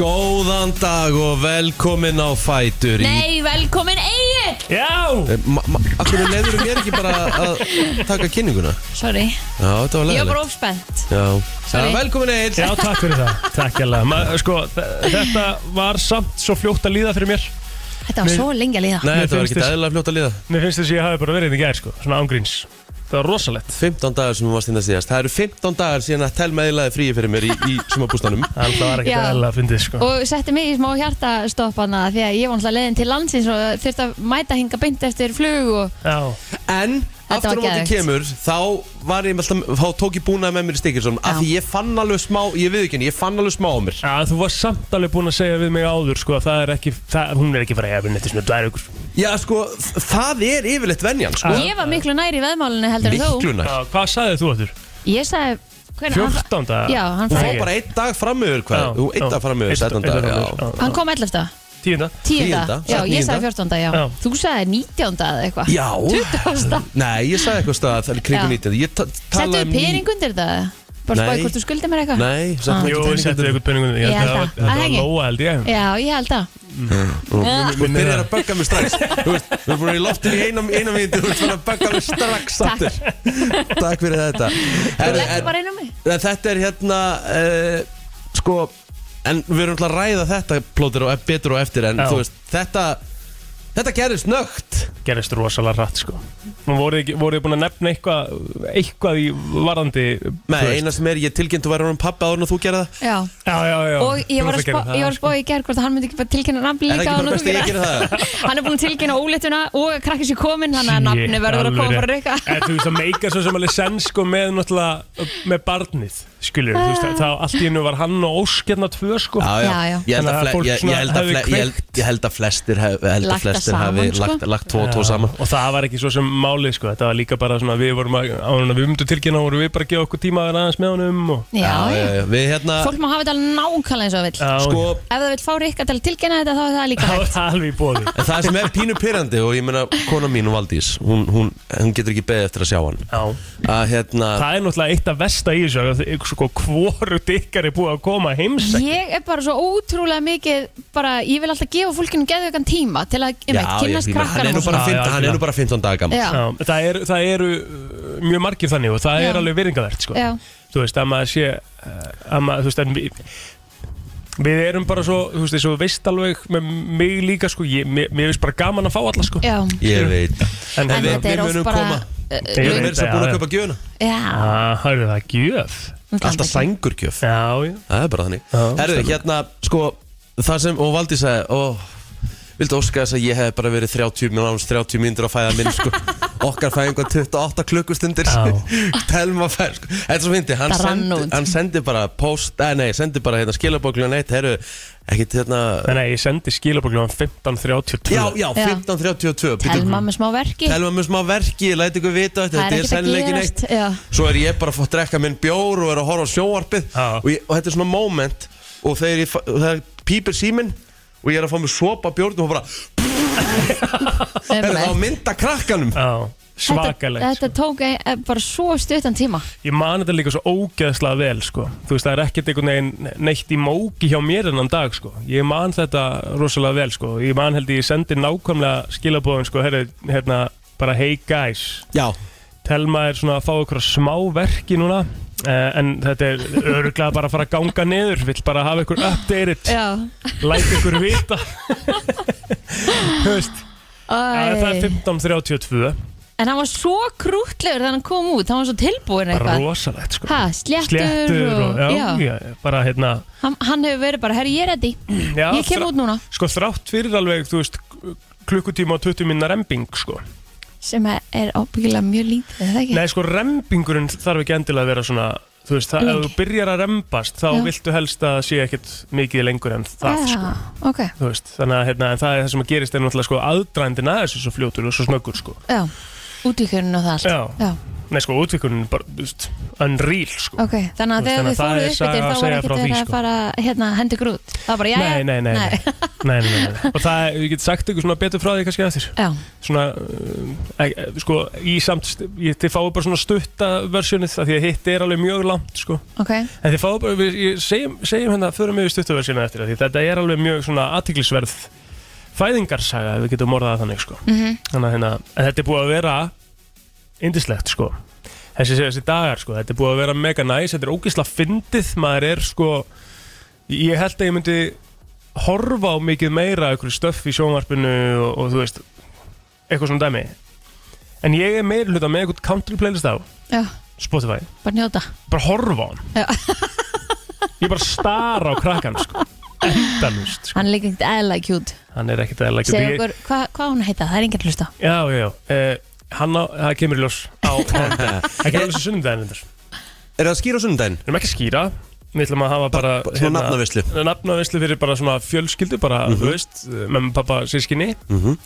Góðan dag og velkomin á Fætur í... Eh, Nei, velkomin Egil Já, Akkur leiður mér ekki bara að taka kynninguna? Sorry, Já, þetta var ég var bara leiðilegt. ofspennt Já, Já, Sorry. velkomin Egil. já takk fyrir það Takk hérlega Ma, sko, þe- Þetta var samt svo fljótt að líða fyrir mér Þetta var Nei. svo lengi að líða Nei, Mér þetta var finnst ekki þess- eðlilega fljótt að liða. Mér finnst þess að ég hafi bara verið í gær sko, Svona ángríns Það var rosalegt 15 dagar sem við varst inn að síðast. Það eru 15 dagar síðan að telma eðlaði fríi fyrir mér í, í sumabústanum. En það var ekki Já. eðla að fyndið sko. Og setti mig í smá hjartastoppana Því að ég var náttúrulega leiðin til landsins Og þurfti að mæta hinga beint eftir flug og... Já, En Þetta var aftur á móti geðveikt. kemur, þá var ég alltaf, þá tók ég búnaði með mér í Stikilsson Já. af því ég fann alveg smá, ég við ég fann alveg smá á mér. já þú var samt alveg búin að segja við mig áður sko, að það er ekki, það, Hún er ekki fara að efinn eftir svona dvær ykkur Já, sko, þ- það er yfirleitt venjan, sko. Já. Ég var miklu næri í veðmálinu heldur en þú Miklu nær. Hvað sagðið þú áttur? Ég sagði hvernig, 14. hann, Já, hann, Þú fór, fá bara einn dag fram yfir hvað? Þú einn dag fram yfir 17 dag, já. hann kom 11. Tíunda 10. Tíunda, Já, sagði ég níunda. sagði 14. Já. Já. Þú sagði 19. eða eitthvað Já. 20. Nei, ég sagði eitthvað stað það er kringum Já. 19. Ég ta- Settu talaði þið pening undir það? Bara um Nei. spáði hvort þú skuldi mér eitthvað? Nei, settum Jú, ekki settu pening ykkur penningunum Ég held það. Það Það var ekki. lóa held ég Já, ég held það Ah. Þú byrjar að bögga mig strax Þú veist, við erum búin í loftinu í einum eina mínu Þú ert búin að bögga mig strax Takk. aftur. Takk fyrir þetta Herru, Leggur en, bara inn á mig en Þetta er hérna uh, Sko En við erum alltaf að ræða þetta plótir og e- betur og eftir En Já. þú veist, þetta Þetta gerist nögt gerist rosalega hrætt sko Nú voruð þið voru búin að nefna eitthvað eitthvað í varandi Nei, þú veist. eina sem er, ég tilkynnt Þú væri honum pappa áður en þú gerði það Já Já, já, já og ég var að Þú ert spá, ég var gera það, sko. að spá í gerð hvort að hann myndi ekki bara tilkynna nafni Er það ekki bara líka áður en best að ég geri það? þú- hann er búin að tilkynna óléttuna og að krakki sér komin þannig að Shit, nafni verður að koma alveg bara rétt. reyka En þú veist að meika svo sem alveg sens sko með náttúrulega með barnið skilur þú veist þá allt í hennu var hann og Ósk hérna tvö sko Já, já. Já, já. Ég, held Þannig að að fle- fólk ég, ég, svona held að hafi fle- ég, held, ég held að flestir, hef, held að Lagt það flestir saman, hafi sko. lagt, lagt tvo og tvo saman og það var ekki svo sem málið sko þetta var líka bara svona við vorum að ánum við myndum tilkynna vorum við bara að gefa okkur tíma að vera aðeins með honum og já, já. Við hérna, fólk má hafa þetta alveg nákvæmlega eins og það vill Já, sko ef það vill fá reyka til að tilkynna þetta þá er það líka það hægt var alveg í bóði En það sem er pínu pyrrandi og ég meina kona mín og Valdís, hún, hún, hún getur ekki beðið eftir að sjá hann Já, að hérna, það er náttúrulega eitt af versta í þessu að þið- sko hvorut ykkar er búið að koma heims ég er bara svo ótrúlega mikið bara, ég vil alltaf gefa fólkinu geðvökan tíma til að, ég veit, ég, kynnast ég meina, hann, er krakkanum nú og bara svona. Já, 15, já, hann er nú já. bara 15 daga gammal Já. Já, það, er, það eru uh, mjög margir þannig og það Já. er alveg virðingarvert sko. Já. þú veist að maður sé uh, að maður, þú veist en við við erum bara svo, þú veist, eins og þú veist alveg með mig líka, sko, ég, mér, mér finnst bara gaman að fá alla, sko Já. Ég veit en, en við- þetta er við oft munum bara koma. uh, Ég Ég er veit meira sem það, búin að já. kaupa gjöfuna já, að, hærðu Ah, það, gjöf Alltaf sængurgjöf já, já, Það er bara þannig Já, Herðu, hérna, sko, það sem, og Valdís sagði ó, vildi óska þess að ég hef bara verið 30 mínútur 30 mínútur að fæða minn, sko Okkar fæði einhvern 28 klukkustundir Já. Telma fær, sko Þetta er svo fyndi, hann, Það rann sendi- út. hann sendi bara post, eh, nei, sendi bara hérna skilabóklun eitt, herru, ekkit hérna þannig að ég sendi skilabokljóðan 15.32 Já, já, Já. 15.32 býttu, telma með smá verki Telma mjög smá verki, læti ykkur vita það Þetta þetta er er ekkert að sennilegin eitt gerast já, svo er ég bara að fá að drekka minn bjór og er að horfa á sjóvarpið Já. og, ég, og þetta er svona moment og þegar ég fa- og það pípir síminn og ég er að fá mér sopa bjórn og bara er það á einmitt. mynda krakkanum já Þetta, svakalegt, sko. þetta tók ein, eh, bara svo stuttan tíma ég man þetta líka svo ógeðslega vel sko. þú veist það er ekkert einhvern veginn neitt í móki hjá mér ennan dag sko. ég man þetta rosalega vel sko. ég man held ég sendi nákvæmlega skilabóðin sko, herri, hérna, bara hey guys Já, Telma er svona að fá ykkur smá verki núna eh, en þetta er öruglega bara að fara að ganga niður vill bara hafa ykkur updated Já læt ykkur vita Þú veist, ja, það er 15.32 En hann var svo krútlegur þegar hann kom út Hann var svo tilbúin bara eitthvað rosalegt sko. Ha, sléttur, sléttur og, já, já. já. bara hérna Hann, hann hefur verið bara, herri ég er reddi já, Ég kem þrá- út núna sko þrátt fyrir alveg þú veist klukkutíma og 20 minna rembing sko. Sem er- er ábyggilega mjög lítið, er það ekki? Nei sko rembingurinn þarf ekki endilega að vera svona þú veist það, ef Lengi. þú byrjar að rembast þá Já. viltu helst að það sé ekkit mikið lengur en það Já, sko. Ok, Þú veist, þannig að hérna, en það er það sem að gerist er náttúrulega sko aðdrændin að þessu svo fljótur og svo snöggur sko já, út í kjörnum og það allt Já. já. Nei sko, útvikkunin er bara, þú veist, unreal sko Ok, þannig Þú að veist, þegar þannig þið fóruð upp yfir að það er saga að þá var segja ekkert frá því, verið að sko. fara hérna hendur grút Það var bara, já, Nei, nei, nei, nei. nei. Nei, nei, nei, nei. Og það, ég get sagt ykkur svona betur frá því kannski eftir Já, Svona, uh, e, sko, í samt, ég, þið fáið bara svona stutta versjónið Því að hitt er alveg mjög langt sko ok, En þið fáið bara, við ég- segjum, segjum hérna, förum við stuttuversina eftir því þetta er alveg mjög svona aðtiklisverð fæðingarsaga ef við getum orðað það þannig sko. mhm, Þannig að hérna, en þetta er búið að vera indislegt sko. Þessi, þessi dagar sko, þetta er búið að vera mega næs, þetta er ógisla fyndið, maður er sko, ég held að ég myndi horfa á mikið meira ykkur stöff í sjónvarpinu og, og þú veist, eitthvað svona dæmi. En ég er meira hluta með eitthvað country playlist á já, Spotify bara njóta bara horfa á hann Já. ég bara stara á krakkan sko. endalust sko. Hann er líka ekkert eðla kjút hann er ekkert eðla Segðu okkur, hvað hva hún heita, það er enginn að hlusta já, já, já uh, hann á, það kemur í ljós á mánudag. það kemur í ljós á sunnudaginn reyndar. Er það skýr á sunnudaginn? við erum ekki að skýra við ætlum að hafa bara Bara Svona nafnavislu nafnavislu fyrir bara svona fjölskyldu bara, þú veist, með pappa sískinni Mhm.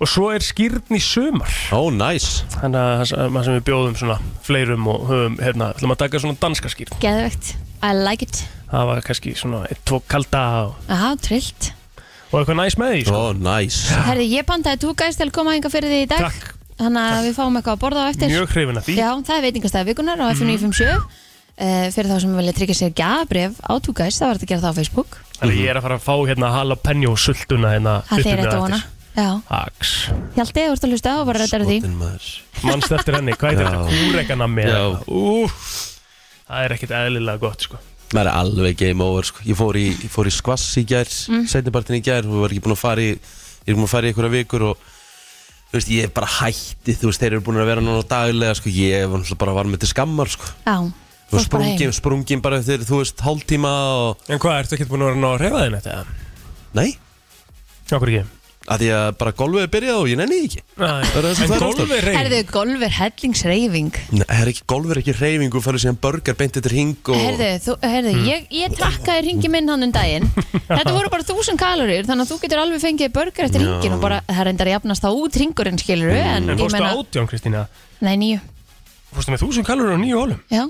og svo er skýrn í sumar Ó, næs þannig að það sem við bjóðum svona fleirum og höfum, hérna, ætlum að taka svona danska skýrn Geðvegt, I like it það var kannski svona eitt, tvo kalda og, Aha, trillt og eitthvað næs með því sko. Ó, næs Herði, ég bandaði tú gæst til að koma hinga fyrir því í dag Takk, Þannig að við fáum eitthvað að borða á eftir mjög Mhm. hrifin að því Já, það er veitingastæða vikunar á FM 957 mm. Fyrir þá sem vilja tryggja sér gjafabrif á tú gæst, það var þetta að gera það á Facebook Þannig Mhm. að ég er að fara að fá hérna jalapeno sultuna hérna Það upp þeir í mig rétt á hana eftir. Já, Aks, Hjaldi, þú ert að hlusta og bara rættar því Skotin maður mannst eftir henni, hvað heitir Já. þetta? Kúrekanammi eða Já. eitthvað? Úff, Það er ekkert eðlilega gott sko Maður er alveg game over sko. Ég fór í, ég fór í skvass í gær mm. Setnipartin í gær Við var ekki búin að fara í Ég er búin að fara í einhverja vikur Og þú veist Ég er bara hætti Þú veist Þeir eru búin að vera núna daglega sko. Ég var náttúrulega bara var með til skammar sko. Já, Þú veist, fórst bara heim Sprungin, sprungin bara eftir Þú veist hálftíma og... En hvað, ertu ekkert búin að vera ná að reyfa þinn þetta? Nei Okkur ekki að Því að bara golfið er byrjað Og ég nenni því ekki Það er það sem En það er golf er reyf Herðu, golf er hellingsreyfing Nei, það er ekki Golf er ekki reyfingu Fælu síðan börgar Beint þetta hring og... Herðu, þú, herðu Mm. ég, ég trakkaði ringi minn hann um daginn Þetta voru bara þúsund kalorir Þannig að þú getur alveg fengið burger eftir ringin Og bara, það reyndar að jafnast þá út ringurinn skilur Mm. En, ég En fórstu meina, átján Kristína nei nýju Fórstu með þúsund kalur á nýju hólum Já,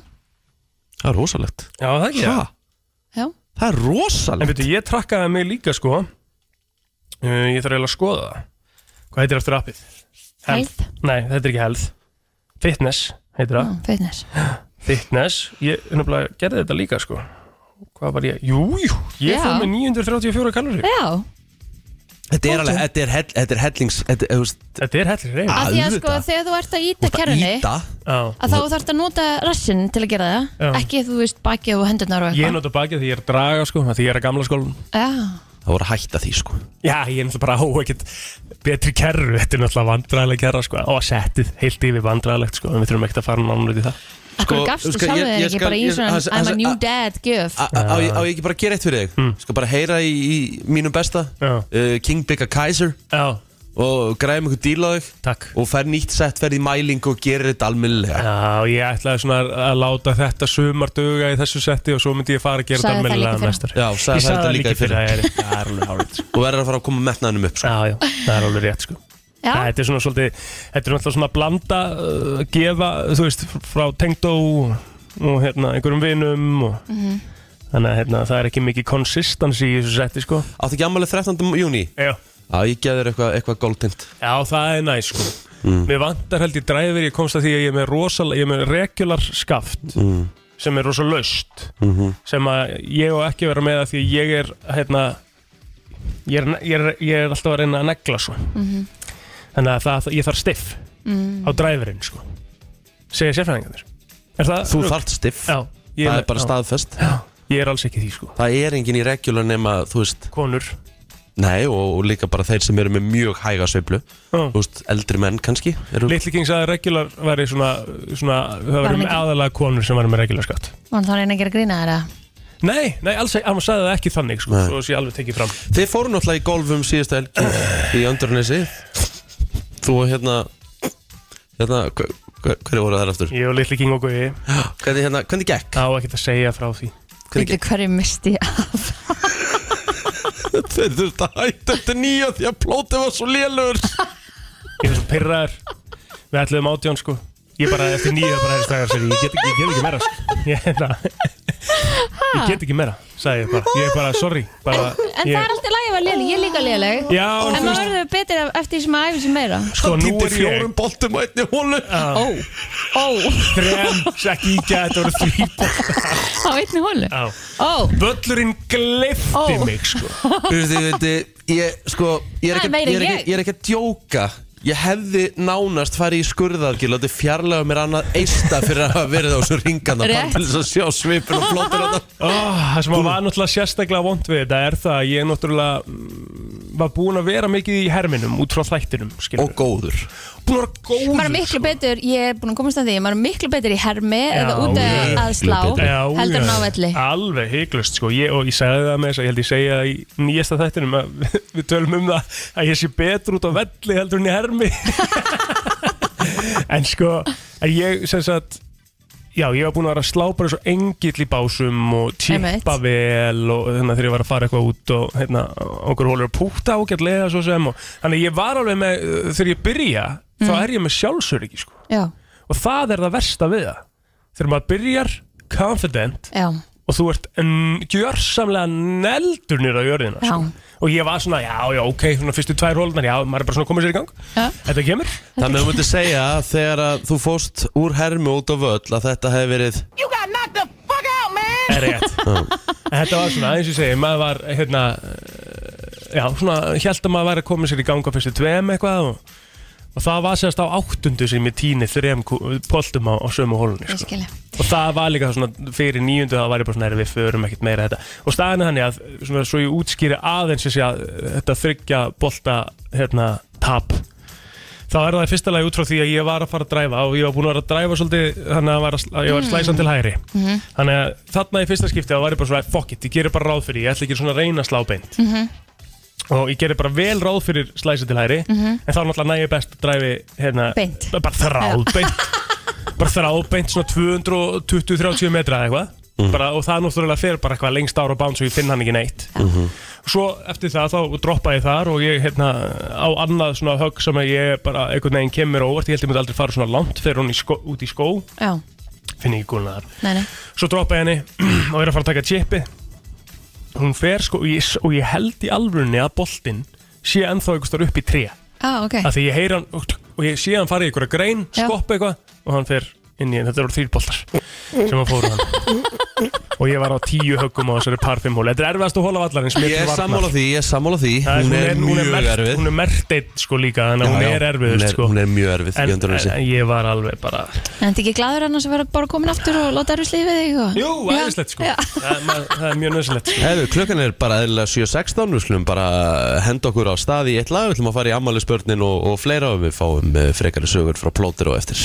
Það er rosalegt Já, það ekki Ha? já, Það er rosalegt En veitu, ég trakkaði mig líka sko uh, Ég þarf eiginlega að skoða það Hvað heitir eftir appið? Health. Mm. Nei, þetta er ekki health Fitness heitir það já, fitness Fitness, ég nefnilega gerði þetta líka sko Hvað var ég? Jú, jú, ég Já. fór með 934 kalori Já, Þetta er alveg, þetta er, hell, þetta er hellings Þetta er, þú veist, Þetta er hellir reyna Ah. af því að sko Auðvitað. þegar þú ert að þú íta ert að kerrunni íta Já að þá þarfst að nota rassin til að gera það Já. ekki þú veist bakið og hendurnar og Ég eitthvað nota bakið því ég er að draga sko, af því ég er að gamla skólan Já, Það voru að hætta því sko Já, ég er náttúrulega bara á ekkert betri kerru Þetta er náttúrulega vandræðilega kerra sko Og settið heilt yfir vandræðilegt sko En við þurfum ekkert að fara nánar út í það akkur Sko, gafstu sko, ég- sjálfur þér ég ekki skal- bara í ég- svona hans- I'm hans- a new a- dad gjöf Á á ég á ég ekki bara að gera eitt fyrir þig Skal bara heyra í, í mínum besta Já. uh, King Bigga Kaiser Já, Og græðum ykkur díl á þig takk Og fer nýtt sett, fer í mælingu og gerir þetta almennilega Já, ég ætlaði svona að láta þetta sumar duga í þessu setti og svo myndi ég fara að gera Sagði það þetta líka í almennilega fyrra. næstur Já, sagði Ég það sagði þetta það líka líka í fyrir fyrra. það er Það er alveg hálfitt sko. Og verður að fara að koma metnaðinum upp sko Já, já, það er alveg rétt sko Já, Nei, þetta er svona svolítið, þetta er náttúrulega svona að blanda, uh, gefa, þú veist, frá tengdó og hérna einhverjum vinum og Mhm. þannig að hérna það er ekki mikið konsistansi í þessu setti sko. Áttu ekki ammælið 13. júni? Já. Já, ég geði þér eitthvað eitthva goldtind Já, það er næ sko. Mm. Mér vantar held ég dræfir, ég komst að því að ég er með rosal, ég er með regular skaft Mm. sem er rosa laust Mhm. sem að ég og ekki að vera með að því að ég er hérna, ég er, ég er, ég er alltaf að reyna að negla svo. Þannig að það, ég þarf stiff. mm, á dræfurinn sko segja sérfræðingarnir er það Þú rugl? þarft stiff já, ég, Það er bara staðfest já, ég er alls ekki því sko Það er engin í regular nema, þú veist konur Nei, og, og líka bara þeir sem eru með mjög hæga sveiflu Já. Þú veist, eldri menn kannski eru, Little King sagði að regular væri svona, svona það Var væri hann um ekki? aðalega konur sem væri með regular skatt var það reyna að gera grína þeirra nei, nei, alls ekki, hann sagði það ekki þannig sko, Nei. svo sé ég alveg tekið fram Þið fóru náttúrulega í golfum síðustu helgi í Öndurnesi Þú og hérna hérna, hver, hverju voru þær aftur? ég og Little King og Guði Hvernig, hérna, hvernig gekk? á ekki að segja frá því Hvernig Veitu gekk? hverju misti ég af? Þeir þurfti að hætta þetta nýja því að plótið var svo lélur ég var svo pyrraður við ætluðum átján sko Ég bara eftir nýja bara hefði stræðar sér, ég get ekki, ég get ekki meira sko. Ég, na, ég get ekki meira, sagði ég bara Ég er bara, sorry bara, En ég, það er alltaf lægi að vera léleg, ég er líka léleg Já, en En þú maður veist- verður betur eftir því sem maður æfir sér meira Sko, nú Týndi er ég fjórum boltum á einni hólu Ó, ó, Þrem, ekki ekki að þetta voru þrý á einni hólu Já. Ó, Völlurinn glifti Ó. mig sko Þú veist, ég veit, ég, sko, ég er Það er ekki, meira en ég er ekki, ég. ég er ekki að djóka Ég hefði nánast farið í skurðaðgil og þetta fjarlæga mér annað eista fyrir að hafa verið á þessu ringana bara Rétt. til þess að sjá svipin og flóttur þarna. Oh, það sem var náttúrulega sérstaklega vond við þetta er það að ég náttúrulega mm, var búinn að vera mikið í herminum út frá þættinum Og skilur. góður búin að vera góður maður er miklu betur, ég er búin að komast að því Maður er miklu betur í hermi eða út já, að miklu slá betur. Já, Heldur en já. á velli Alveg hygglust sko ég, Og ég sagði það með þess að ég held ég segja það í nýjasta þættinum að við, við tölum um það að ég sé betur út á velli heldur en í hermi En sko að ég sem sagt Já, ég var búinn að vera að slá bara eins og engill í básum og Einmitt. tippa vel og þannig þegar ég var að fara eitthvað út og hérna, okkur hólur að púta ágætlega svo sem og þannig að ég var alveg með, þegar ég byrja þá Mm. er ég með sjálfsöryggi sko Já, og það er það versta við það þegar maður byrjar confident já, og þú ert mm, gjörsamlega neldur nýra á jörðina sko. og ég var svona, já, já, ok, svona fyrstu tvær hólnar já, maður er bara svona komið sér í gang já þetta kemur, Þannig að þú myndir segja að þegar að þú fóst úr hermi út á völl að þetta hefði verið er rétt en þetta var svona, eins og ég segi, maður var hérna, eh, já, svona held að maður var að koma sér í gang á fyrstu tveim eitthvað og, og það var sérst á áttundu sem ég tíni þrem kú- poltum á, á sömu hólunni Ég sko. skilja og það var líka svona fyrir nýjundu það var ég bara svona "Herra, við förum ekkert meira þetta og staðan er þannig að svona, svo ég útskýri aðeins þessi að þetta þryggja bolta hérna tap þá er það í fyrsta lagi út frá því að ég var að fara að dræfa og ég var búin að vera að dræfa svolítið þannig að, var að, sl- að ég var að slæsa til hægri þannig að þarna í fyrsta skipti þá var ég bara svona fuck it, ég gerir bara ráð fyrir, ég ætla ekki svona að reyna að slá beint og ég gerir bara vel ráð fyrir slæsa til hægri en þá náttúrulega næ ég best að dræfi hérna, Beint. bara þráðbeint bara þráðbeint svona 220-30 metra eða eitthvað bara, og það náttúrulega fer bara eitthvað lengst ára bán svo ég finn hann ekki neitt svo eftir það þá droppa ég þar og ég hérna, á annað svona högg sem að ég bara einhvern veginn kemur á óvart ég held ég myndi aldrei fara svona langt fyrir hún í skó, út í skó Já, finn ekki gulna þar nei, nei svo droppa ég henni og er að fara að taka chipi hún fer sko og ég, og ég held í alvörunni að boltinn sé ennþá einhvers þar upp í tré Á, ok að því ég heyri hann og og ég sé hann fara í einhverja grein, Já. skoppa eitthvað og hann fer inn í hann, þetta eru þrýr boltar sem hann fóru hann og ég var á tíu höggum á þessari par 5 hóli þetta er erfiðast að hóla vallarins Ég er sammála því, ég er sammála því Hún er mjög erfið hún er merteitt sko líka þannig að hún Já, já, er erfið hún er- sko Hún er mjög erfið, ég en, endur hún en þessi ég var alveg bara En þetta ekki glæður annars að vera bara komin aftur og láta erfis lífið þig og... jú, Já, aðeinslegt sko já. það, er ma- það er mjög nöðsilegt sko Hefðu, klukkan er bara eðlilega 7.16 Við slum bara henda okkur á staði í eitt lag Við ætlum að fara í ammali spörnin og, og fleira og við fáum eh, frekari sögur frá plótir og eftir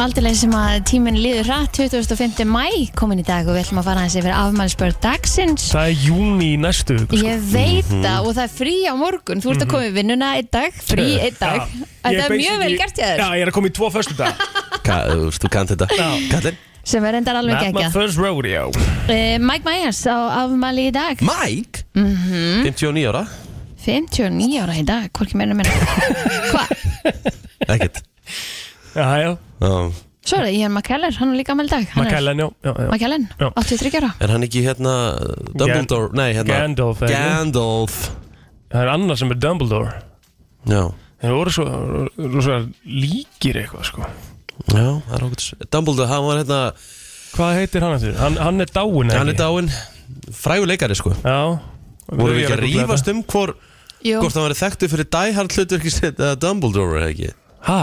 Aldrei sem að tíminn líður rætt 25. mæ komin í dag og við ætlum að fara aðeins yfir afmælisbörð dagsins það er júni í næstu viku, sko. Mhm. Ég veit það og það er frí á morgun Þú ert að koma í vinnuna einn dag, frí einn dag Já. Ég Þetta er mjög basically- vel gert ég já, þér ég er að koma í tvo förstu dag Ka, Þú veist, þú kannt þetta Kallinn sem er endar alveg my geggjað first rodeo uh, Mike Myers á afmæli í dag Mike 59 ára 59 ára í dag, hvorki meina meina Hvað? Ekkert já, já, Já. Svo er það Ian McKellar, hann er líka afmæli í dag Hann er- Magellan, já, já, já. McKellen, Já. 83 ára Er hann ekki hérna Dumbledore? Nei, hérna Gandalf, eða ekki? Gandalf Það er annar sem er Dumbledore Já, Þeir voru svo, svo líkir eitthvað sko já, það er okkur Dumbledore, hann var hérna Hvað heitir hann eftir? Hann, hann er dáin Hann er dáinn Frægur leikari sko Já Voru við ekki að rífast um hvor Jú, Hvort hann var þekktu fyrir Die Hard hlutverki sitt eða Dumbledore eða ekki Hæ?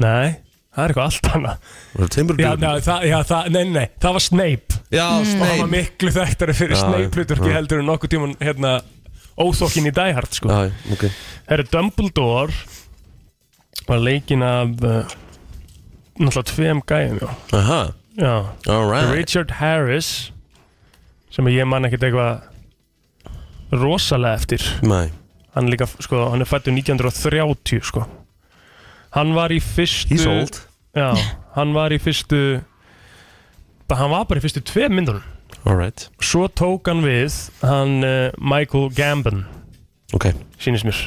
Nei, það er eitthvað allt annað Var það Já, Timberlake? já, það, já, það, nei, nei, það var Snape Já, Og hann var Snape miklu þekktari fyrir Já, Snape-hlutverki já. heldur en nokkuð tíman hérna Óþokkin í Die Hard sko Já, ok Herri, Dumbledore var leikinn af uh, Náttúrulega tveim gæðum, já Aha, Já, alright Richard Harris sem ég man ekkert eitthvað rosalega eftir Nei hann, er líka, sko, hann er fættur 1930 sko. hann var í fyrstu He's old já, hann var í fyrstu bara- hann var bara í fyrstu tveim myndunum Alright svo tók hann við hann uh, Michael Gambon Ok sínist mér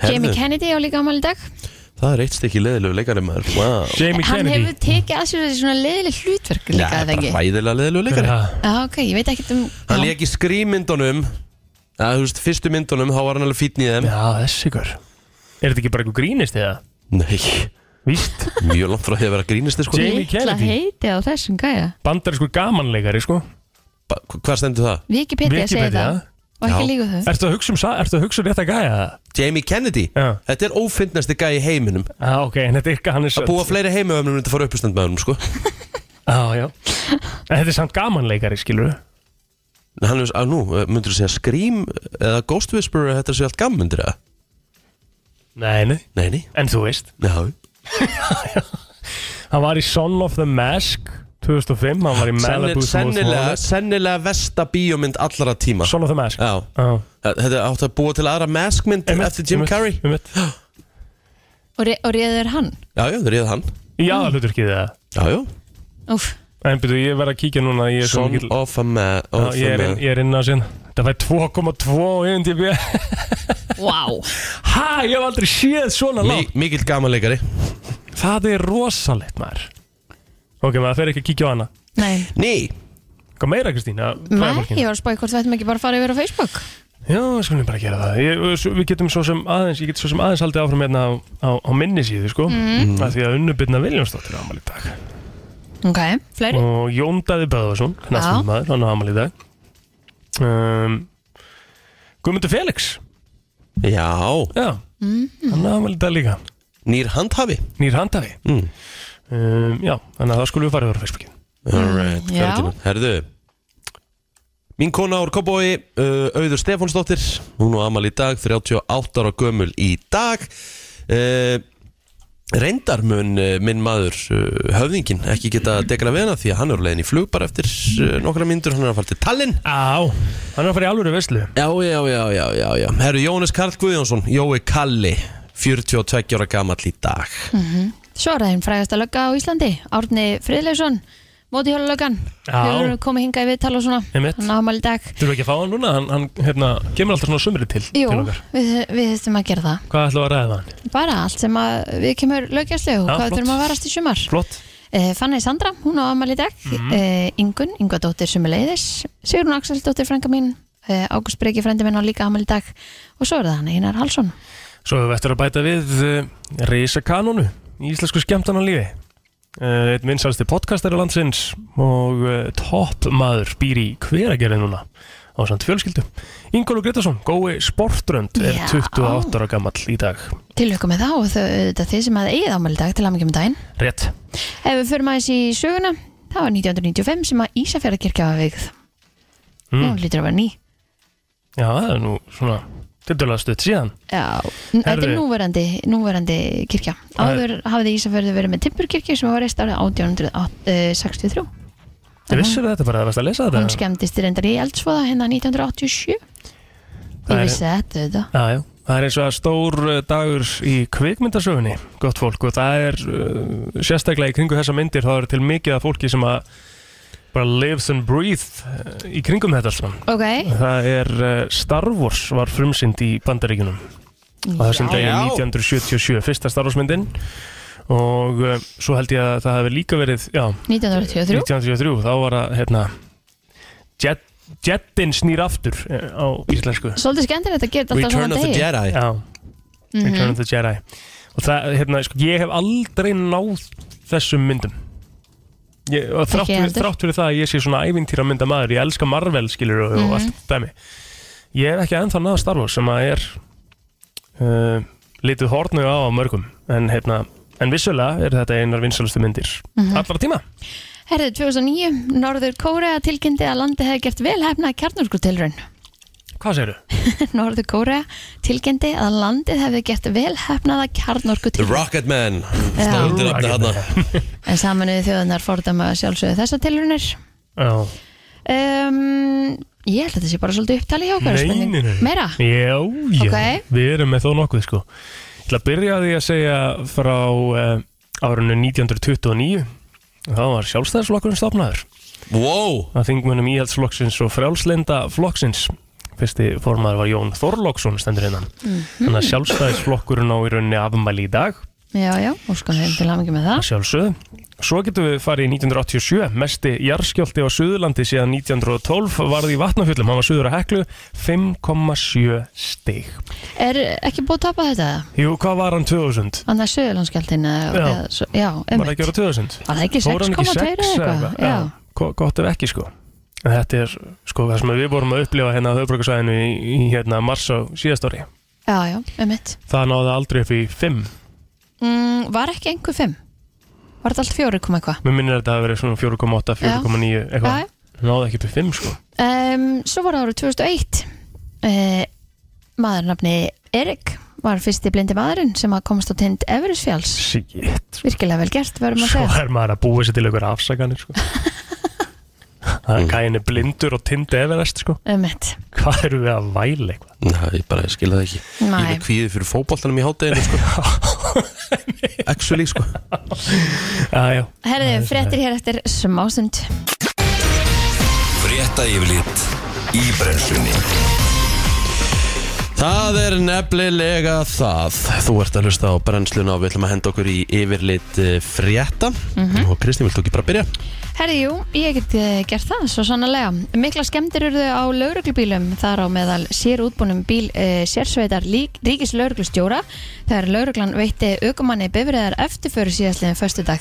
Jamie Herðu. Kennedy á líka afmæli í dag Eh, Það er eitt stykki leðilegu leikari maður wow. Jamie Hann Kennedy hefur tekið að sér þessi svona leiðileg hlutverk Já, líka það er að það bara ekki hræðilega leðilegu Hver er leikari það? Já, ok, ég veit ekkert um Hann já. leik í skrýmyndunum Það, þú veist, fyrstu myndunum, þá var hann alveg fítn í þeim Já, þessi hver Er þetta ekki bara eitthvað grínist eða? Nei, Víst mjög langt frá því að vera grínisti sko. Jamie Litla Kennedy. heiti á þessum gæja Bandar er sko gamanleikari sko Ba- Hvað stendur það? Wikipedia segir Wikipedia. það Og ekki Já. líka þau Ertu að hugsa um, sa- ertu að hugsa um rétt að gæja það? Jamie Kennedy? Já Þetta er ófindnasti gæi í heiminum Já, ok, en þetta er ekki hann er Það búa fleiri heimöfnum en þetta fara uppustand með honum sko. Já, já En þetta er samt gamanleikari, skilur En Hann hefur, að nú, myndur þú segja Scream eða Ghost Whisperer, þetta sé allt gamm myndur það? Nei, nei Nei, nei, En þú veist já, Hann var í Son of the Mask 2005 Hann var í Senni, Malibu sennilega, sennilega vesta bíómynd allra tíma Son of the Mask Já, þetta átti að búa til aðra maskmynd eftir Jim Carrey Einmitt. Og, re og reður hann Já, já, það réð hann Í aðaluturkið það Já, já, Úf, En byrju, ég verð að kíkja núna Ég er, svo Son mikill- of a man Já, ég er, inn- ég er inn á sin Það fær 2,2 á IMDb wow Ha, ég hef aldrei séð svona látt Mikill gamanleikari Það er rosalegt maður Ok, maður fer ekki að kíkja á hana Nei, Ný, Hvað meira Kristín? að fræða Nei fólkinu? ég var að spáði hvort við ættum ekki bara að fara yfir á Facebook Já, við skulum bara gera það ég, svo- Við getum svo sem aðeins Ég get svo sem aðeins haldið áfram hérna á, á, á minni síðu sko Mhm. mm. Því að unnubirna Viljónsdóttir ámali í dag Ok, fleiri Og Jón Daði Böðvarsson Knastnum maður, hann ámali í dag um, Guðmundur Felix já, Já, hann ámali í dag líka nýr handhafi Nýr handafi mm. um, Já, þannig að það skulum við fara yfir á Facebookin Alright, Já. mm, herðu Mín kona úr Kobói, uh, Auður Stefánsdóttir Hún og Amal í dag, 38 ára gömul í dag uh, Reyndar mun uh, minn maður uh, höfðingin ekki geta dekra við hana því að hann er á leiðin í flug bara eftir uh, nokkra myndur, hann er að fara til Tallinn Á, hann er að fara í alvöru veislu Já, já, já, já, já, já Herru, Jónas Karl Guðjónsson, Jói Kalli 42 ára gamall í dag Svo er það einn frægasta lögga á Íslandi Árni Friðleifsson Móti hjóla löggan Já. Við erum komið hingað í viðtal og svona Einmitt. Hann ámæli dag Þurfum ekki að fá hann núna, hann, hann hérna, kemur alltaf svona sumri til, Jú, til okkar við, við þurfum að gera það Hvað ætlum við að ræða við hann? Bara allt sem að við kemur lögjastlu og Já, hvað flott. þurfum að varast í sumar Flott Eh, Fanny Sandra, hún á amal í dag mm. Mhm. Ingun, Ingvadóttir Sumuleiðis Sigrun Axeldóttir, frænga mín eh, Ágúst Breki, frændi minn á líka amal í dag og svo er það hann Einar Halsson Svo hefur við eftir að bæta við uh, Reisakanonu í íslensku skemmtananlífi uh, Einn vinsælsti podcastari landsins og uh, toppmaður býr í hveragerði núna á samt fjölskyldu Ingólu Gretarsson, gói sportrönd er Já. 28 ára gamall í dag Til ykkur með þá og þau, auðvitað þið sem að eigið amal í dag til amal um daginn Rétt Ef við förum aðeins í söguna það var 1995 sem að Ísafjörðarkirkja var veikð Mm. Nú lítur að vera ný Já, það er nú svona tildulega stutt síðan Já, n- þetta er Herðu. núverandi, núverandi kirkja Það Áður hafði Ísafjörður verið með Timpurkirkju sem var reist árið eh, 1863 Ég vissir þetta bara, um það varst að lesa Hún þetta skemmtist reyndar í eldsfóða hérna 1987 Það Ég er- vissi þetta þetta Já, já Það er eins og að stór uh, dagur í kvikmyndasögunni, gott fólk, og það er uh, sérstaklega í kringu þessa myndir, þá er til mikið af fólki sem að bara lives and breathe uh, í kringum þetta alltaf. Ok, Það er uh, Star Wars var frumsynd í Bandaríkunum á þessum Já. degi 1977, fyrsta Star Wars myndin og uh, svo held ég að það hefði líka verið, já, 1983 1973, þá var að, hérna, jet, Jettin snýr aftur eh, á íslensku. Svolítið skemmtilegt að gera þetta alltaf Return svona of the degi Jedi Já, Mhm. Return of the Jedi og það, hérna, sko, ég hef aldrei náð þessum myndum ég, og þrátt, Ekki fyrir, heldur. þrátt fyrir það að ég sé svona ævintýra mynda maður, ég elska Marvel skilur og, Mhm. og allt dæmi ég hef ekki ennþá náð Star Wars sem að er uh, litið hornu á á mörgum en, hérna, en vissulega er þetta einar vinsalustu myndir Mhm. allra tíma Herðið 2009, Norður Kórea tilkynnti að landi hefði gert velhæfna kjarnorkutilraun hvað segirðu? Norður Kórea tilkynnti að landið hefði gert velhæfnaða The kjarnorkutilraun Rocketman Já. Stóndir aftur þarna En samanuðu þjóðunar fordama sjálfsögðu þessa tilraunir Já. um, Ég held að þetta sé bara svolítið upptali hjá okkar Nei, spurning. nei, nei. Meira? Já, já, Ok. við erum með þó nokkuð sko Ég ætla að byrja á því að segja frá uh, árunni 1929 þá var sjálfstæðisflokkurinn stopnaður Wow, að þingmönnum íhaldsflokksins og frjálslenda flokksins fyrsti Mhm. hérna. formaður var Jón Þorlóksson stendur innan þannig að sjálfstæðisflokkurinn á í rauninni afmæli í dag já, já, óskan þeim til hamingi með það Sjálfsögðu. Svo getum við farið í 1987, mesti jarðskjálfti á Suðurlandi síðan 1912 varði í vatnafjöllum, hann var Suður að Heklu, 5,7 stig. Er ekki búið að tapa þetta? eða? Jú, hvað var hann 2000? Annað Suðurlandskjaldin Já. já Var það einmitt ekki ára 2000? Var það ekki Fór hann 6,2 eða sex eitthvað? Já. Go- Gott ef ekki sko. En þetta er sko það sem við vorum að upplifa hérna á höfbrukarsæðinu í, í hérna mars á síðast ári. Já, já, einmitt Það náði aldrei upp í 5. mm, Var ekki einhver 5? Var þetta allt 4 koma eitthvað? Mér minnir að þetta hafi verið svona 4,8, 4,9 Já, eitthvað. Náði ekki upp í 5 sko. Um, svo var það árið 2001 uh, maður nafni Erik var fyrsti blindi maðurinn sem að komast á tind Everisfjáls Shit. virkilega vel gert verðum að Svo segja er maður að búa sér til einhver afsakanir sko. Það er kæðinni blindur og tindi everest sko. um mitt Hvað eru við að væla eitthvað? Nei, ég bara skilja það ekki Ég er Nei. með kvíði fyrir fótboltanum í hátteginu sko. Actually sko Já, já. herði fréttir hér eftir smásund Frétta yfirlit í brennslunni Það er nefnilega það Þú ert að hlusta á brennsluna og við ætlum að henda okkur í yfirlit eh, frétta Mhm. og Kristín, viltu ekki bara byrja? herði jú, ég get eh, gert það svo sannarlega mikla skemmtir urðu á lauruglubílum þar á meðal sér útbúnum bíl uh, sérsveitar lík, ríkis lauruglustjóra þegar lauruglan veitti aukumanni bifriðar eftirföru síðastliðin föstudag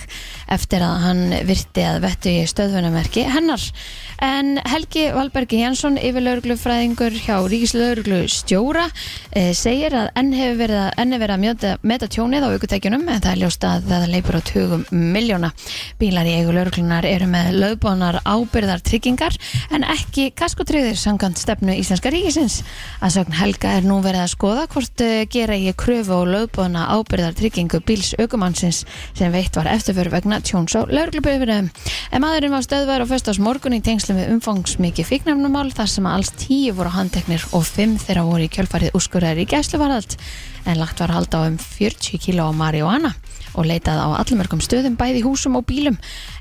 eftir að hann virti að vettu í stöðvunamerki hennar en Helgi Valbergi Jansson yfir lauruglufræðingur hjá Ríkislauruglu stjóra eh, segir að enn hefur verið að, enn er verið að mjóta, meta tjónið á aukutækjunum en það er ljóst að það leipur á tugum miljóna. Bílar í eigu lauruglunar eru með lögbónar ábyrðar tryggingar en ekki kaskotryggðir samkant stefnu Íslenska ríkisins. Að sögn Helga er nú verið að skoða hvort eh, gera ég kröfu á lögbóna ábyrðar tryggingu bíls aukumannsins sem veitt var eftirför vegna tjóns á lauruglubifriðum. En maðurinn var stöðvar á föstas morgun í tengslu með umfangsmikið fíknefnumál þar sem að alls tíu voru handteknir og fimm þeirra voru í kjölfarið úrskurðar í gæsluvarðald en lagt var hald á um 40 kíló á marihuana og leitað á allmörgum stöðum bæði í húsum og bílum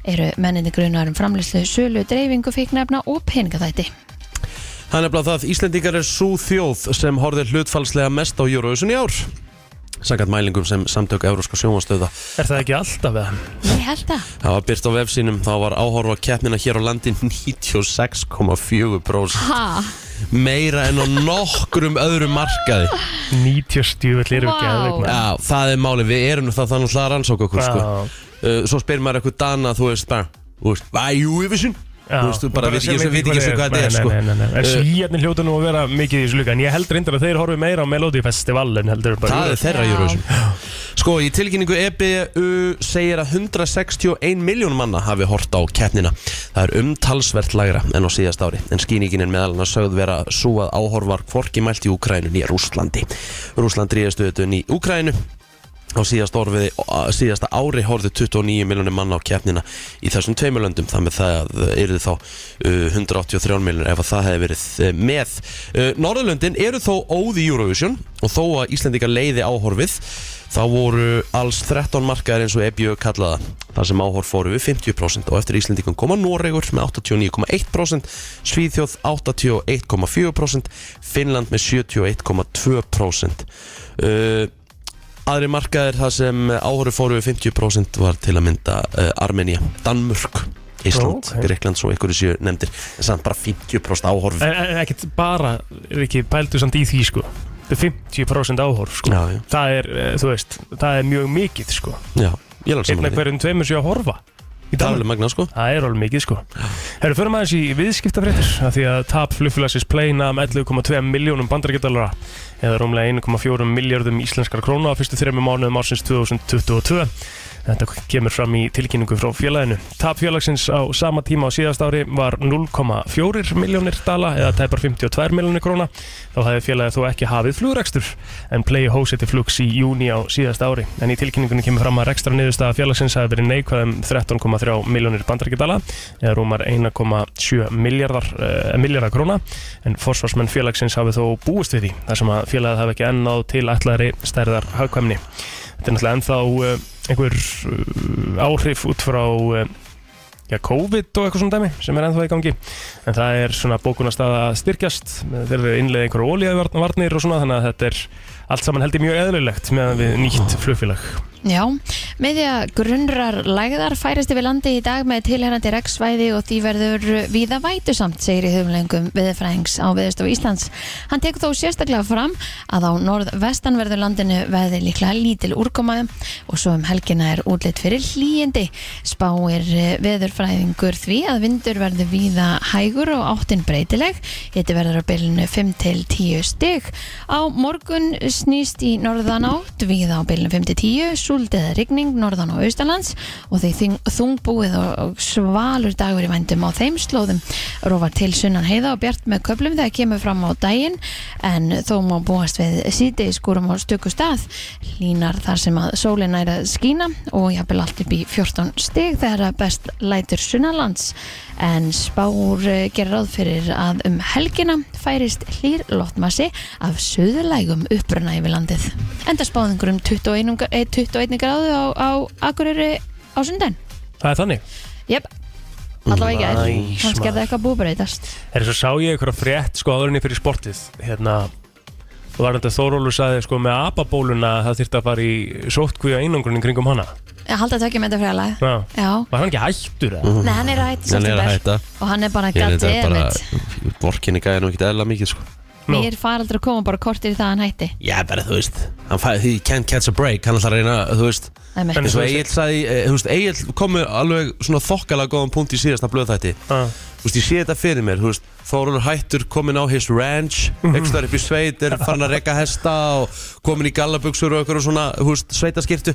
eru menninni grunar um framlýslu, sölu, dreifingu, fíknefna og peningaþætti. Það er nefnilega það Íslendingar er svo þjóð sem horfið hlutfalslega mest á Eurovision í ár Sankat mælingum sem samtök Euróska sjónvastöða Er það ekki alltaf eða? Ég held að Það var byrt á vefsínum þá var áhorfa keppnina hér á landi 96,4% Ha, meira en á nokkrum öðrum markaði 90 stjúvill erum við Vá. geðveikna. Já, það er máli, við erum það þannig að rannsóka okkur sko. Já. uh, Svo spyr maður eitthvað dana, þú veist bara Þú veist, hvað er Eurovision? Þú veist, þú bara veit ekki, veit ekki svo hvað þetta er sko. Nei, nei, nei, nei. En Eh, svíjarnir hljóta nú að vera mikið í þessu luka En ég held reyndar að þeir horfi meira á Melody Festivalin heldur en bara Það er þeirra Já. Eurovision Sko, í tilkynningu EBU segir að 161 miljón manna hafi hort á keppnina Það er umtalsvert lægra en á síðast ári En skýningin er meðal hann að sögð vera svo að áhorfar hvorki mælt í Úkrænun í Rúslandi Rúsland ríðastu þetta í Úkrænu á síðast orfiði, á síðasta ári horfðu 29 miljónir manna á keppnina í þessum tveimur löndum, þar með það eru þá uh, 183 miljónir ef að það hefði verið uh, með uh, Norðurlöndin eru þó óð í Eurovision og þó að Íslendingar leiði áhorfið þá voru alls 13 markaðar eins og EBU kallaða þar sem áhorf fóru við 50% og eftir Íslendingum koma Noregur með 89,1% Svíþjóð 81,4% Finnland með 71,2% uh, Aðri markaðir þar sem áhóru fóru við 50% var til að mynda uh, Armenia, Danmörk, Ísland, Ó, ok. Greikland svo einhverju séu nefndir en samt bara 50% áhorf En- en Eh, Ekkert bara, er ekki pældu samt í því sko Þetta er 50% áhorf sko Já, já, Það er, eh, þú veist, það er mjög mikið sko já, ég er alveg Einn saman af með því hverjum tveimur séu að horfa í Það er dag alveg magna sko Það er alveg mikið sko Herru, förum aðeins í viðskiptafréttir af Því að tap flugfélagsins plane um 11,2 miljónum bandarækjadalara eða rúmlega 1,4 miljardum íslenskar krónu á fyrstu þremmu mánuðum ársins 2022 Þetta kemur fram í tilkynningu frá félaginu. Tap félagsins á sama tíma á síðast ári var 0,4 miljónir dala eða tæpar 52 miljónir króna. Þá hefði félagið þó ekki hafið flugrekstur en play hósetti flugs í júni á síðast ári. En í tilkynningunni kemur fram að rekstra niðurstaða félagsins hafi verið um neikvæðum 13,3 miljónir bandarækjadala eða rúmar 1,7 miljardar, uh, miljardar króna en forsvarsmenn félagsins hafi þó búist við því þar sem að félagið hafi ekki enn náð til ætlaðri stærðar hagkvæmni. Þetta er náttúrulega ennþá uh, einhver uh, áhrif út frá uh, já, COVID og eitthvað svona dæmi sem er ennþá í gangi en það er svona bókunarstað að styrkjast þeir eru innlega einhverju ólíðavarnir og svona þannig að þetta er allt saman held ég mjög eðlulegt meðan við nýtt flugfélag Já, með því að grunnrar lægðar færist yfir landi í dag með tilherrandi reksvæði og því verður víða vætusamt, segir í höfumlengum viðfræðings á viðstof Íslands. Hann tekur þó sérstaklega fram að á norðvestanverðu landinu veði líklega lítil úrkoma og svo um helgina er útlitt fyrir hlýjindi. Spáir eh, veðurfræðingur því að vindur verður víða hægur og áttin breytileg. Hiti verður á bylunu 5 til 10 stig. Á morgun snýst í norðan átt, víða á bylunu 5 til 10, súld eða rigning norðan og austalands og því þing- þungbúið og- og svalur dagur í vændum á þeim slóðum. Rófar til sunnan heiða og bjart með köplum þegar kemur fram á daginn en þó má búast við síðdegi skúrum á stöku stað. Línar þar sem að sólin er að skína og jafnvel allt upp í 14 stig þegar að best lætur sunnalands en spár eh, gerir ráð fyrir að um helgina færist hlýr loftmassi af söðulægum uppruna yfir landið. Enda spáðingur um 21, gra- eh, 21 gráðu á, á Akureyri á sundan. Það er þannig Jep, allavega ekki að Næs, kannski er maður. það eitthvað búbreytast. Er svo sá ég eitthvað frétt sko áðurinni fyrir sportið hérna og var þetta Þórólur saði sko með apabóluna að það þyrfti að fara í sóttkvíða einangrunni kringum hana Ég halda að tökja með þetta fræðalega. Já. Já, Var hann ekki hættur eða? nei hann er að hætta Mhm. Hann er að september. hætta. og hann er bara Ég er gætið þetta eða bara, mitt. vorkinni gæði nú ekki eðla mikið sko Nú. Mér faraldur að koma bara kortir í það að hann hætti. Já, bara þú veist, hann fæði því can't catch a break, hann ætlar að reyna, þú veist Það er mitt. En eins þú og veist- Egil sagði, eh, þú veist, Egil komu alveg svona þokkalega góðan punkt í síðasta blöðþætti Já. Þú veist, ég sé þetta fyrir mér, þú veist, Þórólur hættur komin á his ranch, ekki stöðar upp í sveit, er farin að rekka hesta og komin í gallabuxur og eitthvað svona, þú veist, sveitaskirtu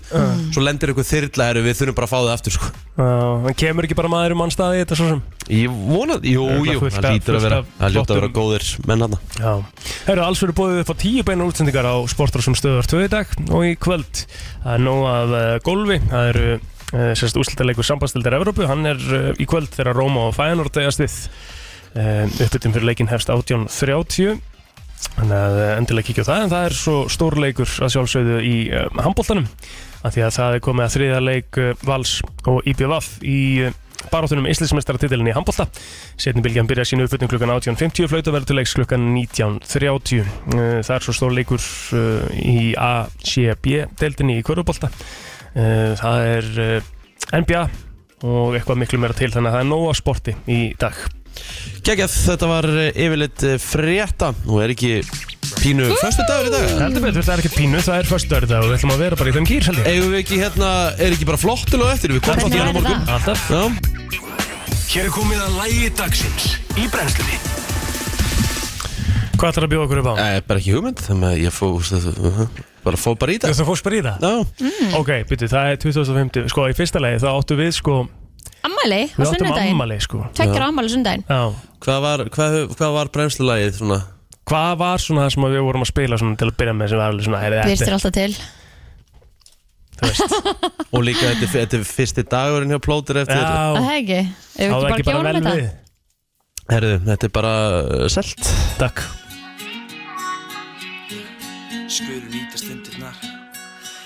Svo lendir eitthvað þyrla, herru, við þurfum bara að fá það aftur, sko Já, en kemur ekki bara maður um mannstaði þetta svo sem Ég vona, jú, Það er jú, fullt það af- lítur að fullt vera, af það lítur að vera flottum- góðir menn hann Já Herru, alls verður bóðið upp á tíu beinar útsendingar á sportar sem stöðar tvöði dag og í kvöld það er nóg af uh, golfi það eru uh, sérst úrslitaleikur sambandstildar Evrópu hann er uh, í kvöld þegar Róma og Fæanort eigast við uh, uppbyttum fyrir leikin hefst 18.30 þannig að eh, endilega kíkja á það en það er svo stór leikur að sjálfsögðu í uh, handbóltanum af því að það er komið að þriða leik uh, Vals og IBVF í uh, baráttunum Íslandsmeistaratitilin í handbólta Setni bylgjan byrja sínu uppfutning klukkan 18.50 flauta verður til leiks klukkan 19.30 Eh, Það er svo stór leikur eh, í ACB-deldinni í Körubolta Það er eh, NBA og eitthvað miklu meira til þannig að það er nóg af sporti í dag Kekjað, þetta var eh, yfirleitt eh, frétta Nú er ekki pínu Föstu dagur í dag Heldur betur, það er ekki pínu, það er föstudagur og við ætlum að vera bara í þeim kýr held ég Eigum við ekki hérna, er ekki bara flottil og eftir Við komum flottil hérna Hvernig væri morgun það? Alltaf Já, Hér er komið að lægi dagsins í brennslunni Hvað ætlar að bjóða okkur upp á? það er bara ekki hugmynd Þannig að ég fó, úst, uh, bara fó bara í Þú dag þú fórst bara í það? Já, Ok, byrju, það er 2050 Sko, í fyrsta lagi þá áttu við sko Ammæli á Við áttum sunnudaginn. ammali sko Tveggjara ammæli á sunnudaginn. Já hvað var, hvað, hvað var brennslulagið svona? Hvað var svona það sem við vorum að spila svona til að byrja með sem var alveg svona heyrðu, Byrstir alltaf til. þú veist Og líka þetta, er- þetta er fyrsti dagurinn hjá plótir eftir þetta Það Já, er ekki. Ef það við ekki ekki bara bara vel gjóðum við þetta. Herðu, þetta er bara uh, selt Takk Skulum nýta stundirnar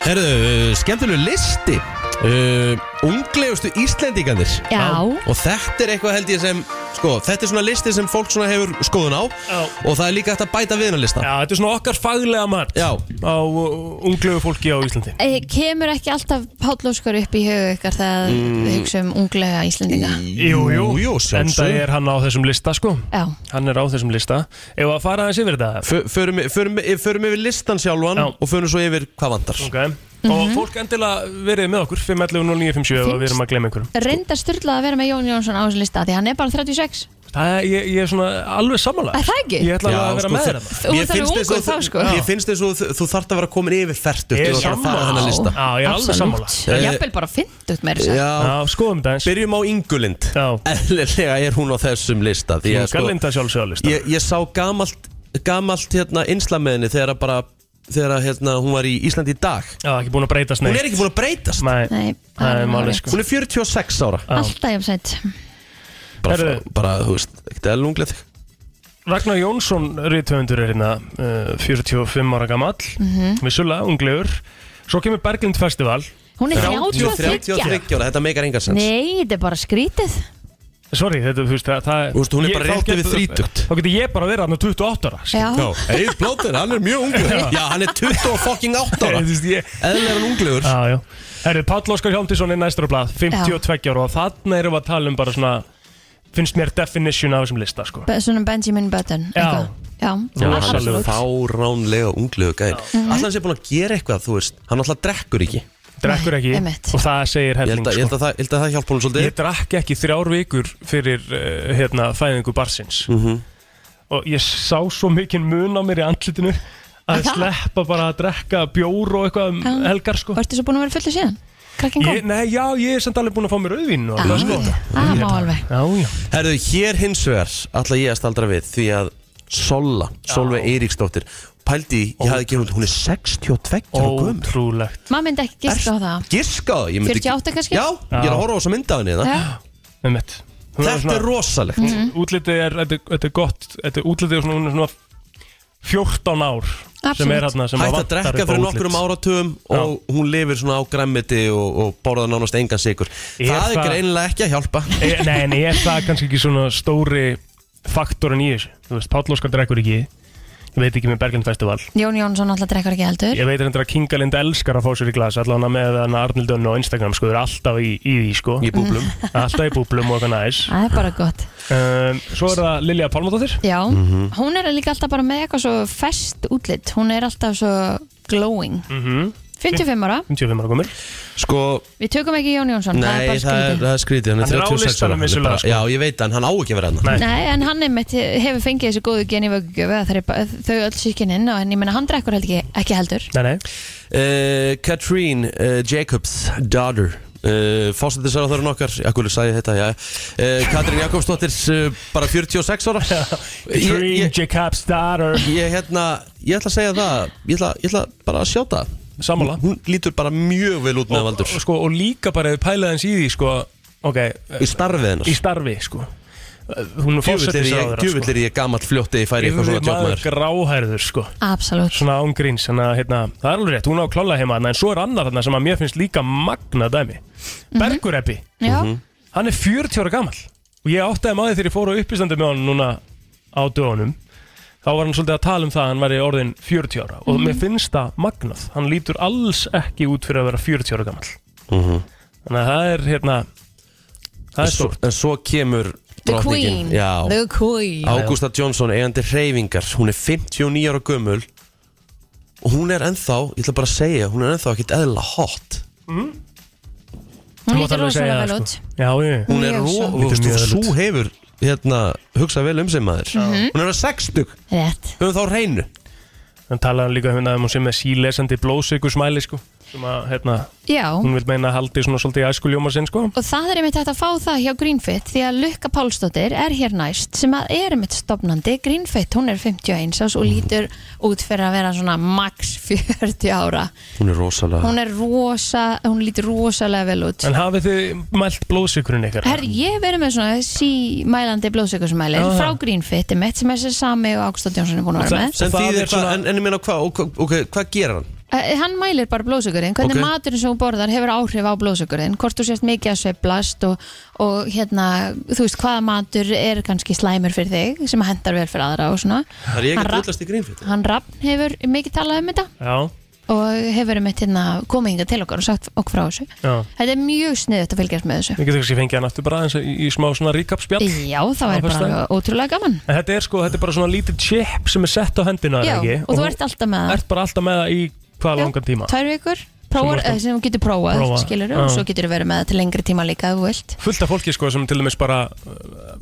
Herðu, uh, skemmtilegu listi uh, Unglegustu Íslendingandir Já. Og þetta er eitthvað held ég sem Sko, þetta er svona listi sem fólk svona hefur skoðun á Já. Og það er líka hægt að bæta við hennar lista Já, þetta er svona okkar faglega mat Já. á uh, unglegu fólki á Íslandi Eh, Kemur ekki alltaf pátlóskar upp í huga ykkar þegar við Mm. hugsa um unglega Íslendinga? Jú, jú, Enda sjálfsög er hann á þessum lista sko Já, Hann er á þessum lista Ef að fara aðeins yfir þetta Förum förum- förum yfir listan sjálfan Já. og förum svo yfir hvað vantar Ok Mhm. Og fólk endilega verið með okkur 511 0957 ef að við erum að glemma einhverjum reyndar styrlað að vera með Jón Jónsson á þessu lista því hann er bara 36 Það er, ég, ég er svona alveg sammála Er það ekki? Ég ætla alveg Já, að vera sko, með þe- hérna. þér þarna. Þú Mér ert alveg finnst eins og ungur þá, þú- sko. Mér finnst þess að þú þarft að vera komin yfir færtugt Ég er Þú þarft að fara sammála. þennan lista Eh, Já, ég er alveg sammála. Ég er bara 50 meira þess að segja. Já, Já, skoðum þetta eins byrjum á Ingulind Já. Eðlilega er hún á þessum lista Því að Ég sko, skal linda sjálfsögða lista ég, ég sá gamalt, gamalt hérna, innslameðinni þegar að bara þegar að, hérna, hún var í Íslandi í dag Já, ekki búin að breytast Hún neitt er ekki búin að breytast Nei, Nei, það er málið rétt. sko Hún er 46 ára Já. Alltaf jafnsætt Bara, Herðu. bara þú veist, ekkert elunglið Ragnar Jónsson rithöfundur er hérna uh, 45 ára gamall Mhm. vissulega, unglegur svo kemur Berglind Festival Hún er 33 ára, þetta meikar enga sens Nei, þetta er bara skrítið sorry, þetta, þú veist, það, það Þú veist, hún er bara þá rétt yfir getur- þrítugt. Þá getur ég bara verið hann á 28 ára skilur. Já, Já, Egil Blóter, hann er mjög ungur Já, hann er 28 ára Þú veist, ég- Eðlega er hann unglegur Já, já Herru, Páll Óskar Hjálmtísson er næstur á blað 52 ára og þarna erum við að tala um bara svona finnst mér definition af þessum lista, sko Be- svona Benjamin Button Já. eitthvað. Já, Já, hann er Rosalega. absolutt. fáránlega unglegur gæl Alltaf hann sé búin að gera eitthvað, þú veist Hann alltaf drekkur ekki Ég Drekkur Nei, ekki einmitt. og það segir held helling, að, ég held sko að, það, ég held að það hjálpa hún Ég svolítið drakk ekki þrjár vikur fyrir uh, hérna, fæðingu barsins Mhm. og ég sá svo mikinn mun á mér í andlitinu að Það? sleppa bara að drekka bjór og eitthvað um Já. helgar, sko Vartu svo búin að vera fullu síðan? Krakkin Ég, kom? nei, já, ég er samt alveg búin að fá mér auðvín og Já, það sko það má alveg Já, já Herðu, hér hins vegar ætla ég að staldra við Því að Solla, Solveig Eiríksdóttir Pældi, í- ég hafði gefið hún, hún er 62 ára gömur Ótrúlegt Maður myndi ekki giska á það Giskaðu, ég myndi 48 kannski? Já, ég er að horfa á þess að mynda Ah. hann Já, Einmitt. Hún hérna. Þetta er svona- rosalegt Mhm. útlitið er, þetta, þetta er gott þetta, útlitið er svona, hún er svona 14 ár sem Absolutt. er hérna sem Hætt að vantar drekka upp á fyrir útlit. nokkrum áratugum og hún lifir svona á græmmiti og, og borðar nánast engan sigur Er Það er það- greinilega ekki að hjálpa e, Nei, en er það kannski ekki svona stóri faktorin í þessu þú veist, Páll Óskar drekkur ekki ég veit ekki með Berglind Festival Jón Jónsson alltaf drekkar ekki heldur ég veit hendur að Kinga Lind elskar að fá sér í glas allavega með hann Arnild Önn á Instagram sko, þau eru alltaf í, í því sko Í búblum alltaf í búblum og eitthvað næs Það er bara gott um, Svo er það Lilja Pálmadóttir Já, Mhm. hún er líka alltaf bara með eitthvað svo fest útlit Hún er alltaf svo glowing Mm. Mhm. 55 ára, 55 ára komur Sko, við tökum ekki Jón Jónsson það er nei, það bara er, skrítið. það er skrítið Hann Hann er er á 36 ára listanum hann er vissulega, bara- sko. Já, ég veit hann, hann á ekki að vera hann Nei. Nei, en hann einmitt hefur fengið þessi góðu gen í vöggugjöfu að þeir- þau öll síkininn en ég menna hann drekkur held ekki, ekki heldur Nei, nei, uh, Katrine uh, Jacobs, daughter Uh, Fósættisarðarinn okkar, akkur sagði ég þetta já. Uh, Katrín Jakobsdóttir uh, bara 46 ára ég, Dream ég, Jacob's daughter ég, hérna, ég ætla að segja það ég ætla, ég ætla bara að sjáta Sammála. hún lítur bara mjög vel út með og, valdur og, sko, og líka bara ef pælaði hans í því sko, ok, í starfið hennar í starfi sko. Eh, hún er sko. Djúvill er fórsetið ég, djúvill er ég gammal fljótti Ég færi eitthvað svona maður djókmaður gráhærður sko. Absolutt, svona ángríns hérna, hérna, það er alveg rétt, hún á klála heima þarna, en svo er annar þarna sem að mér finnst líka magna dæmi Mhm. Bergureppi, já, Mhm. hann er 40 ára gammal og ég áttaði maður þegar ég fór á uppistandu með hann núna á dögunum þá var hann svolítið að tala um það að hann væri orðin 40 ára og Mhm. mér finnst það magnað hann lítur alls ekki út fyrir að vera 40 ára gammal Mhm. þannig að það er hérna það er stórt En svo kemur the drottningin queen Já The queen Ágústa Jónsson, eigandi hreyfingar Hún er 59 ára gömul Og hún er ennþá, ég ætla bara að segja Hún er ennþá ekkit eðla hot Hún Þú mátt lítur alveg segja rosalega það, vel sko. út já, ég, Hún er Mjög ró, svo. þú veist, Lítur mjög vel svo hefur Hérna, hugsa vel um sig maður Mhm. Hún er að sextug, sko. Rétt höfum þá á hreinu hann talaði líka hérna um hún sem er sílesandi blóðsikursmæli sko, sem að hérna, Já, hún vil meina að haldi svona svolítið í æskuljóma sinn sko og það er einmitt hægt að fá það hjá Greenfit því að Lukka Pálsdóttir er hér næst sem að er einmitt stopnandi Greenfit, hún er 51 ás og Mhm. lítur út fyrir að vera svona max 40 ára Hún er rosalega hún er rosa, hún lítur rosalega vel út en hafið þið mælt blóðsikurinn ykkar? Herri, ég hef verið með svona símælandi blóðsökursmælir Já, já. frá Greenfit mitt sem þessi sami og Ágústa Jónsson er búin að vera með. Sem Og það þýðir er hvað, svona- en, en ég meina hvað og hvað- Ok, hvað gerir hann? Eh, Hann mælir bara blóðsökurinn, hvernig Ok. maturinn sem hún borðar hefur áhrif á blóðsökurinn, hvort þú sést mikið að sveiflast og, og hérna, þú veist hvaða matur er kannski slæmur fyrir þig sem hendar vel fyrir aðra og svona. Það er ég Hann ekki ra- drullast í grínfitt Hann Rafn hefur mikið talað um þetta já, og hefur um hérna komið hingað til okkar og sagt okkur frá þessu. já Þetta er mjög sniðið að fylgjast með þessu. Ég getur kannski fengið hann aftur bara eins í, í smá svona recap spjall Já, það Á er bara föstudaginn. alveg ótrúlega gaman. En þetta er sko, þetta er bara svona lítið chip sem er sett á hendina Já, er ekki? og þú ert alltaf með það. ert bara alltaf með það í hvaða Já, langan tíma tvær vikur prófar, Sem þú ert sem, sem þú getur prófað, Prófa, prófa. skilur já. og svo getur þú verið með það til lengri tíma líka ef þú vilt fullt af fólki sko sem til dæmis bara uh,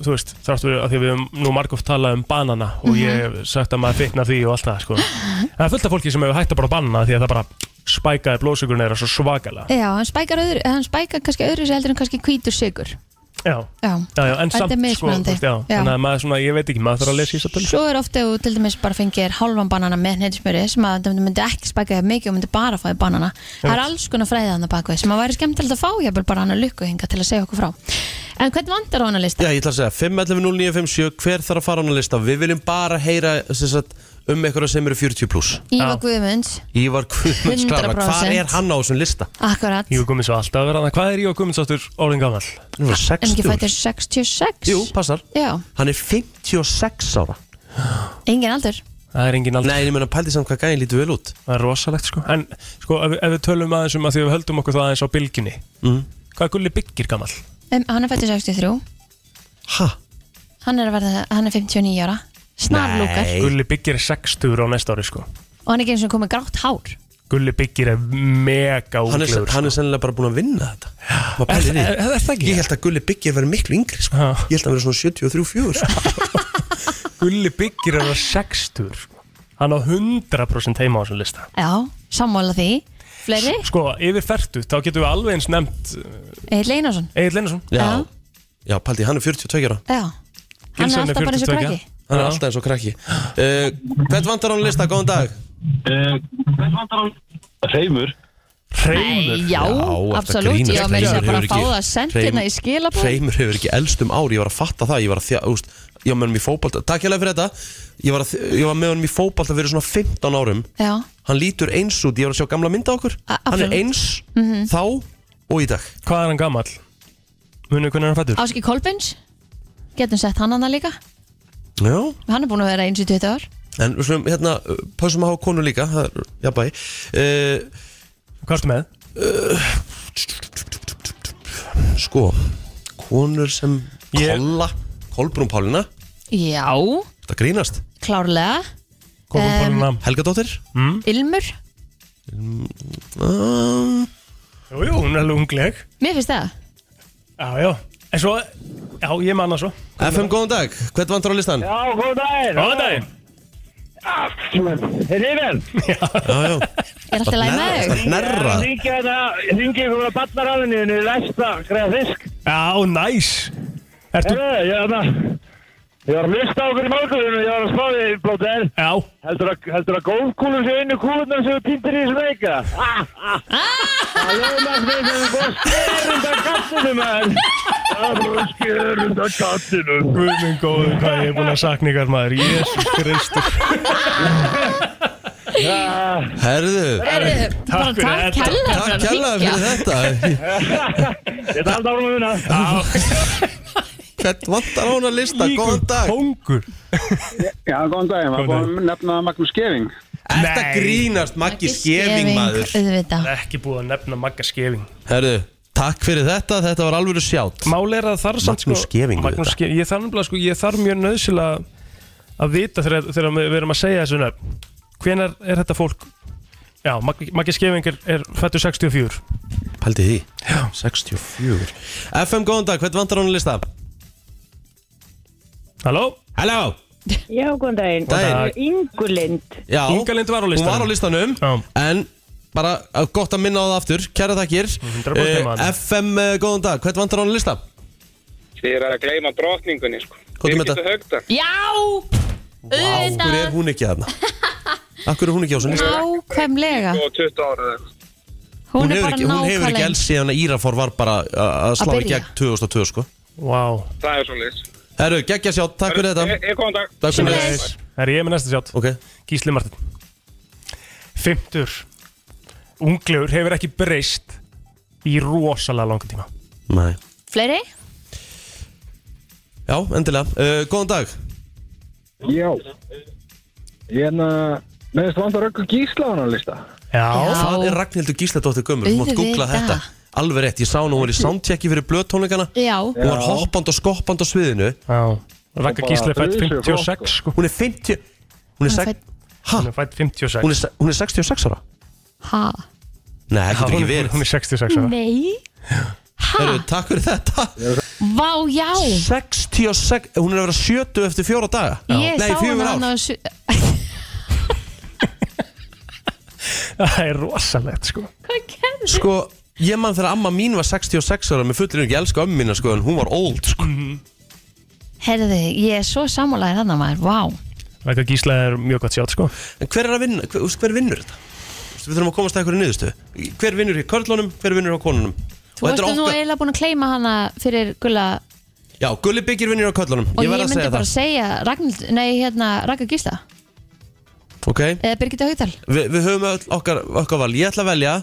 þú veist, þráttu að því að við höfum nú margóft talað um banana og ég Mhm. hef sagt að maður fitna því og allt það sko en það er fullt af fólki sem hefur hægt að bara banna því að það bara spækaði blóðsugurinn þeirra svo svakalega Já, hann spækar, öðru, hann spækar kannski öðru sér heldur en kannski hvítur sigur já, Já, já, já, en Þetta er samt sko þú mismunandi. veist, já, Já. þannig að maður svona, ég veit ekki, maður þarf að lesa í þess að svo er ofta ef þú til dæmis bara fengir halvan banana með hneitismjöri sem að þú myndi ekki spæka þér mikið og myndi bara fá þér banana Það er alls konar fræðið hann að baka við sem að væri skemmtilegt að fá ég bara hann að lukku hinga til að segja okkur frá En hvernig vandar á hann að lista? Já, ég ætla að segja 511 0957 Hver þarf að fara á hana lista? Við viljum bara heyra sem sagt, um einhverja sem eru 40 pluss Íva Já. Guðmunds, Ívar Guðmunds Klara, hvað 100%. er hann á þessum lista? akkurat Jóa Guðmunds var alltaf að vera hann Hvað er Jóa Guðmunds áttur orðin gammal? Hann er En 60 ekki ára. fættir 66 Jú, passar Já, Hann er 56 ára engin aldur Það er engin aldrei Nei, en ég meina pældi samt hvað gæðin lítur vel út Það er rosalegt sko En sko ef, ef við tölum aðeins um að því við höldum okkur það aðeins á bylginni mm. Hvað er Gulli Byggir gammal? um, Hann er fættir 63 Ha? Hann er, að verða, hann er 59 ára Snarlúkar Nei. Gulli Byggir er 60 á næsta ári sko Og hann er ekki eins og komið grátt hár Gulli Byggir er mega Hann er, útlegur hann er sennilega bara búin að vinna þetta Maður Er, pælir í því. er, er, er það ekki? Ég held að Gulli Byggir verið miklu yngri sko. Ha. Ég held að hann verið svona 73-4 sko. Gulli Byggir er á 60 sko. Hann á 100% heima á þessum lista Já, sammála því Fleiri, Sko, yfir fertu, þá getum við alveg eins nefnt eh, Egil Eh, Einarsson Egil Lennarson Já, Já. Já pældi, hann er 42 ára Já, hann er Gilsson er alltaf bara eins og 42. krakki Hann er alltaf eins og krakki uh, Hvern vantar hann lista? Góðan dag Reymur Hreimur Já, ertu að absolutt, grínast? ég var Hreimur meira að segja bara hefur að fá ekki- það sentina Hreim- í skilabú Hreimur hefur ekki elst um ár Ég var að fatta það Ég var að þjá úst, Ég var með hann í fótbalta Takk hérlega fyrir þetta Ég var, að, þ- ég var með hann í fótbalta fyrir svona 15 árum Já, Hann lítur eins út Ég var að sjá gamla mynda okkur A- Hann er absolutt. eins þá og í dag Hvað er hann gammal? Munum við hvernig hann fættur? Áski Kolbins Getum sett hann annað líka Já Hann er búin að vera eins í 20 ár En við slum, hérna, uh, pössum að hafa konu líka Það er, jafnvægi uh, Hvað ertu með? Sko, konur sem Ég- Kolla, Kolbrún Pálina Já, Þetta grínast klárlega Kolbrún Em, Pálmann Helgadóttir Ilmur, uh, Jú, jú, hún er alveg ungleg mér finnst það Já, já En svo, já, ég manna svo FM, góðan dag, hvern vantar á listan? Já, góð daginn Góðan daginn Er yfir? Já, já, Er alltaf læg með þau? það nærra Ringi þetta, ringi hérna, ykkur frá barnaráðinu í lesta, greiða fisk Já, næs Ertu, Herðu, ég er þarna Ég var að hlusta á okkur í morgunum og ég var að spá því blóter já Heldur að, heldur að góðkúlum séu inn í kúlunar sem við pýndir í þessu veika? Það ljóðast við þegar við búum skjörund að kattinu maður Það er bara skjörund að kattinu Guð minn góður, hvað ég er búin að sakna ykkar maður Jésus Kristur Herðu, Bara fyrir þetta. takk hella takk hérlega fyrir þetta Þetta er alltaf árum að vinna Hvern vantar á hana lista, góðan dag Kongur Já, góðan daginn, maður Góðan búin að nefna Magnús Geving Þetta Nei. grínast, Maggi Skeving maður auðvitað Ekki búið að nefna Magga Skeving Herðu, takk fyrir þetta, þetta var alvöru sjátt Máli er að þar samt sko Magnús Scheving, auðvitað. Magnús Skeving Ég þarf nefnilega sko, ég þarf mjög nöðsilega að vita þegar, þegar við erum að segja þessu nöfn Hvenar er þetta fólk? Já, Maggi Maggi Skeving er, er fættur 64 Pældi því, 64 FM, góðan dag, hvern vantar á hana lista? Halló? Halló, Já, góðan daginn. Daginn. Ingulind. já Ingalind var á Hún listanum var á listanum, Já. en bara uh, gott að minna á það aftur, kæra takkir 100% maður. FM, uh, góðan dag, hvern vantar á hana lista? Þið eru að gleyma drotningunni sko Hvað er með Birgittu þetta? Haukdal Já, Akkur er auðvitað hún ekki aðna? Akkur er hún ekki á þessum lista? Nákvæmlega og 20 ára eða eitthvað. Hún er bara ekki, hún hefur ekki nákvæmlega elst síðan að Írafór var bara uh, að slá í byrja. gegn 2002 sko Vá Það er svo leiðis Herru, geggja sjá, takk fyrir þetta Ég kom dag Takk fyrir Sömuleiðis. þetta Það er ég með næsta sjátt Ok, Gísli Martin Fymtur Unglegur hefur ekki breyst í rosalega langan tíma næ Fleiri? Já, endilega, uh, góðan dag Já Ég er hérna, að meðist vandar ökkur gísla á hann að lista Já, Já. Það er Ragnhildur Gísladóttir Gömur, þú mátt Auðvitað. googla þetta Alveg rétt, ég sá hún, hún var í soundchecki fyrir blöðtónleikana Já, Hún var hoppand og skoppand á sviðinu Já. Ragga Bara Gísli er fætt risið 56 sko. Hún er 50 Hún er, Hún er sek... ha, Hún er fætt 56 hún er, se- hún er 66 ára ha Nei, það getur ekki hún, er- hún verið er 66 Mm. ára Nei Ha, Herru, takk fyrir þetta vá, já 66, hún er að vera 70 eftir fjóra daga Ég Nei, sá fjögur hann ár. hann á su- Það er rosalegt sko Hvað gerði? Sko, ég man þegar amma mín var 66 ára með fullir ekki elska ömmu mína sko en hún var old sko Herði, ég er svo sammálaðið þannig maður, vá Ragga Gísli er mjög gott sjátt sko En hver er að vinna, hver, þú veist, hver vinnur þetta? Þú veist, Við þurfum að komast að einhverju niðurstöðu Hver vinnur í körlunum, hver vinnur á konunum Og Þú þetta er varstu nú okkar- eiginlega búin að kleima hana fyrir gulla Já, Gulli Byggir vinnur á körlunum Og Ég ég, verð að myndi segja bara það segja Ragnar, nei, hérna, Ragnar Gísla Ok, eða Birgitta Haugdal Vi, við höfum öll okkar, okkar val Ég ætla að velja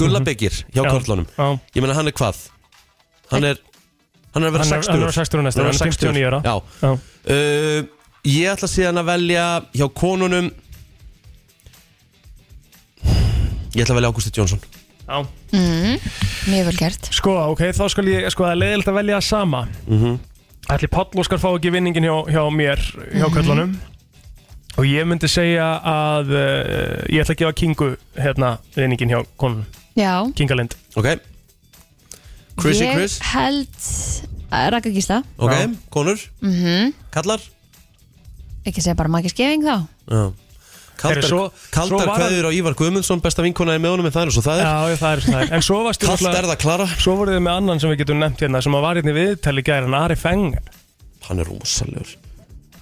Gulla Byggir hjá Mhm. Já, Kortlónum já. Ég meina hann er hvað? Hann er Hann er að vera Hann er- 60 hann er að vera 60 næsta, Hann er að hann er 59 vera 60 ára. Já Já. uh, Ég ætla síðan að velja hjá konunum Ég ætla að velja Ágústi Jónsson Já. mjög vel gert Sko, ok, þá skal ég, sko, það er leiðilegt að velja sama Mhm. Ætli Páll Óskar fá ekki vinningin hjá, hjá mér, hjá köllunum Og ég myndi segja að uh, ég ætla að gefa Kingu, hérna, vinningin hjá konun já, Kingalind Ok Chrissy ég Chris held Raka Gísla, Ok, Já. konur mm Mhm. -hmm. Kallar ekki segja bara Maggi Skeving þá Já Kaldar, Heyrðu, svo- kaldar svo var hann- kveður á Ívar Guðmundsson Besta vinkonaði með honum en það er svo það er Já, já, það er svona það er. En svo varstu Kallt er það Klara Svo voruð þið með annan sem við getum nefnt hérna sem að var hérna í viðtali gæri, hann Ari Feng Hann er rúmsalegur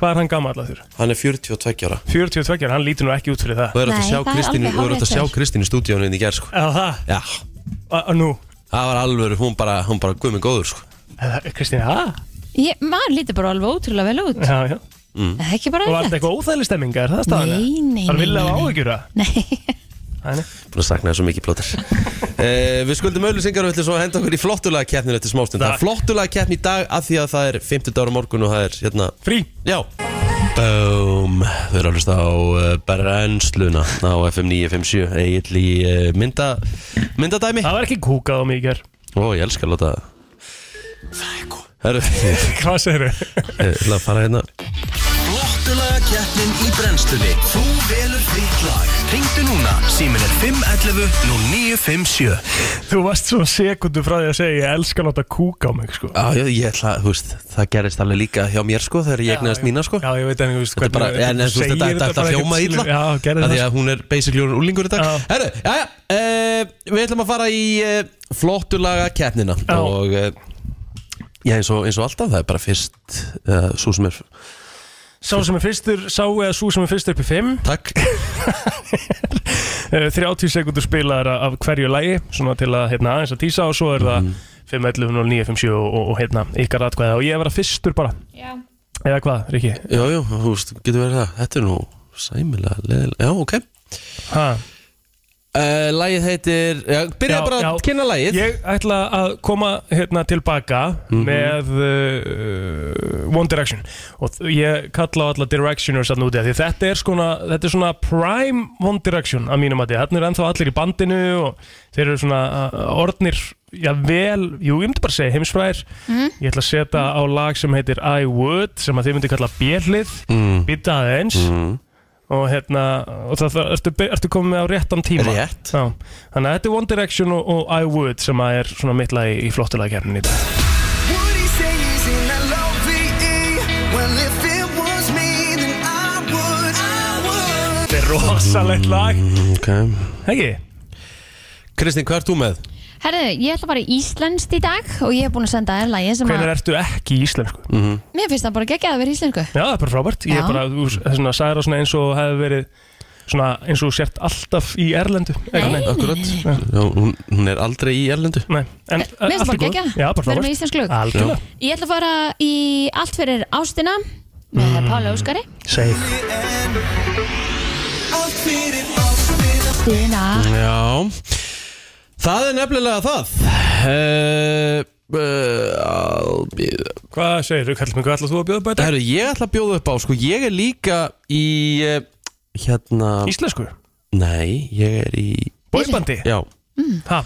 Hvað er hann gammal að þurr? Hann er 42 ára 42 ára, hann lítur nú ekki út fyrir það Þú er að Nei, sjá það er Kristínu alveg Þú er að hárrétt sjá hjá þér. Kristínu í stúdíónu inn í gerð sko. Eða það? Já, A- a- Nú, það var alveg Hún bara, hún bara guð minn góður sko. Eða- Kristín, hæ? ég, maður lítur bara alveg ótrúlega vel út Já, já Mm. það er ekki bara Og var þetta eðlilegt. eitthvað óþægileg stemming, er það staðan? Nei, nei, Það er nei, nei, vilja af nei. áhyggjur það? Nei, Nei, nei. Búin að sakna það svo mikið plóter eh, Við skuldum auðlýsingar og ætlum svo að henda okkur í flottulega keppnin eftir smástund Það er Takk. flottulega keppni í dag af því að það er 50 ára morgun og það er hérna Frí Já Bóm, þau eru að hlusta á uh, brennsluna á FM 957 Egil í uh, mynda, myndadæmi Það var ekki kúkað á mig í ger Ó, ég elska að láta Það er góð Herru, ég- Hvað segir þau? ég ætla að fara hérna Flottulega keppnin í brennslunni Þú velur þitt lag Ringdu núna, símin er 511 0957 Þú varst svo sekundu frá því að segja ég elska að láta kúka á mig sko Já, já, ég ætla, þú veist, það gerist alveg líka hjá mér sko þegar ég egnaðist mína sko Já, ég veit en, þú veist, Þetta er bara, en en, þú veist, þetta- þetta bara hljóma ekkert illa skilur- Já, gerði Af það Því að hún er basically hún úlingur í dag Já. Herru, já, já, eh, við ætlum að fara í eh, flottulaga keppnina Já. Og, eh, já, eins og, eins og alltaf, það er bara fyrst uh, Svo sem er, Sá sem er fyrstur, sá eða sú sem er fyrstur upp í 5 takk Eh, 30 sekundur spilaðar af hverju lægi svona til að hérna, aðeins að tísa og svo er það 511 0957 og, og, og hérna ykkar atkvæða og ég er að vera fyrstur bara Já. eða hvað, Riki? Já, já, þú veist, getur verið það Þetta er nú sæmilega leðilega Já, ok Ha, uh, Lægið heitir, já, byrja Já, bara já. að kynna lægið ég ætla að koma hérna tilbaka Mhm. með uh, One Direction og þ- ég kalla á alla Directioners að núti því þetta er, skona, þetta er svona prime One Direction að mínum að því þarna eru ennþá allir í bandinu og þeir eru svona uh, orðnir já vel, jú ég myndi bara segja heimsfræðir ég ætla að setja á lag sem heitir I Would sem að þið myndi kalla björlið mm. býta aðeins og hérna, og það, það ertu, ertu komið með á réttan tíma Rétt. Já, þannig að þetta er One Direction og, og I Would sem að er svona mitt lag í, í flottulega kemnin í dag Would he say he's in L-O-V-E? Well, if it was me, then I would, I would Þetta er rosalegt lag Ok Ekki? Kristín, hvað ert þú með? Herðu, ég ætla bara íslenskt í dag og ég hef búin að senda þér lagi sem að Hvenær ertu ekki í íslensku? mér finnst það bara geggjað að vera íslensku Já, það er bara frábært Ég Já. er bara, þú það er svona, sagði það svona eins og hefði verið svona eins og þú sért alltaf í Erlendu Nei, nei, Akkurat Já, hún, hún er aldrei í Erlendu nei. Eh, En, eh, Mér finnst allt í bara góðu. geggjað, Já, bara vera með frábært íslensk lög Algjörlega Ég ætla að fara í allt fyrir ástina með Mm. Pála Óskari Segð Allt fyrir allt fyrir Dina. Já Það er nefnilega það uh, uh, Hvað segir þú, kallar mig, hvað ætlar þú að bjóða bæta? Herru, ég ætla að bjóða upp á sko, Ég er líka í eh, Hérna Íslensku? Nei, ég er í Bóibandi? Já, Ha,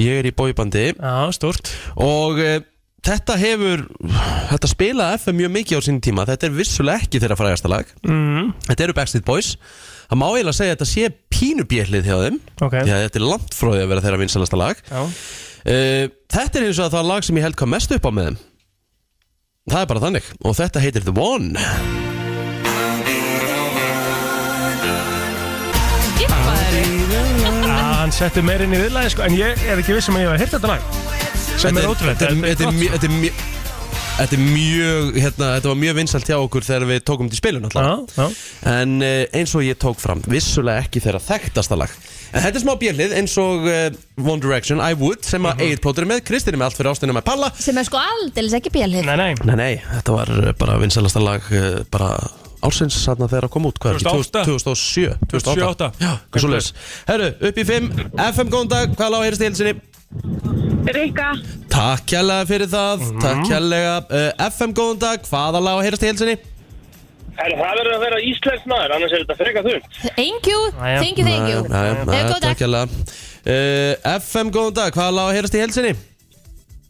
ég er í bóibandi já, stórt Og uh, þetta hefur Þetta spilaði FM mjög mikið á sín tíma Þetta er vissulega ekki þeirra frægasta lag mm, Þetta eru Backstreet Boys Það má eiginlega segja að þetta sé pínubjellið hjá þeim Ok, Því að þetta er langt frá því að vera þeirra vinsalasta lag já Uh, þetta er eins og að það lag sem ég held hvað mest upp á með þeim Það er bara þannig Og þetta heitir The One Já, Ah, hann setti meir inn í viðlæði sko, en ég er ekki vissum að ég hef hirt þetta lag sem er sko. ótrúlegt Þetta er- þetta er flott, mjög- þetta er mjög- þetta er mjög hérna, Þetta var mjög vinsalt hjá okkur þegar við tókum til spilun sko. alltaf Já, já. En uh, eins og ég tók fram Vissulega ekki þeirra þekktasta lag En þetta er smá bjellið eins og uh, One Direction, I Would Sem Mhm. að Egil plótur er með, Kristinn er með allt fyrir ástina með Palla sem er sko aldeilis ekki bjálhið Nei, nei, eh, Nei, nei, þetta var uh, bara vinsalasta lag uh, Bara ársins þarna þegar að koma út, hvað er ekki? 2008? 2007 2008. Já, hvað svo les Herru, upp í 5, FM góðan dag, hvað lág heyrst í hilsinni? Rikka, Takk kærlega fyrir það, Mhm. takk kærlega uh, FM góðan dag, hvaða lág heyrst í hilsinni? En það verður að vera íslensk maður, annars er þetta freka þund. Thank you, Jæja. thank you, thank you Næja, Eh, næja, góð dag. takk kærlega uh, FM góðan dag, hvaða lág heyrst í hilsinni?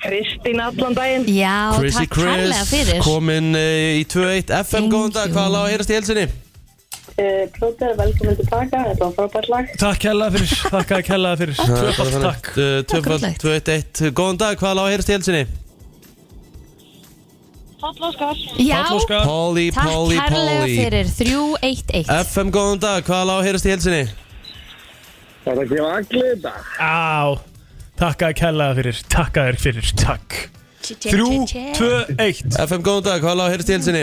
Kristín allan daginn. Já, Chrissy takk kærlega fyrir kominn uh, í 2-1 FM Thank góðan dag, you. hvaða lág heyrst í hilsinni? Plóter, velkomin tilbaka, þetta var frábært lag. Takk kærlega fyrir, takk að kærlega fyrir Tvöfald takk Eh, Akkúrat. 2-1 Góðan dag, hvaða lág heyrst í hilsinni? Já, Páll Óskar. Polly, takk Polly, kærlega Polly fyrir 311 FM, góðan dag, hvaða lág heyrist í helsinni? Þetta kemur allir þetta. Á, takk að kærlega fyrir Takk að þér fyrir, takk 3, 2, 1 FM, góðan dag, hvaða lág heyrist í helsinni?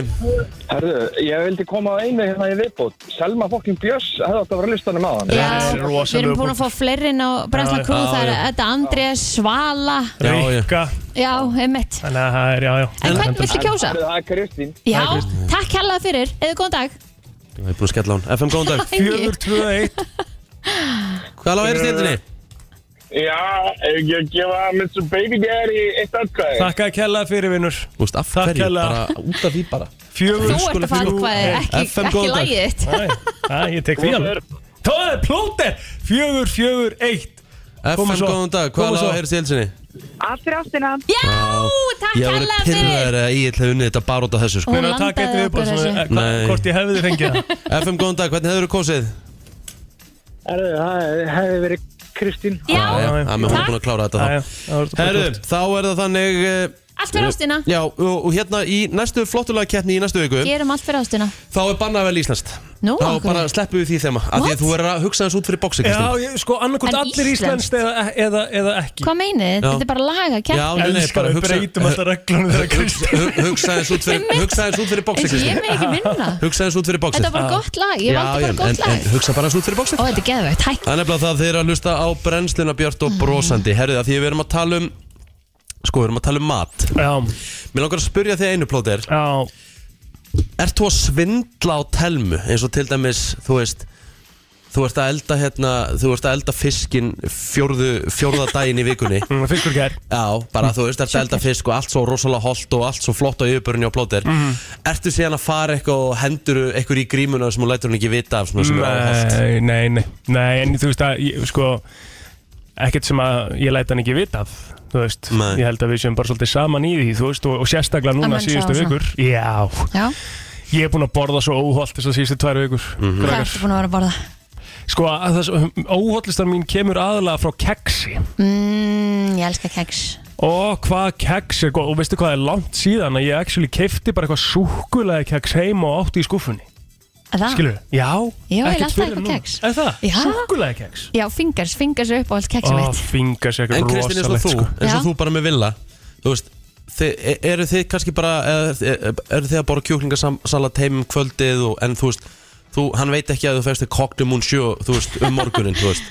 Herðu, ég vildi koma að einu hérna í viðbót. Selma fokkin Björns hefði átt að vera listanum að hann. Já, Þetta er við rosalegur erum búin að fá punktur. fleiri inn á Brenslan Já, Crew, já, það er já. þetta Andrés, Svala Já, já. Rikka Já, einmitt Þannig að það er, já, já En hvern viltu kjósa? Það er Kristín. Já, takk kærlega fyrir, eða góðan dag Ég er búin að skella á hann FM, góðan dag, 4, 2, 1 hvaða lág heyrist í helsinni? Já, ég ég gefa Mr. Baby Daddy eitt atkvæði. Takk að kærlega fyrir, vinnur sko, Úst, af Takk hverju, hérlega. bara út af því bara Þú 4, ert að sko, fara hvað er ekki, FM, ekki góðan dag. lægið þitt Það, ég tek því alveg Það er plóter 4, 4, 1 FM, Komum svo. góðan dag, Komum hvaða svo. lág heyrist í helsinni? Allt fyrir áttina. Já, takk Ég voru kærlega fyrir pirraður að ég ætla unnið þetta bara út af þessu sko. Hún Meina að taka landaði eitthvað upp okkur og svona þessu eh, hvað- Nei. Hvort ég hefði fengið það FM, góðan dag, hvernig hefur þú kosið? Herðu, það hefði verið Kristín. Já, Já, já. já, með hún er búin að klára þetta Já, já, þá það var þetta bara Herru, gott. þá er það þannig eh, allt fyrir ástina Já, og, og hérna í næstu flottulega keppni í næstu viku Gerum allt fyrir ástina Þá er bannað að velja íslenskt Nú, Þá af hverju? bara sleppu við því þema Af því What? að þú verður að hugsa þess út fyrir bóksi Já, ég, sko, annarkot En allir íslenskt eða, e- eða, eða ekki Hvað meinið þið? Já. Þetta er bara laga Já, kæft nei, nei, Elskar bara að við hugsa breytum alltaf reglunum þegar Kristi hu- Hugsa þess út fyrir Einmitt. Hugsa þess út fyrir bóksi Eins og ég Kristín með ekki vinna Hugsa þess út fyrir bóksi Þetta er bara gott lag, ég valdi bara gott en, en lag hugsa bara þess út fyrir bóksi Ó, þetta er Mhm. geðvægt, hæ Það er nefnilega það þeir eru að hlusta á brennsluna Björt og brosandi Herðu það því við erum að tala um Sko, við erum að tala um mat Já, Mér langar að spyrja þig einu plóter já, Ert þú að svindla á telmu eins og til dæmis, þú veist Þú ert að elda hérna, þú ert að elda fiskin fjórðu, fjórða daginn í vikunni mm, fiskur gær Já, bara þú veist, ertu að elda fisk og allt svo rosalega holdt og allt svo flott á yfirbörunni á plóter Mhm. Ertu síðan að fara eitthvað og hendur eitthvað í grímuna sem hún lætur hún ekki vita af svona sem er áholt Nei, nei, nei, nei, en þú veist að, ég, sko Ekkert sem að ég læt hann ekki vita af Þú veist, Nei. ég held að við séum bara svolítið saman í því, þú veist, og, og sérstaklega Að núna menn sjá síðustu svona. vikur Já, Já, ég er búin að borða svo óholt þess að síðustu tvær vikur hvað Krakkar. ertu búin að vera að borða? Sko, að þess, óhollistar mín kemur aðalega frá keksi Mm, ég elska keks Og hvað keks er góð, og veistu hvað er langt síðan að ég actually keifti bara eitthvað súkulega keks heim og átti í skúfunni Er það? Skilur þið? Já, Ah. Já, ég ekkert las það fyrr en eitthvað núna. kex. Er það? Já. Súkulega keks Já, fingers, fingers er upp á allt keksið Ó, mitt fingas En eitthvað Kristinn, eins og rosalegt þú, sko. eins og Já. þú bara með villa Þú veist, þið, e- eru þið kannski bara e- e- Eru þið að bora kjúklingasalat heim um kvöldið og, En þú veist, þú, hann veit ekki að þú fæst þig kokknum hún sjö, þú veist, um morgunin, þú veist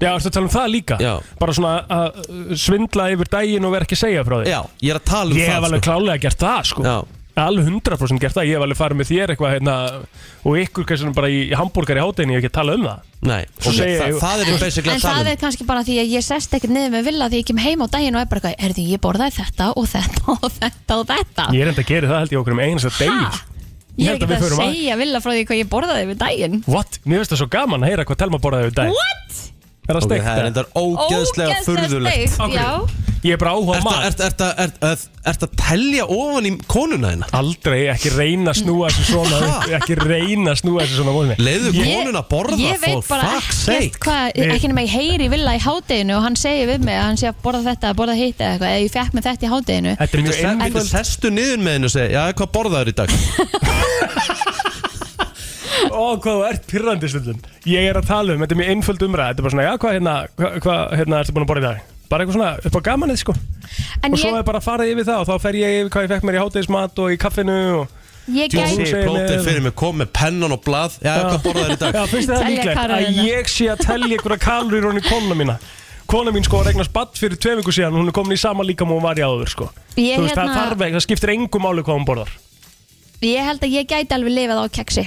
Já, ertu að tala um það líka? Já. Bara svona að uh, svindla yfir daginn og vera ekki að segja frá því Já, ég er að tala um Ég hef það alveg sko. klálega gert það sko Já, Alveg 100% gert það, ég hef alveg farið með þér eitthvað hérna Og ykkur kannski bara í í hamburgari hátæðinni, ég hef ekki talað um það nei, Svo ok, segi þa ég- það er basically En að það tala um. er kannski bara því að ég sest ekkert niður með vilja því ég kem heim á daginn og er bara eitthvað, erðu ég borðaði þetta og þetta og þetta og þetta Ég er enda að gera það held ég okkur um einasta Ha? deg Ég er held að ekki við að, förum að- segja vilja frá því hvað ég borðaði við daginn What? Mér finnst það svo gaman að heyra hvað Telma borðaði yfir dag What? Er það um steikt? Það er eða? endar ógeðslega furðulegt steikt, Af Já, hverju? Ég er bara áhuga á Ertu mat ert, ert, ert, ert, ert að telja ofan í konuna hérna? Aldrei ekki reyna að snúa þessu svona upp, Ekki reyna að snúa þessu svona móðinni Leðu konuna að borða ég veit for bara fuck's ekkert sake. hvað, Nei. ekki nema ég heyri vilja í hádeginu og hann segir við mig að hann sé að borða þetta að borða hitt eða eitthvað, eða ég fekk með þetta í hádeginu Þetta er Þú mjög se- Þú einföld sestu niður með henni og segja Já, hvað borðaður í dag? Ó, hvað þú ert pyrrandi stundum Ég er að tala um, þetta er mjög einföld umræð Þetta er bara svona, já, hvað hérna, hvað, hvað hérna ertu búin að borða í dag? Bara eitthvað svona, upp á gamanið sko En Og svo ég, er bara að fara yfir það og þá fer ég yfir hvað ég fekk mér í hátegismat og í kaffinu og... Þú ég gæti Djú, segir segir plótið mér- fyrir mig Kom með pennan og blað Já, hvað borðaður í dag? Já, finnst þið Telja það líklegt að kaloríurnar. ég sé að telja einhverja kalur í kona mína Kona mín sko regnar spatt fyrir tvei viku síðan Hún er komin í sama líkam og hún var í áður sko Ég Þú veist, það hérna- þarf ekki, það skiptir engum máli hvað hún borðar Ég held að ég gæti alveg lifað á keksi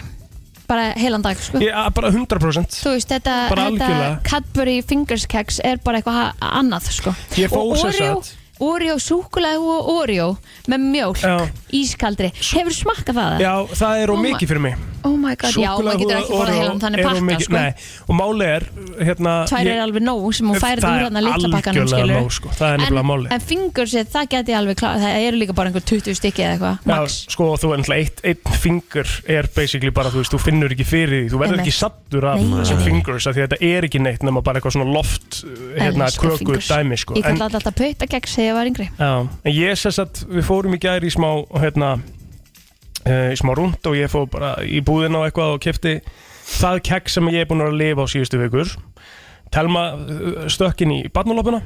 Bara heilan dag, sko Ég, að bara 100% Þú veist, þetta, Bara þetta algjörlega. Cadbury Fingers keks er bara eitthvað ha- annað, sko Ég fór Og sem Oreo, sagt- Oreo, súkulega og Oreo Með mjólk, Já. ískaldri Hefur smakkað það? Já, það er Oh of my- mikið fyrir mig Oh my god, já, maður getur ekki Oreo farað heilan er þannig of pakka, mikið- sko Nei, og máli er hérna, Tvær er alveg nóg sem hún færið úr hann að litla pakkanum, Það er skilur algjörlega nóg, sko Það er nefnilega máli En fingursið, það geti ég alveg klárað, Það eru líka bara einhver 20 stykki eða eitthvað Já, sko, þú er náttúrulega eitt, eitt fingur er basically bara, þú veist, þú finnur ekki fyrir því þú verður Einmitt. ekki sattur af Nei, ég þessum veit. fingurs af því að þetta er ekki neitt nema bara eitthvað svona loft uh, hérna, Elska kröku fingers. dæmi, sko Ég en, kalli þetta alltaf pöytageks þegar ég var yngri já, en ég sess að við fórum í gæri í smá hérna, uh, í smá rúnd og ég fór bara í búðina og eitthvað og kefti það kekk sem ég er búin að lifa á síðustu vikur Telma uh, stökkin í barnalopuna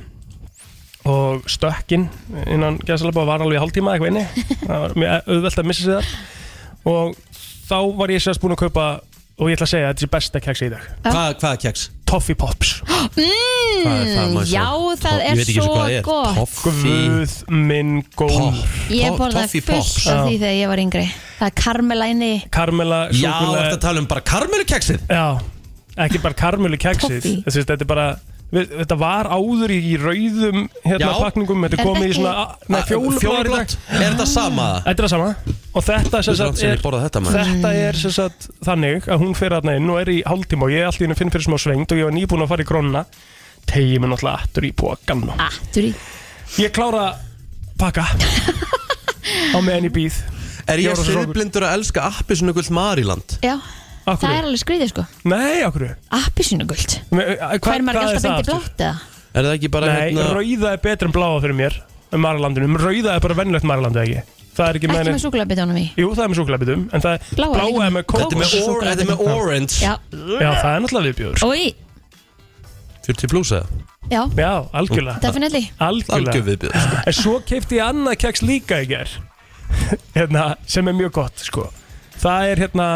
og stökkin innan gæðsalapa var alveg í hálftíma eitthvað inni það var mjög auðvelt að missa sig þar og þá var ég sérst búin að kaupa og ég ætla að segja að þetta er besta keksi í dag Hvað, hvað keks? Toffee Pops Hvað er það, mm, maður sé? Já, það Toff- er svo gott Toffee Guð minn góður Popp Ég borðaði Toffee Pops fullt af því þegar ég var yngri Það er karmelæni Karmela, Já, þetta tala um bara karmelukeksið Já, ekki bara karmölu keksið Toffee. Þessi, Þetta er bara við, Þetta var áður í í rauðum hérna, Já. pakningum, þetta Er er komið í þetta svona nei, fjólublátt í dag. Fjólblótt Ah, Er þetta sama? Þetta er það sama Og þetta Þetta sem er langt sagt sem er ég borðað þetta maður Þetta er sem sagt þannig að hún fer aðna inn og er í hálftíma og ég er alltaf inn að finn fyrir smá svengt og ég var nýbúin að fara í krónuna tegi mig náttúrulega aftur í pókan og Aftur í ég klára að pakka á meðan ég býð Er Ég ég var svo svangur. söðblindur að elska appi svona gullt Mariland? Já, Akkur það er alveg skrýðið sko Nei, akkur Appisínugult Hvað er Hver maður ekki alltaf beint í blátt eða? Er það ekki bara hérna- Nei, rauða er betur en bláa fyrir mér um Maralandinu, rauða er bara venjulegt Maralandu ekki Það er ekki Ekki með með súkulabitunum í Jú, það er með súkulebitum en það er Bláa er líka bláa er með með kók Þetta er með, or, þetta er með orange Já, Já, það er náttúrulega viðbjóður sko. og í 40 pluss eða? Já, Já, algjörlega definitely Algjör Algjörlega viðbjöð sko. En svo keipti ég annað keks líka í ger Hérna, sem er mjög gott, sko Það er hérna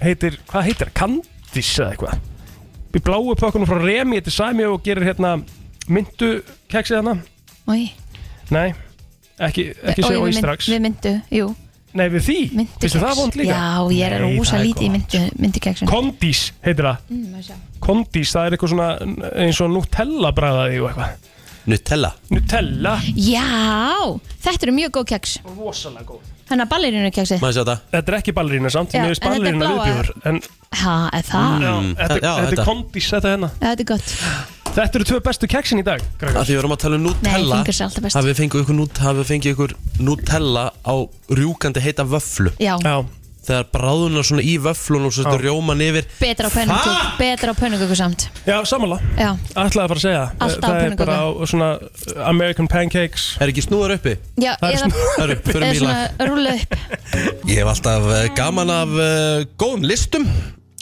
Heitir, hvað heitir það? Kandís eða eitthvað Í bláu pökkunum frá Remi, þetta er Sæmi og gerir hérna Myndu keksið hana Og í Nei, ekki, ekki segja við og í mynd- strax Við myndu, jú, Nei, við því, myndu finnst það vond líka? Já, ég er Nei, rosa það lítið í gott. myndu, myndu Mm, keksin Kondís heitir það Kondís, það er eitthvað svona eins og Nutella bræðaði og eitthvað Nutella Nutella Já, þetta eru mjög góð keks Rosalega góð Þannig að ballerínu keksi Maður sé þetta Þetta er ekki ballerína samt, Já, mér finnst en þetta er ballerína bláa. viðbjör En Ha, er það? já, þetta, Mm. Já, þetta þetta. er Kondís, þetta er hérna Já, Þetta er gott Þetta eru tvö bestu keksin í dag, Af Gregor því við vorum að tala um Nutella Nei, fingers er alltaf best. Hafið fengið ykkur, nut, hafið fengið ykkur Nutella á rjúkandi heita vöflu Já, Já, Þegar bráðunar svona í vöflun og svo þetta Já. rjóman yfir betra á pönnuköku Fuck! Betra á pönnuköku samt já sammála Já, Ætlaði að fara að segja það. Alltaf Það er pönnukökur. bara á svona uh, American Pancakes Er ekki snúðar uppi? já Það er eða svona- Hörru, förum Eða í lag svona rúlu upp Ég hef alltaf eh, gaman af uh, góðum listum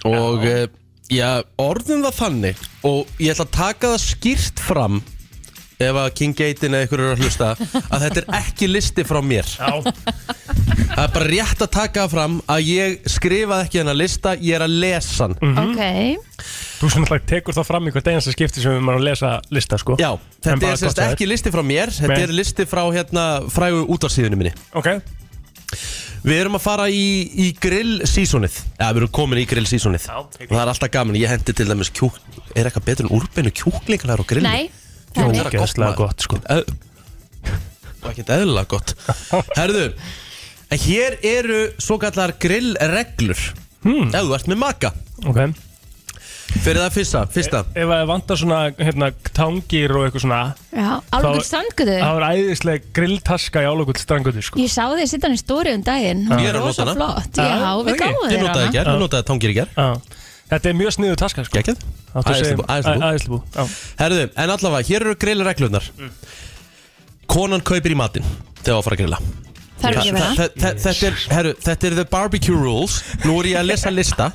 og uh, ég orðum það þannig og ég ætla að taka það skýrt fram ef að King Gaten eða ykkur eru að hlusta að þetta er ekki listi frá mér Já, það er bara rétt að taka það fram að ég skrifaði ekki þennan lista, ég er að lesa hann Mm. Mhm. Ok, þú sem alltaf tekur það fram í hvert einasta skipti sem við maður að lesa lista, sko Já, En þetta bara er sérst gott hjá ekki listi frá mér þetta Nei. er listi frá hérna frægu útvarsíðunni minni Ok, Við erum að fara í, í grill seasonið Já, við erum komin í grill seasonið Já, Og það er alltaf gaman, ég hendi til dæmis kjúk Er eitthvað betur en úrbeinu kjúklingar á grill? nei Það Jó, er gott, maður. gæslega gott, sko Eð... Og ekkert eðlilega gott Herðu, en hér eru svo kallar grillreglur hmm. Ef þú ert með maka Ok Fyrir það fyrsta, fyrsta Ef það vantar svona hérna, tangir og eitthvað svona Já, alveg Þá- strandgötu Það var æðislega grilltaska í álokull strangutu sko. Ég sá því að sittan í stóri um daginn Ég er að Rosa nota hana. flott, Já, já, við ok. gáðum Ég þér notaði hana ger, ég notaði tangir í ger Já. Þetta er mjög sniðu taska sko. Gekkið, Áttu að segja- æðislega bú Æ- Mm. Æðislega bú Já. Herðu, en allavega, hér eru grillreglunar Konan kaupir í matinn Þegar á að fara að grilla Það er ekki Þa- vera þa- þa- Þetta er, herru, þetta er the barbecue rules Nú er ég að lesa lista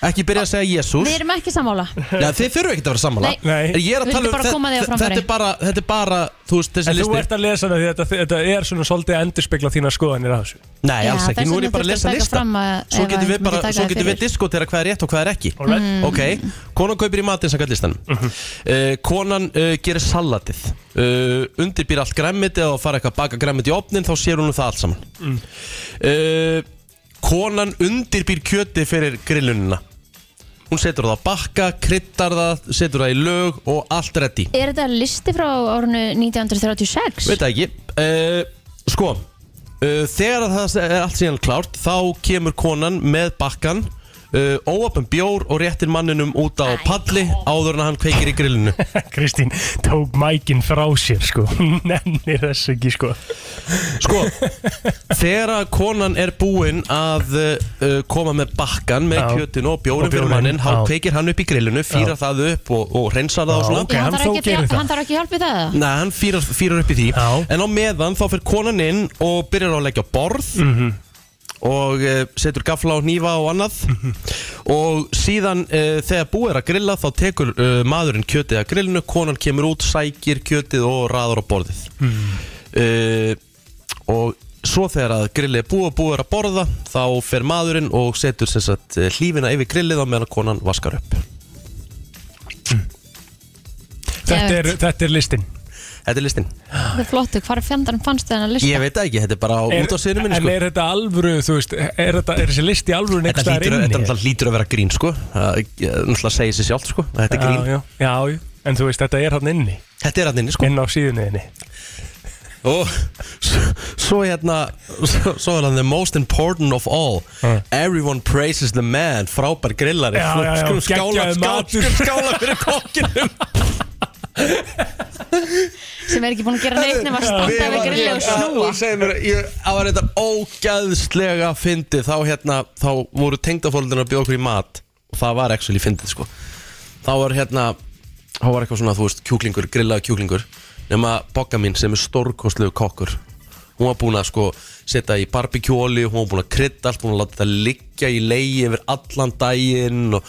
Ekki byrja að segja Jésús Við erum ekki sammála Já, þið þurfum ekki að vera sammála Nei. Nei. Ég er að Við tala viljum um bara koma þér á þetta, framfæri. þetta er bara, þetta er bara, þú veist, þessi En þú listi ert að lesa það því þetta, þetta er svona svolítið að endurspegla þína skoðanir að þessu Nei, Já, alls ekki, þess nú er vegna ég bara að þurfti lesa að taka lista fram að- Svo ef að getum við myndi bara, taka svo það getum við fyrir. diskotera hvað er rétt og hvað er ekki Alright. Mm. Ok, konan kaupir í matinn samkvæmt listanum uh, Konan uh, gerir salatið uh, Undirbýr allt græmmiti og fara eitthvað að baka græmmiti í opnin þá sér hún um það allt saman uh, Konan undirbýr kjöti fyrir grillunina Hún setur það á bakka, kryddar það, setur það í lög og allt reddi Er þetta listi frá árinu 1936? Veit það ekki uh, Sko uh, Þegar að það er allt síðan klárt Þá kemur konan með bakkan uh, Óöpum bjór og réttir manninum út á palli Áður en að hann kveikir í grillinu Kristín tók mækin frá sér sko Hún Nennir þess ekki sko Sko Þegar að konan er búin að uh, Koma með bakkan Með Já. kjötinu og bjórum Og fyrir bjórinn, mannin Há já. kveikir hann upp í grillinu Fýrar það upp og, og reynsar það og Já, svona ok. hann hann, þó þarf ekki, gerir það. hann þarf ekki hjálp við það eða? Nei, hann fýrar, fýrar upp í því Já. En á meðan þá fyrir konan inn og byrjar á að leggja á borð Mhm. Og uh, setur gafla og nýfa og annað Og síðan uh, þegar búið er að grilla Þá tekur uh, maðurinn kjötið að grillinu Konan kemur út, sækir kjötið og raðar á borðið Mhm. uh, Og svo þegar að grillið er búið og búið er að borða Þá fer maðurinn og setur sem sagt, eh, hlífina yfir grillið Á meðan konan vaskar upp þetta er, þetta er listin Þetta er listin Þetta er flottu, hvar fjandarn fannst þennan lista? Ég veit það ekki, þetta er bara á, út á sinu minni En sko. er þetta alvöru, þú veist Er, þetta, er þessi listi alvöru Þetta neikstaðar hlýtur, inni? þetta náttúrulega hlýtur að vera grín sko Það eh, náttúrulega segir sér sjálft sko að Þetta er grín, já, já, já, já, en þú veist, þetta er hann inni þetta er hann inni sko Inn á síðunniðinni Og svo, svo hérna Svo svo er hann the most important of all Mm. Everyone praises the man Frábær grillari Já, já, já, Skulum skála, geggjaður skála, matur. skulum skála fyrir kokkinum Sem er ekki búin að gera neitt nema að standa við grillið og snúa Þú segir mér, ég- það var þetta ógæðslega fyndið Þá hérna, þá voru tengdafólundin að bjóða okkur í mat Og það var actually fyndið sko Þá var hérna, þá var eitthvað svona, þú veist, kjúklingur, grillaða kjúklingur Nefna bogga mín sem er stórkostlegu kokkur Hún var búin að sko setja í barbekjúoli Hún var búin að krydda allt, búin að láta það liggja í leigi yfir allan daginn og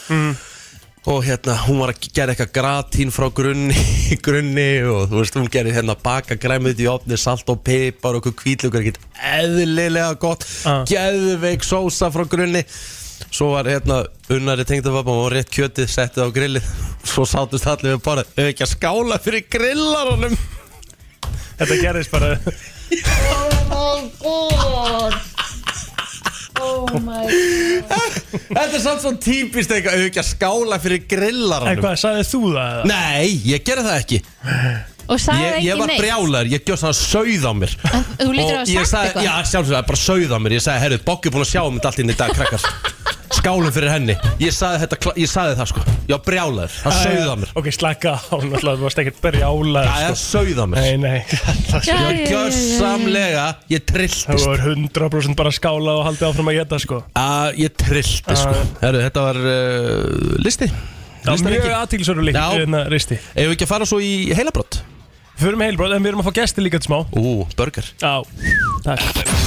og hérna, hún var að gera eitthvað gratín frá grunni, grunni og þú veist, hún gerir hérna baka græmið í opni, salt og pipar og eitthvað hvítlugur ekkert eðlilega gott Ah. geðveik sósa frá grunni svo var hérna unnari tengdafabba og rétt kjötið settið á grillið svo sátust allir við bara "Eigum við ekki að skála fyrir grillarunum Þetta gerðist bara þetta er samt svo típist eitthvað "Eigum við ekki að skála fyrir En grillarunum hvað, sagðið þú það? eða? nei, ég gerði það ekki Og sagði ég, ég ekki var neitt brjálar, ég gjóð svona sauð á mér En Þú lítur að Og hafa ég sagt sagði, já eitthvað sjálfsögða, bara sauð á mér Ég sagði, herru, Bokk er búin að sjá um þetta allt inn í dag, krakkar Skálum fyrir henni Ég sagði, þetta, kla- ég sagði það sko, ég var brjálaður Það sauð á mér, Ok, slaka á, náttúrulega, þú varst ekkert berjálaður það er sauð á mér sko. Nei, nei, það Ég var Já, já, já, já, já. gjörsamlega, ég sko. trilltist var 100% bara skála og haldið áfram að geta sko að Ah, Ég trilltist sko Herru, þetta var uh, listi Það var Listar mjög ekki aðtílisverður lík Já. hérna risti Ef við ekki að fara svo í heilabrott Við fyrir með heilbróð, en við erum að fá gesti líka til smá Ú, burger Já, takk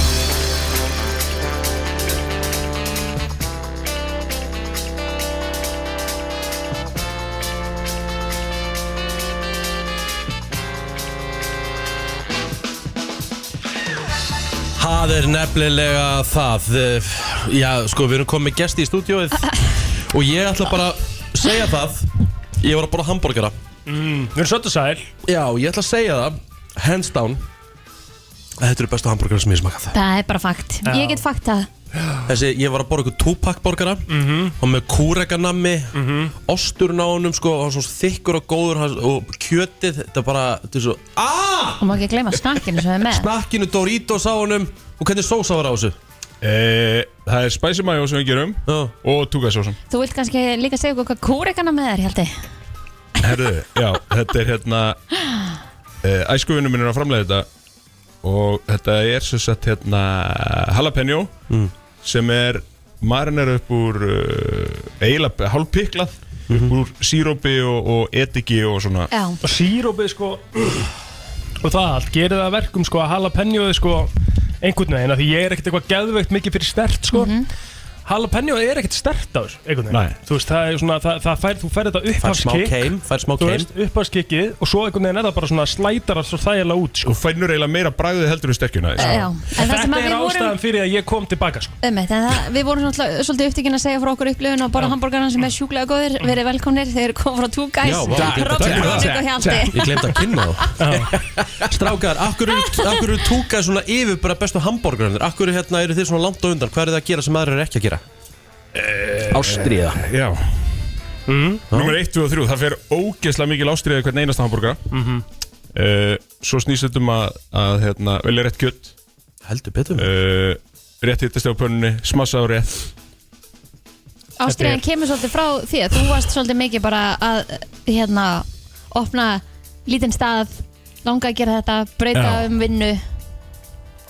Það er nefnilega það eh, Já, sko, við erum komið með gesti í stúdíóið Og ég ætla bara að segja það Ég var að borða hambúrgara Við erum svolítið sæl Já, ég ætla að segja það Hands down að Þetta eru bestu hambúrgara sem ég hef smakað Það er bara fakt, ég get fakt það Þessi, ég var að borða ykkur túpakk borgara Og með kúrekanammi mm -hmm. Osturinn á honum, sko Og hann svona þykkur og góður hann- Og kjötið, þetta er bara Þetta er svo aaaah Og má ekki gleyma snakkinu sem er með Snakkinu Doritos á honum Og hvernig sósa var á þessu Eh, Það er spicy mayo sem við gerum Já. og tugasósum Þú vilt kannski líka segja okkur hvað kúrekana með þér, Hjaldi Herðu, já, þetta er hérna eh, Æskuvinnu minn er að framlega þetta og þetta er svo sett hérna jalapeno sem er marinar upp úr uh, eiginlega hálfpiklað upp úr sírópi og, og etiki og svona Já, Og sírópið sko Og það allt, gerir það að verkum Mhm. sko að hala penjóði sko einhvern veginn af Því ég er ekkert eitthvað geðveikt mikið fyrir stert sko Jalapeno er ekkert stert á þessu einhvern veginn Þú veist, það er svona, það, það fær, þú fær þetta Fær smá upphafskikk keim, fær smá Þú keim. veist, upphafskikkið og svo einhvern veginn er það bara svona slætarar svo þægilega út sko. Og fænur eiginlega meira bræðið heldur í stekkjuna Já. Já. En það sem Þetta að er við vorum- ástæðan fyrir að ég kom tilbaka sko. Einmitt, en það, við vorum svona, svolítið upptíkin að segja frá okkur upplifun og bara hambúrgarna sem er sjúklega góðir verið velkomnir, þeir eru komið frá Two Guys Robert Rónik og Hjaldi Ég glemt að kynna þá Strákar, akkur eru akkur eru Two Guys svona yfir bara bestu hambúrgarnir Akkur eru hérna, eru þið svona langt á undan Hvað eru þið að gera sem aðra eru ekki að gera? Ástriða Já Mhm. mm. Númer 1, 2 og 3 Það fer ógeðslega mikil ástriða í hvern einasta hambúrgara Mhm. Eh, uh, Svo snýst þetta um að, að hérna, velja rétt kjött Heldur betur uh, Rétt hittast á pönnunni, smassa á rétt Ástriðan kemur svolítið frá því að þú varst svolítið mikið bara að hérna, opna lítinn stað langa að gera þetta, breyta Já. um vinnu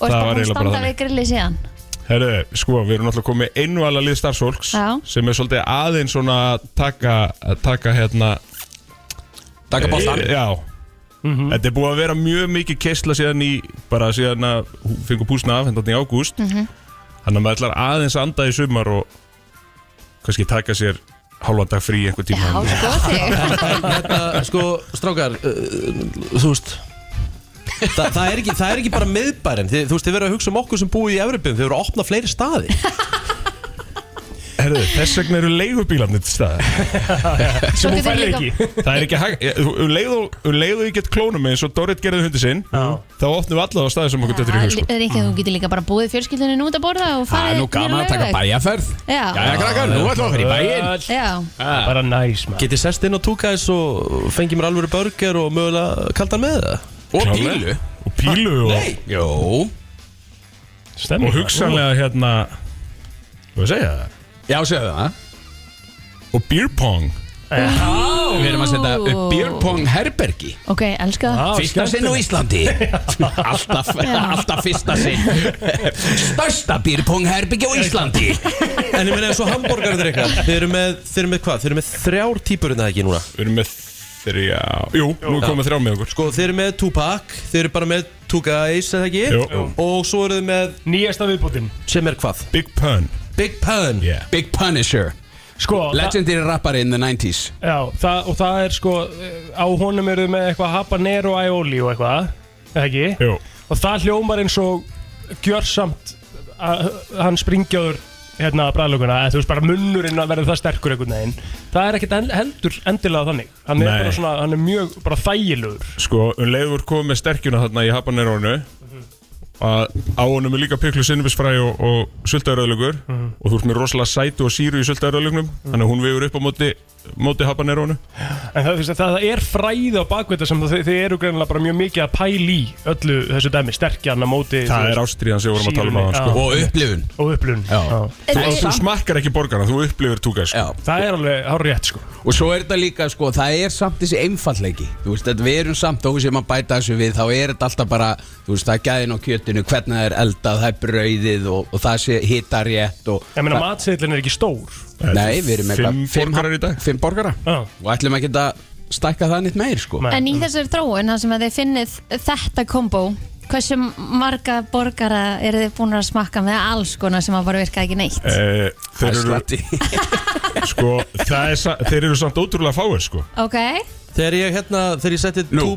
og Það ert var bara hún eiginlega bara standa þannig. við grilli síðan Herru, sko, við erum náttúrulega komið einvala lið starfsfólks Já. sem er svolítið aðeins svona að taka, að taka hérna Taka boltann. Eh, Já Þetta er búið að vera mjög mikið keisla síðan í bara síðan að hú- fengu púsna af hendan í ágúst Mhm. Þannig að maður ætlar aðeins að anda í sumar og kannski taka sér hálfan dag frí einhver tíma Já, sko þig Hérna, sko, strákar uh, Þú veist Þa, það, er ekki, það er ekki bara miðbærin þið, Þú veist, þið verður að hugsa um okkur sem búið í Evropin Þið verður að opna fleiri staði Herðu, þess vegna eru leigubílarnir til staða Svo Sem hún getur færði líka- ekki Það er ekki hægt eh, þú- Um leið og- um leið og ég get klónum eins og Dorit gerði hundi sinn þá opnum við alla á staði sem okkur dættur í hug sko. er ekki að þú getur líka bara búið fjölskyldunni nú út að borða og Það er farið nú gaman að taka bæjarferð bæja Jæja krakkar, nú ætlum við að fyrir bæinn Öll. Já, Bara næs maður Getið sest inn á túkæs og fengið mér alvöru burger og mögulega kaldan með það Og Klárlega. bílu og pílu og, Nei. Jó Stemmi og hugsanlega hérna Þú veist að segja það? Já, segðu það Og beer pong Við erum að setja upp beer pong herbergi ok, elska það Fyrsta sinn á Íslandi Alltaf, alltaf fyrsta sinn Stærsta beer pong herbergi á Íslandi En ég meina eins og hambúrgarnir eitthvað Þið eru með, þið eru með hvað? Þið eru með þrjár típurinn eða ekki núna Við erum með þrjá Jú, nú er komið þrjá með okkur Sko, þið eru með Tupac, þið eru bara með Tugais eða ekki Jú. Jú. Og svo eru þið með, Nýjasta viðbútin sem er hvað? Big pun Big Pun yeah. Big Punisher Sko, það- Legendary rappari in the 90s Já, það, og það er sko eh, á honum eru með eitthvað habanero aioli og eitthvað, eða ekki? Jú. Og það hljómar eins og gjörsamt að hann springjaður hérna að bræðlökunna, þú veist bara munnurinn að verður það sterkur einhvern veginn. Það er ekkert en- heldur endilega þannig. Hann er Nei. bara svona, hann er mjög bara þægilegur. Sko, um leiður komið með sterkjuna þarna í habanerónu að á honum er líka piklu sinnubisfræ og, og sultauröðlugur og þú ert með rosalega sætu og síru í sultauröðlugnum þannig að hún vefur upp á móti, móti habanerónu En það, þú veist, það, það er fræði á bakveita sem þið, þið eru greinilega bara mjög mikið að pæli í öllu þessu dæmi, sterkjan að móti Það er ástriðan sem við vorum að tala um á Sýrunni, sko. Og upplifun og upplun. Já. þú, þú smakkar ekki borgarna, þú upplifir sko. túkæs Já Það er alveg hár rétt sko. Og svo er þetta líka, sko, það er samt þessi einfallleiki Þú veist, þetta við erum samt, þó sem að bæta þessu við Þá er þetta alltaf bara, þú veist, það er gæðin á kjötinu Hvernig það er eldað, það er brauðið Og, og það sé hita rétt og, Ég meina það, matseðlinn er ekki stór. Nei, við erum eitthvað Fimm borgarar í dag. Fimm borgara Já. Og ætlum ekki að stækka það nýtt meir, sko Nei. En í þessari þróun, þar sem að þið finnið þetta kombo, hversu marga borgara eru þið búin að smakka með alls konar sem að bara virka ekki neitt? Eh, þeir, Það er eru, slatti sko, það er, sa- þeir eru samt ótrúlega fáir sko. Ok, Þegar ég hérna, þegar ég setti Nú.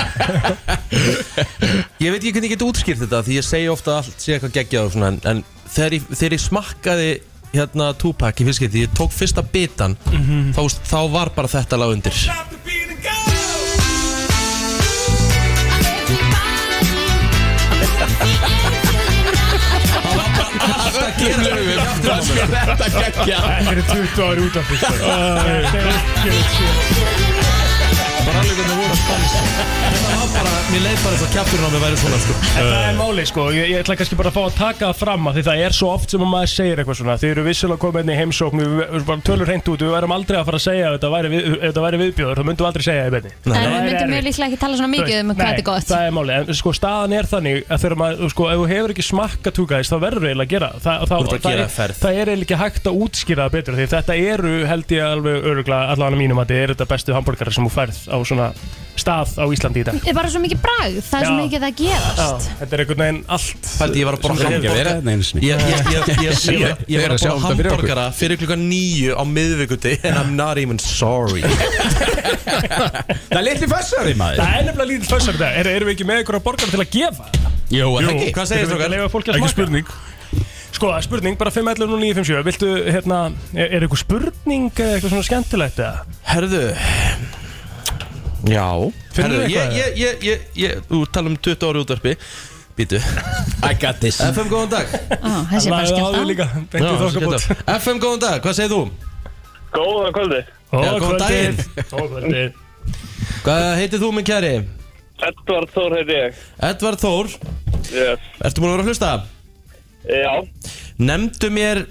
Ég veit ekki hvernig ég get útskýrt þetta Því ég segi ofta að allt, sé eitthvað geggjað og svona En, en þegar, ég, þegar ég smakkaði hérna Tupac í fyrst skipti Ég tók fyrsta bitan þá, þá var bara þetta lág undir Það kemur við Þetta gekkja Þetta eru 20 ári út af því sko. Þetta er ekki- bara, Mér leið bara þess að kjapturinn á mig væri svona sko. En Það er máli sko, ég, ég ætla kannski bara að fá að taka það fram að því það er svo oft sem að maður segir eitthvað svona Þið eru vissulega komið inn í heimsókn, við, við, við bara tölur hreint út, við værum aldrei að fara að segja að þetta væri, við, ef þetta væri viðbjóður, þá myndum við aldrei segja það í beinni en Það við er myndum mjög erfitt. líklega ekki tala svona mikið um hvað Nei, þetta er gott. Það er máli, en sko staðan er þannig að þegar maður, sko, ef þú hefur ekki smakka túkæðis þá verður þú eiginlega að gera það. það, Þú ert það, að gera er- ferð. það er eiginlega ekki hægt að útskýra það betur því þetta eru held ég alveg öruglega allavega mínum að þetta eru þetta bestu hambúrgarar sem þú færð á svona stað á Íslandi í dag Það er bara svo mikið bragð, það er svo Já. mikið að gera Já, þetta er einhvern veginn allt Pældi, ég var að borða sem er hamborgara. hérna. hérna einu sinni. Ég- ég- ég- ég- ég- Ég- ég- Ég þeir var að sjá þetta að borða fyrir okkur. hamburgara fyrir klukkan nýju á miðvikuti And I'm not even sorry Það er litli fessari maður Það er nefnilega lítill fössar þetta er, Erum við ekki með einhverja borgar til að gefa? Jó, er það Jú, ekki? hvað segir þú? Leifa fólki að smaka Ekki spurning Sko, spurning, bara 511 og 957 Viltu, hérna, er, er eitthvað spurning eða eitthvað svona skemmtilegt eða? Herðu Já Finnurðu Herðu, ég, eitthvað? ég, ég, ég, ég, þú tala um 20 ári útvarpi Býtu I got this FM góðan dag Á, Þessi er bara skemmt á beint í Já, þokkabót. skemmt á. FM góðan dag, hvað segir þú? Góða kvöldi Já, góðan daginn Góða kvöldi Hvað heitir þú minn kæri? Edvard Þór heiti ég Edvard Þór yes. Ertu múin að vera að hlusta? Já, Nemndu mér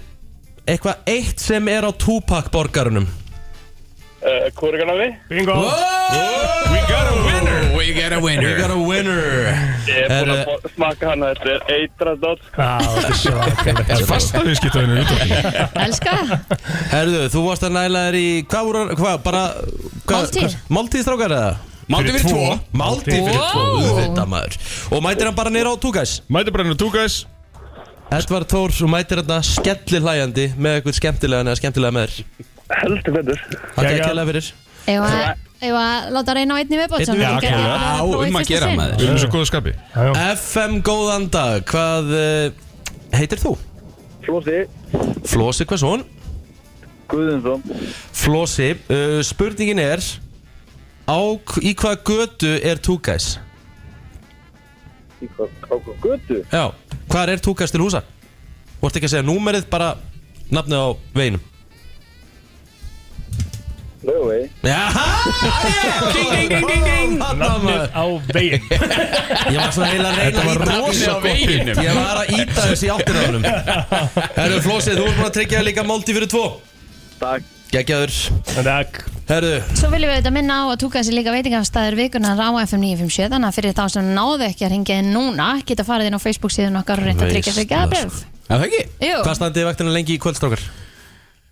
eitthvað eitt sem er á Tupac borgarunum uh, kúrikanafi Bingo We got a winner We got a We got a winner Ég er búin Er, að fá- smakka hana, þetta er eitra dot Það Fasta viðskiptavinur út af því. Elska það Herðu, þú varst að næla þér í Hvað voru, hvað, bara hvað, Máltíð. hvað- Máltíð strákar eða? Máltíð fyrir tvo. Máltíð fyrir tvo, Wow. auðvitað maður Og mætir hann bara neyra á túkæs Mæti bara hennar túkæs Edvard Þór, þú mætir hann að skelli hlæjandi Með eitthvað skemmtilegan eða skemmtilega með þér Heldur betur Takk Jæja. að kella fyrir Ef að- ef að láta reyna á einni viðbót Einni sem viðbót. við getum Já, að prófa í um að fyrsta gera sinn. maður Við erum svo góðu skapi FM góðan dag, hvað uh, heitir þú? Flósi Flósi Hversson Guðunson Flósi, uh, spurningin er á, Í hvaða götu er túkæs? Í hvað, á hvað götu? Já, hvar er túkæs til húsa? Þú ert ekki að segja númerið, bara nafnið á veginum Laugavegi Jaha, ding, ding, ding, ding, ding Nafnið á veginn Ég var svona heila að reyna Þetta var að rosa þessu á gott veginum Ég var að íta þessu í áttina á honum Herru, Flósi, þú ert búin að tryggja þér líka málti fyrir tvo Takk Gekkjaður Takk Herru, Svo viljum við þetta minna á að túka þessi líka veitingafstæður vikunar á FM 957 þannig að fyrir þá sem náðu ekki að ringja inn núna geta farið inn á Facebook síðan okkar og reynda að tryggja sig Veisla, gæðabrif Er það ekki? Jú, hvað standið vaktina lengi í kvöldstrákar?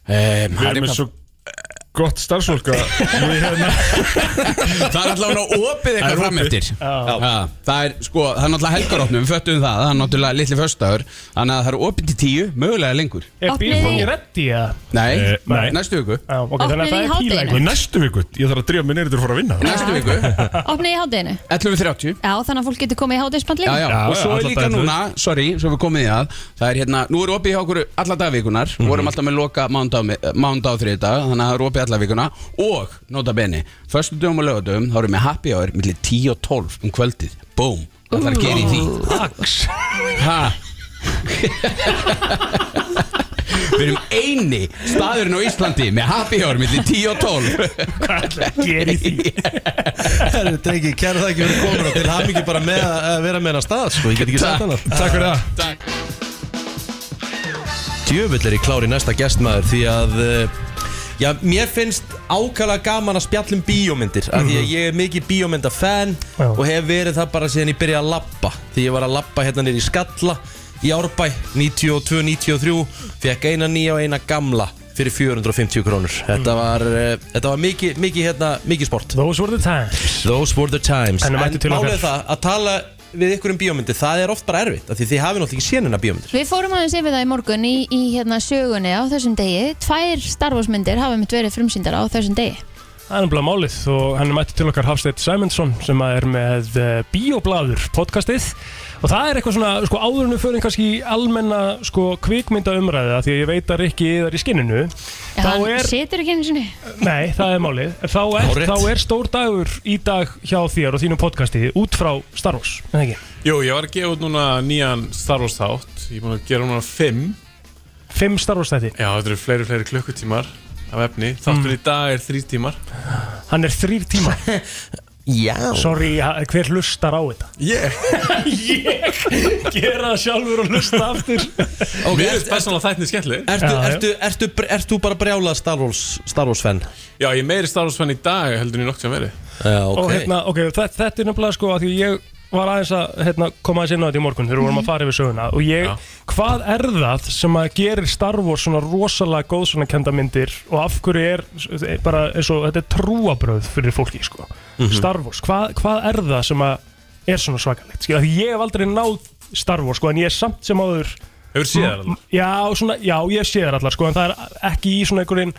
Ehm, Við það erum er með svo gott starfsfólk að við hérna Það er alltaf opið Það er eitthvað fram opið. eftir Já, Það er sko, það er náttúrulega helgarópnum Við föttum það, það er náttúrulega litli föstaður Þannig að það er opið til tíu, mögulega lengur Er Opnið í- bílfóngi reddi eða? Nei, Eh, nei. næstu viku Já, ok, þannig að Opnið í það er hádeginu. Í pílægur næstu viku, ég þarf að drífa mig neyri til að fara að vinna Næstu viku, opnið í hádeginu 11.30 Já, þannig að fólk getur komið í hádegispall Já, líka já, Já, og já, svo er alla líka daga. núna, sorry, svo við komið í það Það er hérna, nú er opið hjá okkur alla dagvikunar Mhm. Vorum alltaf með loka mánda á þriði dag Þannig að það er opið alla vikuna Og, nota beni, föstu dögum og lögadögum Þá erum við happy hour millir 10 og 12 um kvöldið Búm, það þarf að gera í því Ha Við erum eini staðurinn á Íslandi með happy hour millir 10 og 12 Geri því Herru, drengi, kæra það ekki verið komin og til hamingi bara með að vera með hennar stað, sko, ég get ekki sagt hana Takk fyrir það Takk djöfull er ég klár í næsta gestmaður því að uh, já, mér finnst ákala gaman að spjalla um bíómyndir af því að Mhm. ég er mikið bíómyndafann Já. og hef verið það bara síðan ég byrjaði að labba því ég var að labba hérna nýri í Skalla í Árbæ 92-93 fekk eina nýja og eina gamla fyrir 450 krónur Mhm. þetta var, uh, þetta var mikið, mikið, hérna, mikið sport Those were the times Those were the times En En mættu til málið okkar. er það að tala við ykkur um bíómyndir það er oft bara erfitt af því þið hafið náttúrulega ekki sénina bíómyndir Við fórum aðeins yfir það í morgun í, í hérna sögunni á þessum degi Tvær starfosmyndir hafa mitt verið frumsýndar á þessum degi Það er náttúrulega málið og hann er mætti til okkar Hafsteit Sæmundsson sem að er með eh, Bíoblaður podcastið og það er eitthvað svona, sko áður en við förum kannski í almenna sko kvikmynda umræða því að ég veit að Rikki er í skinninu Já, þá hann er, situr ekki einu sinni nei það er málið þá er, Hárrétt. þá er stór dagur í dag hjá þér og þínu podcasti út frá Star Wars, er það ekki? Jú, ég var að gefa út núna nýjan Star Wars þátt Ég er búin að gera núna fimm Fimm Star Wars þætti, Já, þetta eru fleiri, fleiri klukkutímar af efni Þáttur í dag er þrý tímar hann er þrýr tíma Já sorry, ha- hver hlustar á þetta? Ég? Ég gera það sjálfur og hlusta aftur Mér finnst persónulega þættin skemmtileg Ertu, Já, já. ertu, ertu, ertu, ertu bara brjálað Star Wars, Star Wars fan? Já, ég er meiri Star Wars fann í dag heldur en ég nokk sem verið Já, ok og hérna, ok, þetta, þetta er nefnilega sko að því ég var aðeins að hérna, koma aðeins inn á þetta í morgun þegar við vorum að fara yfir söguna og ég, Mhm. Já. hvað er það sem að gerir Star Wars svona rosalega góð svona kenda myndir og af hverju er s- bara eins og þetta er trúabröð fyrir fólki sko Mhm. Star Wars, hvað, hvað er það sem að er svona svakalegt, skilja, því ég hef aldrei náð Star Wars, sko, en ég er samt sem áður Hefur séð þær allar? Já, svona, já, ég sé þær allar, sko, en það er ekki í svona einhverjum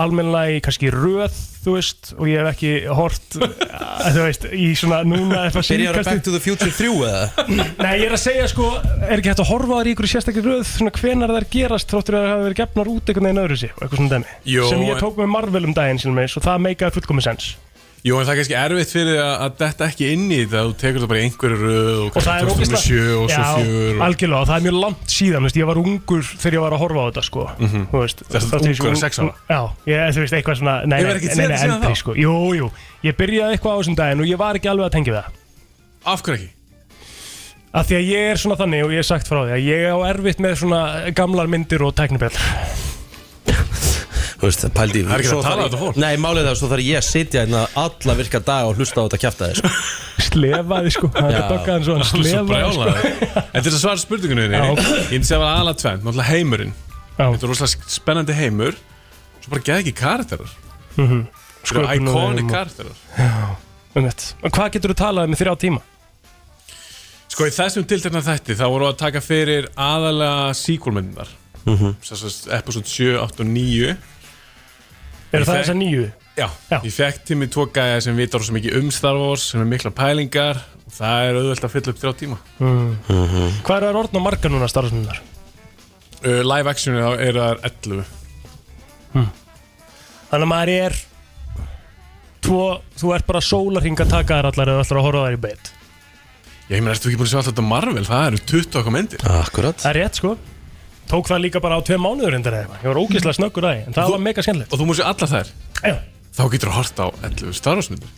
almennilega í kannski röð, þú veist, og ég hef ekki hort, eh, þú veist, í svona núna eitthvað Byrjar að síðkastið. Back to the Future 3 eða? Nei, ég er að segja sko, er ekki hægt að horfa þar í ykkur sérstakir röð, svona hvenar þær gerast þróttur að það hafa verið gefnar út einhvern veginn öðru sig og eitthvað svona dæmi, Jó, sem en- ég tók með Marvel um daginn sem meins og það meikaði fullkomis sens Jú, en það er kannski erfitt fyrir þig að, að detta ekki inn í þetta þú tekur það bara í einhverju röð og, og það er kannski ógeðslega- tókst númer sjö og svo Já, fjör og... algjörlega, og það er mjög langt síðan, veist, ég var ungur þegar ég var að horfa á þetta sko Mhm. Þú veist, Þess að þarna ungur ég svo- en sex ára. Já, ég, þú veist, eitthvað svona, nei, Hefur nei, ekki séð nei, þetta nei, síðan eldri þá? sko Jú, jú, ég byrjaði eitthvað á þessum daginn og ég var ekki alveg að tengja við það Af hverju ekki? Af því að ég er svona þannig og ég er sagt frá því að ég á erfitt með svona gamlar myndir og teknibjall Þú veist, pældi Það er ekki svo að tala þarf- þetta fólk. Nei, málið er það, svo þarf ég að sitja hérna alla virka dag og hlusta á þetta kjæfta þér sko. slefaði sko hann Já. er bakkaðan svo hann Hann er svo slefaði sko brjálaður. En til að svara spurningunni þinni, Já. ég myndi segja að það var aðalega tvennt, náttúrulega heimurinn Þetta er rosalega spennandi heimur Svo bara geð ekki karakterar Mhm. Þetta eru Sköpun og iconic þeim og- karakterar Já, um En hvað getur þú talað um í þrjá tíma? Sko í þessum tiltekna þætti þá voru að taka fyrir aðalega sequelmyndinar Mhm. Sess að episode 7, 8 og 9 Eru Ég það fekk- þessar nýju? Já, ég fekk til mig tvo gæja sem vitar svo mikið um Star Wars sem er mikla pælingar og það er auðvelt að fylla upp þrjá tíma Mm. Hvað eru þær orðin og margar núna starfsmyndar? uh, Live action er, er þar 11 Þannig að maður er tvo, þú ert bara sólarhing að taka þær allar eða ætlar að horfa á þær í beitt Já, ég meina, ertu ekki búin að sjá alltaf þetta Marvel? Það eru 20 okkar myndir Akkurat Það er rétt sko Tók það líka bara á tvei mánuður endur eða eitthvað Ég var ógeðslega snöggur að því En það var mega skemmtilegt Og þú múið sér allar þær? Já Þá getur þú hort á 11 Star Wars myndir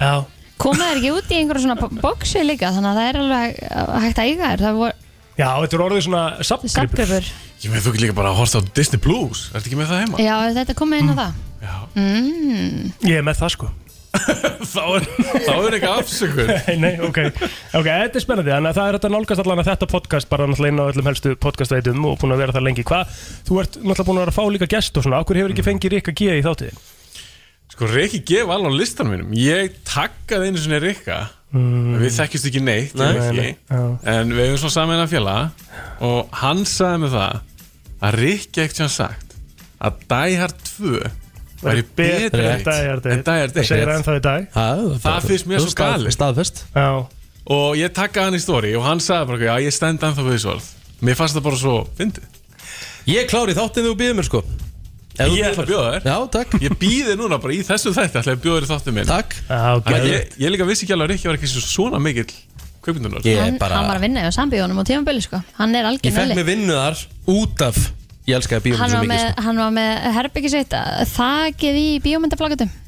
Já Komið þær ekki út í einhverju svona bo- boxi líka Þannig að það er alveg uh, hægt að eiga þér Það voru Já, þetta er orðið svona subgripur sapgröfur Ég meina, þú getur líka bara að horta á Disney Plus Ertu ekki með það heima? Já, þetta komið inn á það mm. Ég er með það sko þá er, þá er ekki afsökun Nei, nei, ok Ok, þetta er spennandi, þannig að það er þetta nálgast allan að þetta podcast bara náttúrulega inn á öllum helstu podcastveitum og búin að vera það lengi Hvað, þú ert náttúrulega búin að vera að fá líka gest og svona, okkur hefur Mm. ekki fengið Rikka G í þáttið Sko, Rikki G var alveg á listan mínum Ég takkaði einu sinni Rikka Mm. Við þekkjumst ekki neitt Nei. ég veit Nei, ekki. nei, já. En við hefum svona saman að fjalla Og hann sagði með það Að Rikki ekkert hann sagt Að Die Hard 2 væri betri en Die Hard 1 en Die Hard Það 1 segir hann það í dag Það finnst mér svo gali Staðfest Já Og ég takkaði hann í stóri Og hann sagði bara Já, ég stend anþá við þessu orð Mér fannst það bara svo fyndið Ég klári þáttið þú býðir mér sko Ef þú Ég ætla að bjóða þér Já, takk Ég býði núna bara í þessu þætti ætla ég að bjóða þér í þáttu minn Takk okay. ég, ég líka vissi ekki alveg að Rikki var ekki svona mikill kveikmyndunar hann, hann var að vinna í sambíðunum á tímabili sko Hann er Ég algjör fekk nölli mig vinnu þar út af Ég elskaði bíómyndir hann, svo var mikið með- sko. hann var með herbyggi sitt uh, Þakið í bíómyndaflagatum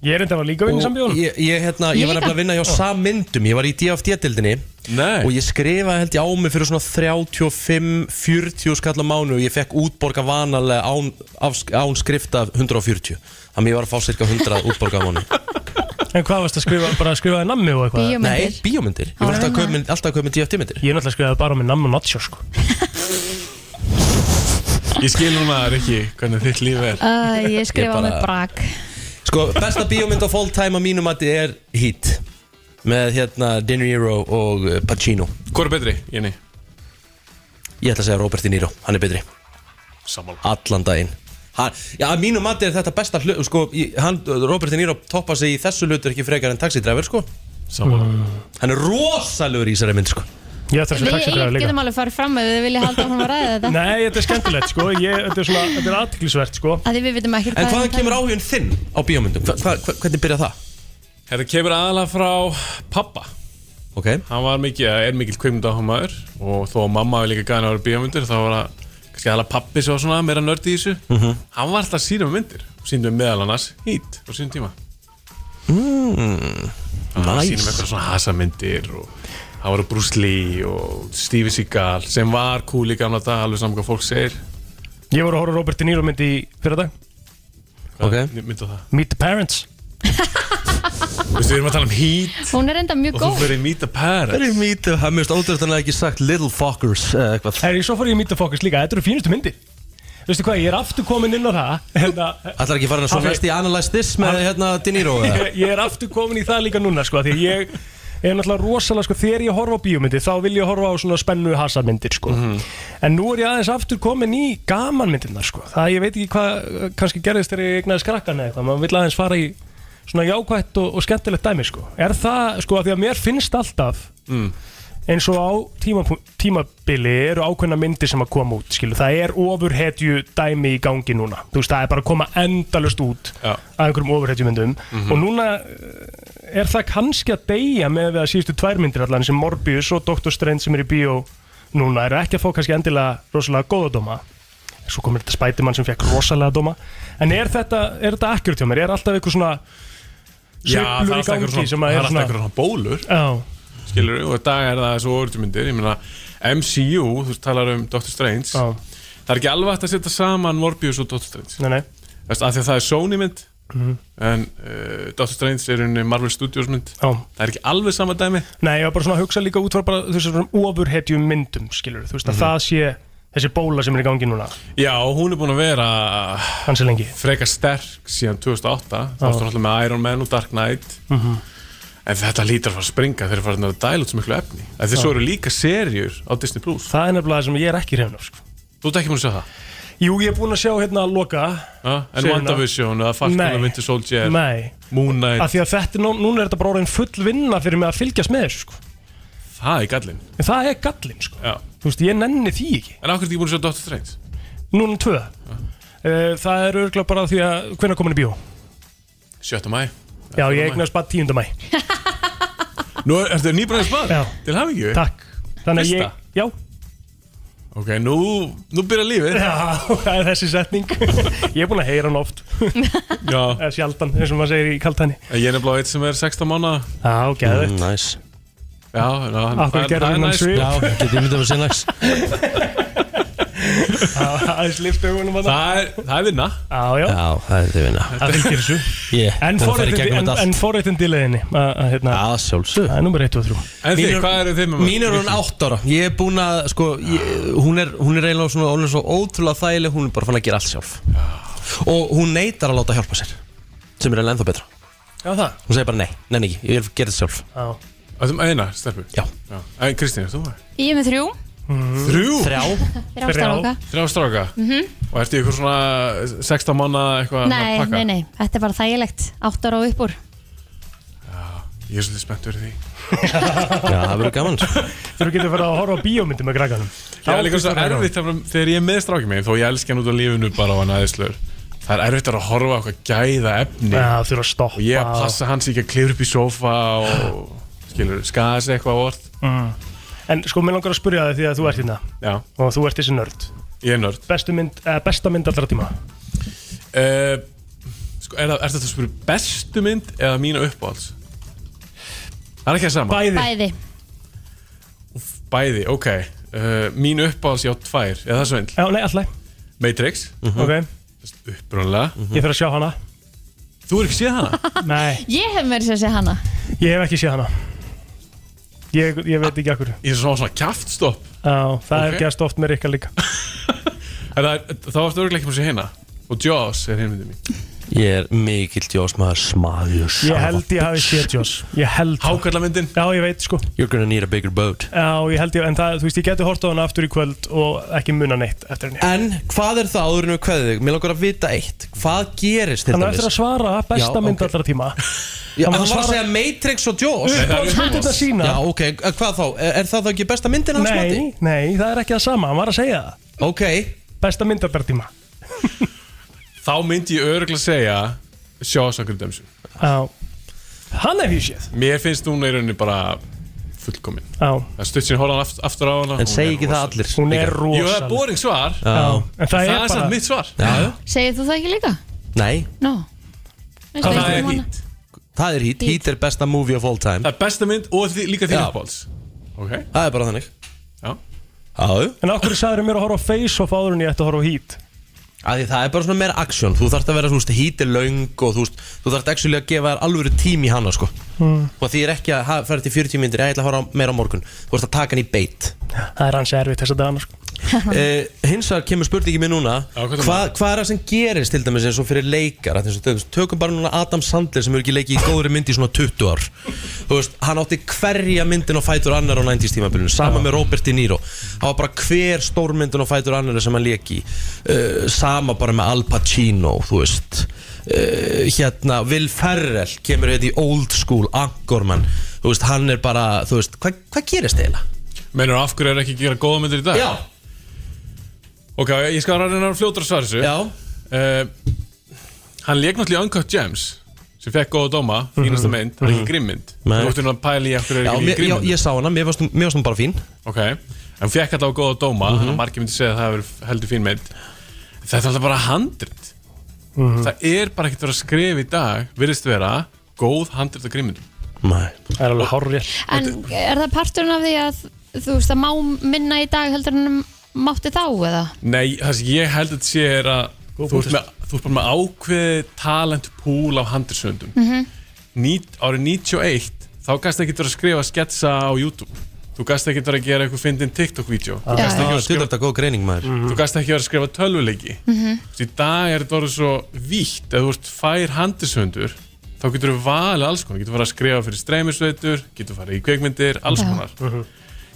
Ég er enda var líka vinn Og sambíðunum Ég, ég, hérna, ég Ég var líka. nefnilega að vinna hjá sammyndum Ég var í DFD-dildinni Og ég skrifaði held ég á mig fyrir svona 35-40 skalla mánu Og ég fekk útborga vanalega án, af, án skrifta af 140 Þannig ég var að fá cirka 100 útborga á mánu En hvað varst að skrifa, bara að skrifaði nammi og eitthvað? Nei, bíómyndir Ég var hérna- alltaf að kaupa mynd- alltaf að kaupa DFD-myndir Ég er náttúrulega skrifaði bara með nammi og nacho sko Ég skil núna Rikki hvernig þitt líf er uh, Ég Ég skrifa bara- með brak Sko, besta bíómynd of all time á mínum að þetta er Heat Með hérna De Niro og eh, Pacino Hvor er betri, Jenny? Ég ætla að segja Robert De Niro, hann er betri Sammála Allan daginn hann, Já, að mínu mati er þetta besta hlut Sko, í- hann, Robert De Niro toppa sig í þessu hlutur ekki frekar en taxidræfur, sko Mm. Sammála Hann er rosalur í þessari mynd, sko Ég ætla að Við segja Egill taxidræður líka getum alveg farið fram með við vilja halda áfram að ræða þetta Nei, þetta er skemmtilegt sko ég, Þetta er svona, þetta er aðtiklisvert sko að því við vitum ekki En hvaðan kemur áhugin þinn á bíómyndum? Hva, hva, hva- hvernig byrja það? Þetta kemur aðalega frá pappa Ok Hann var mikið, eða er mikill kveikmyndahámaður Og þó að mamma hafi líka gæðin að vera bíómyndir Þá var það kannski aðalega pappi sem var svona meira nördi í þessu Mhm. Hann var alltaf að sýna með myndir Sýndum meðal annars hít á sínum tíma mm, Hann var að Nice sýna með eitthvað svona hasamyndir Og hann var að Bruce Lee og Stevie Seagal Sem var cool í gamla dag, alveg saman hvað fólk segir Ég voru að horfa á Robert De Niro myndi í fyrir dag okay. Mynda það Meet the Parents Þú veist, við erum að tala um hít Hún er enda mjög Sko. góð fyrir meet the parents Fyrir meet the, hann mjögst ótrúlega ekki sagt little fuckers eða eitthvað Herri, svo fór ég í Meet the Focus líka, þetta eru fínustu myndir veistu hvað, ég er aftur komin inn á það hérna, Ætlar ekki farin að svo Pabbi- næst í Analyze This með hérna De Niro eða? ég, ég er aftur komin í það líka núna sko, því að ég er náttúrulega rosalega sko, þegar ég horfa á bíómyndir þá vil ég horfa á svona spennu hasarmyndir sko. en nú er ég aðeins aftur komin í gamanmyndirnar sko. það ég veit ekki hvað eh, kannski gerðist þegar ég egnaði skrakkan eða eitthvað maður vil aðeins fara í svona jákvætt og, og skemmtilegt dæmi sko. er það, sko, af því að mér finnst alltaf eins og á tíma, tímabili eru ákveðna myndir sem að koma út skilu. það er ofurhetju dæmi í gangi núna þú veist, það er bara að koma endalust út Já. að einhverjum ofurhetju myndum Mhm. og núna eh, er það kannski að deyja með við að síðustu tvær myndir allan sem Morbius og Dr. Strange sem er í bíó núna eru ekki að fá kannski endilega rosalega góða dóma svo komir þetta spætimann sem fekk rosalega dóma en er þetta, er þetta akkurat hjá mér? Er alltaf einhver svona Já, það er sveiflur í alltaf gangi einhver svona, sem að það er er alltaf einhver svona svona bólur Já. skilur og í dag er það svo orðmyndir ég meina MCU, þú talar um Doctor Strange Já. það er ekki alveg hægt að setja saman Morbius og Doctor Strange Nei, nei. Veist, af því að það er Sony mynd Mhm. en uh, Doctor Strange er unni Marvel Studios mynd Já. það er ekki alveg sama dæmi Nei, ég var bara svona að hugsa líka út frá bara þessum ofurhetjum myndum, skilur þú veist að Mhm. það sé þessi bóla sem er í gangi núna Já, hún er búin að vera hansi lengi frekar sterk síðan 2008 þá Já. er alltaf með Iron Man og Dark Knight Mhm. en þetta lítur að fara að springa þeir eru farin að dæla út svo miklu efni en þeir Já. svo eru líka serjur á Disney Plus Það er nefnilega það sem ég er ekki hrefn á sko. Þú ert ekki búin að sjá það? Jú, ég er búin að sjá hérna að loka Ha? En Serjuna? WandaVision eða Falcon Nei. and Winter Soldier Nei. Moon Knight að því að þetta, er nú- núna er þetta bara orðin full vinna fyrir mig að fylgjast með þessu sko. Það er gallin en það er gallin sko. Já. þú veist, ég nenni því ekki En okkur er ekki búin að sjá Doctor Strange? Núna um tvö uh, Það er örgulega bara því að hvenær komin í bíó? 7. mæ Já, ég eignast bara 10. mæ Nú er- ertu nýbræðis maður? Já. Til hafingju? Takk Þannig að Fyrsta? ég, já Ok, nú, nú byrjar lífið Já, það er þessi setning Ég er búin að heyra hann oft Já Eða sjaldan, eins og maður segir í kaltæni Ég er nefnilega eitt sem er 16 mánu Já, geðveikt. Mm, Næs Já, ná, Af hverju gerðir hann svip? Já, getur ég myndið að segja næs Það er slift augunum að það er, það er vinna Já, já, Já, það er þið vinna það fylgir þessu Ég, En búin að fara í forréttindi- gegnum en- þetta allt. En forréttindi leiðinni að, hérna, Já, sjálfsög Það er nummer 1 og 3 En þið, hvað eru þið með mörg? Mín er hún átt ára Ég er búin að, sko, ég, hún, er, hún er eiginlega svona Hún er svo ótrúlega þægileg, hún er bara fann að gera allt sjálf Og hún neytar að láta hjálpa sér Sem er eiginlega ennþá betra Já, það Hún segir bara nei, nei ekki, ég vil gera þetta sjálf Já Það er eina, stelpur Já, En Kristín, er þú með? Ég er með þrjú Mm. Þrjú? Þrjá Þrjá stráka. Þrjá stráka Mhm. Og ertu í ykkur svona 16 mánu eitthvað Nei, að pakka? nei, nei, þetta er bara þægilegt Átt ára og uppur Ég er svolítið spennt fyrir því Já, það verður gaman Þú getur verið að horfa á bíómyndi með grækanum Það er líka svo erfitt að- þegar ég er með strákið minn þó ég elska hann út á lífinu bara á hann aðeinslur það er erfitt að horfa á eitthvað gæða efni Já, þú eru að stoppa og ég að passa hans ekki að klifra upp í sófa og skilur, skaða sig eitthvað á orð Mm. En sko, mér langar að spyrja það því að þú ert hérna Já. Og þú ert þessi nörd Ég er nörd Bestu mynd, eh, Besta mynd allra tíma uh, sko, er, það, er þetta að spyrja bestu mynd eða mína uppáhalds? Það er ekki að sama Bæði Bæði, ok uh, Mín uppáhalds, já, tvær, eða það er svindl Já, nei, alltaf Matrix, Mhm. Ok, upprónulega ég þarf að sjá hana Mhm. Þú er ekki séð hana? Nei, Ég hef mér sér sér hana ég hef ekki séð hana Ég, ég veit ekki akkur Já, Ég er svona svona kjaftstopp það Ok. er gerst oft með Rikka líka En það er- Þá ertu örglega ekki búin að sé hérna Og Jaws er hinn myndið mín Ég er mikill djós maður smaður Ég held ég hafi séð Joss Ég held Hákalla myndin Já, ég veit sko You're gonna need a bigger boat Já, ég held ég, en það, þú veist, ég geti hort á hana aftur í kvöld Og ekki muna neitt eftir henni En hvað er það áður en við kveðið þig? Mér langar að vita eitt Hvað gerist til Þannig að eftir að dæmis? svara Já, besta ok. mynd allra tíma Já, hann Hann var var að að svara- segja Matrix og Jaws Nei, það er Uppáhaldsmyndina uppáhalds. sína. Já, ok, en hvað þá? Er er það þá ekki besta myndin hans mati? Nei, nei, það er ekki það sama, hann var að segja það Ok Besta mynd allra tíma Þá myndi ég örglega segja Jaws okkur dæmsu Já Hann hef ég séð Mér finnst hún í rauninni bara fullkomin Já Það stutt sér hólan aft, aftur á hana En segi ekki það allir Hún er Jú, það er boring svar Já. En það er bara- samt mitt svar Já. Segir þú það ekki líka? Nei Nó Hvað það um er hít? Það er hít, hít er besta movie of all time Það er besta mynd og því, líka þín Já. uppáhalds Ok Það er bara þannig Já Já En okkur sagður mér að horfa á face off áður en ég ætti að horfa á heat Af því það er bara svona meira aksjón Þú þarft að vera, þú veist, hít er löng og þú veist Þú þarft actually að gefa þér alvöru tím í hana, sko Mm. Og því er ekki að ha- fara til 40 myndir Ég ætla að horfa á- meira á morgun Þú veist að taka hann í beit Það er hans erfitt þess að dana sko uh, Hins vegar kemur spurningi mér núna hvað er hvað, hvað er það sem gerist til dæmis eins og fyrir leikar eins og, til dæmis, Tökum bara núna Adam Sandler sem hefur ekki leikið í góðri mynd í svona 20 ár Þú veist, hann átti hverja myndin og fætur annar á 90s tímabilinu Sama með Robert De Niro Það var bara hver stórmyndin og fætur annar sem hann leiki uh, Sama bara með Al Pacino, þú veist uh, Hérna, Will Ferrell kemur hérna í old school, Anchorman Þú veist, hann er bara, þú veist, hvað, hvað gerist eiginlega? Menur af hverju er ekki að gera góða myndir í dag? Já Ok, ég skal ræðina fljótur að svara þessu Já uh, Hann leik náttúrulega í Uncut Gems sem fekk góða dóma, fínasta Mhm. mynd, það er ekki Mhm. grimmynd Þú Nei. ætti nú að pæla í af hverju er Já, ekki mér, líka já, grimmynd ég sá hana, mér varst, mér varst hún bara fín Ok, en hún fekk allavega góða dóma Mhm. þannig að margir myndi segja að það hefur verið heldur fín mynd Þetta er alltaf bara handrit Mhm. Það er bara ekkert verið að skrifa í dag virðist vera góð handrit að grimmyndum Nei Það er alveg hárrið En er það parturinn af því að þú veist að má minna í dag heldur en mátti þá eða? Nei, það sem ég held að þetta sé er að þú ert, punktur. með, þú ert bara með ákveðið talent pool af handriðsöndum Mm Mhm. -hmm. Nít, árið 91 þá gæst ekki verið að skrifa sketsa á YouTube þú gæst ekki verið að gera eitthvað fyndin TikTok-vídeó þú Já, Mm. gæst ekki já. verið að Þetta er góð greining maður þú gæst ekki verið að skrifa tölvuleiki Mhm. Þú veist, í dag er þetta orðið svo vítt ef þú ert fær handisöndur þá getur þú valið alls konar, getur þú farið að skrifa fyrir streymisveitur, getur þú farið í kveikmyndir alls Já. konar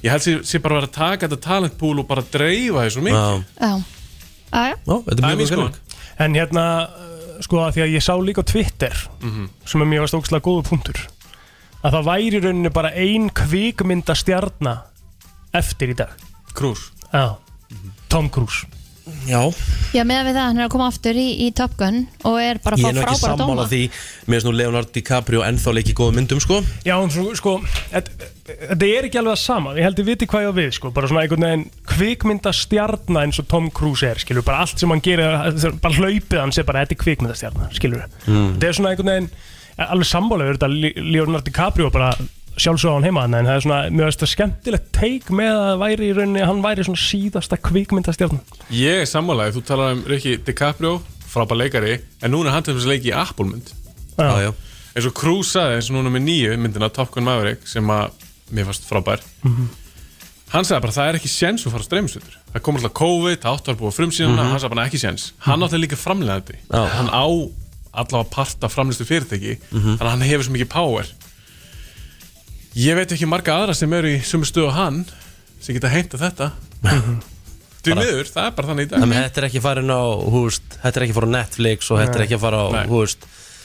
ég held sér, sér bara að vera að taka þetta talentpúl og bara dreifa þessu mikið Já. Aja. Já, þetta er mjög góð skoðun. En hérna, uh, sko að því að ég sá líka á Twitter Mhm. sem er mjög stókslega góða punktur að það væri í rauninni bara ein kvikmynda eftir í dag Krús Já, Tom Cruise Já Já, meðan við það hann er að koma aftur í, í Top Gun og er bara Ég að er fá nú ekki frábæra sammála dóma því Mér finnst nú Leonardo DiCaprio ennþá leikið góðum myndum sko Já, en svo, sko, þetta þetta er ekki alveg það sama Ég held ég viti hvað ég á við, sko Bara svona einhvern veginn kvikmyndastjarna eins og Tom Cruise er, skilur Bara allt sem hann gerir, bara hlaupið hans er bara Þetta er kvikmyndastjarna, skilur Mm. Þetta er svona einhvern veginn, e, alveg sammálega Þetta Li- Leonardo DiCaprio bara sjálfsögða hann heima þarna, En það er svona, mér veist það skemmtilegt teik með að það væri í rauninni Hann væri svona síðasta kvikmyndastjarna ég er sammálaðið, þú talar um Ricky DiCaprio frábær leikari, en núna er hann til þess að leiki í Apple-mynd Já, já eins og Krús sagði eins og núna með nýju myndina Top Gun Maverick sem að mér fannst frábær Mhm. hann sagði bara það er ekki séns að fara á streymisveitur það kom alltaf COVID, það áttu að búa frumsýnuna Mhm. hann sagði bara ekki séns, hann átti líka framlegandi Já. hann á allavega parta framlistu fyrirtæki Mhm. þannig að hann hefur svo mikið power ég veit ekki marga aðra sem eru í sumu stöðu og hann sem geta heimta þetta því Bara- miður, það er bara þannig í dag Mhm. Þannig að þetta er ekki farin á, húst, þetta er ekki farin á Netflix og þetta er Nei. ekki að fara á, húst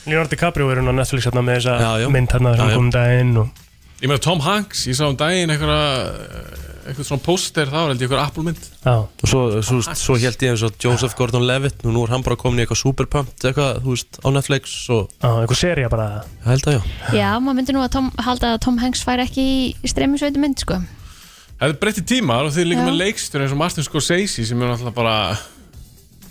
Leonardo DiCaprio er hann á Netflix hérna með þessa Já, já. mynd hérna sem Já, já. kom um daginn og ég meina Tom Hanks, ég sá um daginn einhverja, einhver svona póster þá held ég einhverja Apple mynd Og svo, svo, svo held ég eins og Joseph Gordon-Levitt Nú, nú er hann bara komin í eitthvað superpumped eitthvað, þú veist, á Netflix og Já, eitthvað serið bara Ég held að já Já, maður myndi nú að Tom, halda að Tom Hanks fær ekki í streymisveitu mynd sko. Það er breytti tímar og þið er líka Já. með leikstur eins og Martin Scorsese sem er náttúrulega bara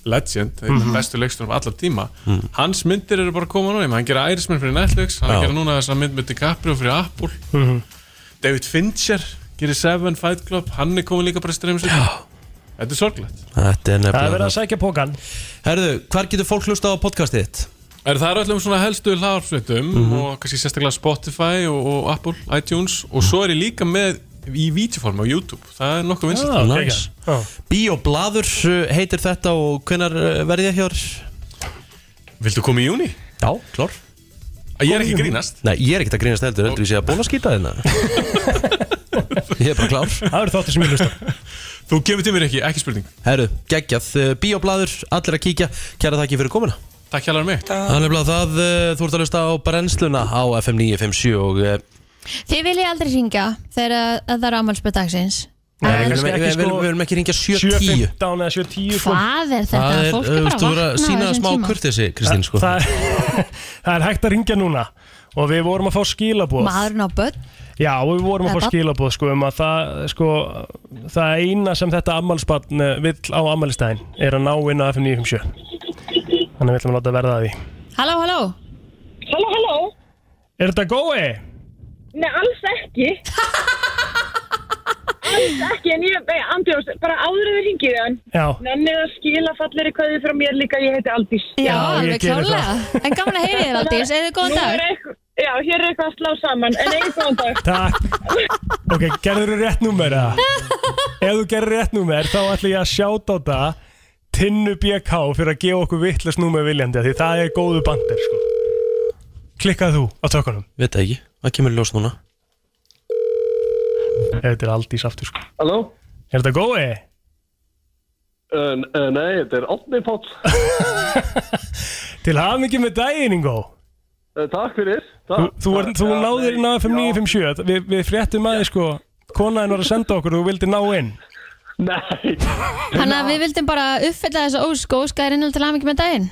legend, einn mm Mhm. bestu leikstur af alla tíma Hans myndir eru bara að koma núna, hann gera Irishman fyrir Netflix, hann Já. gera núna þess að mynd með DiCaprio fyrir Apple Mhm. David Fincher gerir Seven Fight Club, hann er komin líka bara streymis Þetta er sorglegt Þetta er Það er verið nefnilega að sækja pókan Herðu, hvar getur fólk hlusta á podcastið þitt? Er það er öllum svona helstu hláðarsveitum Mhm. og kannski sérstaklega Spotify og, og Apple, iTunes og svo er ég líka með í vítjuformi á YouTube, það er nokkuð vinsælt Nice. Bíoblaður uh, heitir þetta og hvenar verði ég hjá þér? Viltu koma í júni? Já, klár Ég er ekki að grínast Nei, ég er ekkert að grínast heldur, heldur við sé að bóla skýta þérna Ég er bara klár Það eru þáttir sem ég hlusta Þú kemur til mér ekki, ekki spurning Herru, geggjað, uh, bíoblaður, allir að kíkja Kæra þakki fyrir komuna Takk hérlega mig Það er nefnilega það, uh, þú ert að hlusta á brennsluna á FM 957 og uh, Þið viljið aldrei ringja þegar að- að það er afmálspöð dagsins við viljum ekki- við- sko við viljum ekki ringja 7.10 7.15 eða 7.10 sko. Hvað er þetta? Það er, eh, Fólk er þú bara veist, þú verður að vaknað á sýna þessum smá tíma. kurteisi, Kristín, sko. það, það, það er hægt að ringja núna Og við vorum að fá skilabóð Maðurinn á börn Já, og við vorum að Eða fá barn. skilabóð sko, um að það, sko, það eina sem þetta ammálsbarn vill á ammálistæðin er að ná inn á FM 957 Þannig við ætlum að láta verða að því Halló, halló Halló, halló Er þetta gói? Nei, alls ekki Alls ekki, en ég, nei, Andrjós, bara áður en við ringið hann Já. Nennið að skila falleri kvæði frá mér líka, ég heiti Aldís Já, Já, ég alveg geri það. klárlega. En gaman að heyri þér, Aldís. Eigðu góðan Nú er dag. eitthvað- Já, hér er eitthvað að slá saman, en eigin góðan dag. Takk Ok, gerður þú rétt númer eða? Ef þú gerður rétt númer þá ætla ég að sjáta á það Tinnu BK fyrir að gefa okkur vittlust númer viljandi af Því það er góðu bandir sko. Klikkað þú á tökunum Veit það ekki, það kemur í ljós núna Þetta er aldís aftur sko. Halló? Er þetta góði? Uh, uh, nei, þetta er Otni Páll. Til hafingi með daginn, Ingo Uh, takk fyrir. Þú, Takk. þú, var, þú Já, náðir inn á nei, FM 957 Vi, Við fréttum aðeins sko Konaðin var að senda okkur og þú vildi ná inn Nei Þannig að við vildum bara uppfylla þessa ósk og óska þér innhald til hamingi með daginn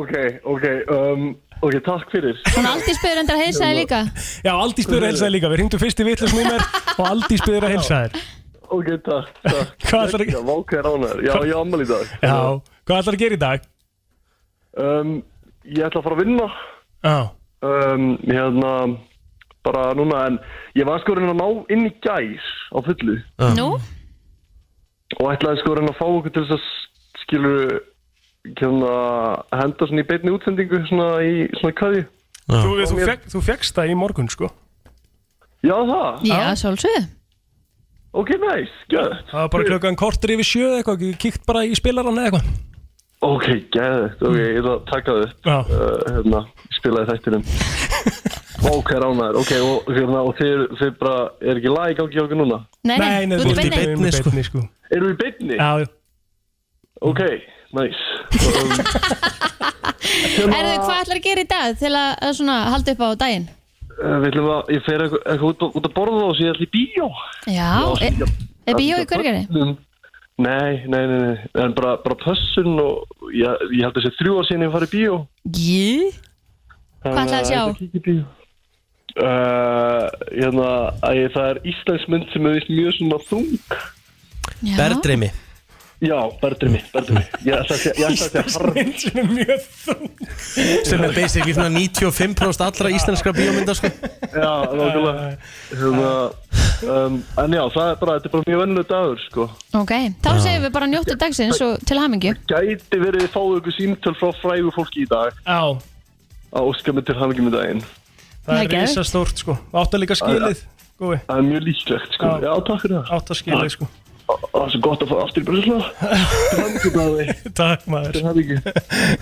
Ok, ok, um, ok, takk fyrir. Hún aldrei spyrir endur að heilsa þér líka Já, Aldís byrður að helsa þér líka Við hringdum fyrst í vittlust númer og Aldís byrður að helsa þér Ok, takk, takk. Hvað ætlar ekki? Já, vákvæðir ánæður. Já, ég ammali í dag. Já, hvað ætlar að gera í dag? Um, ég ætla að fara að vinna. Já. Um, hérna, bara núna, en ég var sko að reyna að ná inn í gæs á fullu. Nú? Og ætlaði sko að reyna að fá okkur til þess að s- skilur, hérna, henda svona í beinni útsendingu, svona í, svona í kvæði. Þú, þú, fekk, þú fekkst það í morgun sko Já, það? Já, sjálfsögðu Ok, nice, gæð Það var bara klukkan kortur yfir sjö eða eitthvað Kíkt bara í spilaran eða eitthvað Ok, gæðið, ok, ég ætla að taka þið uh, hérna, spilaði þættinum Ok, ránaður, ok, og, hérna, og þið, þið bara, er ekki lag í gangi hjá okkur núna? Nei, nei, Nei, nei, þú ert í þú ert í beinni. beinni, sko. sko Erum við í beinni? Já, Ok, nice um, Erðu, hvað ætlar að gera í dag til að, að svona, halda upp á daginn? eh, Við ætlum að, ég fer eitthvað eitthvað út, á- út að borða og sér allir í bíó Já, er, er bíó í hvergari? Um, Nei, nei, nei, nei, en bara, bara pössun og ég, ég held að sé þrjú ár síðan ég farið í bíó Jú Hvað ætlar að sjá? Uh, hérna, æ, það er Íslandsmynd sem er víst mjög svona þung Berðdreimi Já, berðdreimi, berðdreimi Ég ætla að segja Íslandsmynd sem er mjög þung Sem er basically svona 95% allra íslenskra bíómynda sko Já, nákvæmlega hérna, um, En já, það er bara, þetta er bara mjög vennu dagur sko. Ok, þá segjum við bara njóttu dagsins og til hamingju Gæti verið að fá ykkur símtöl frá frægu fólki í dag Já Að óska mig til hafingi með daginn Það Nei, er geðveikt. risa stórt sko Átt að líka skilið Gói Það er mjög líklegt sko Já, takk fyrir það Átt að skilið sko Það er svo gott að fara aftur í bröðsla Til hafingi dagur Takk maður Til hafingi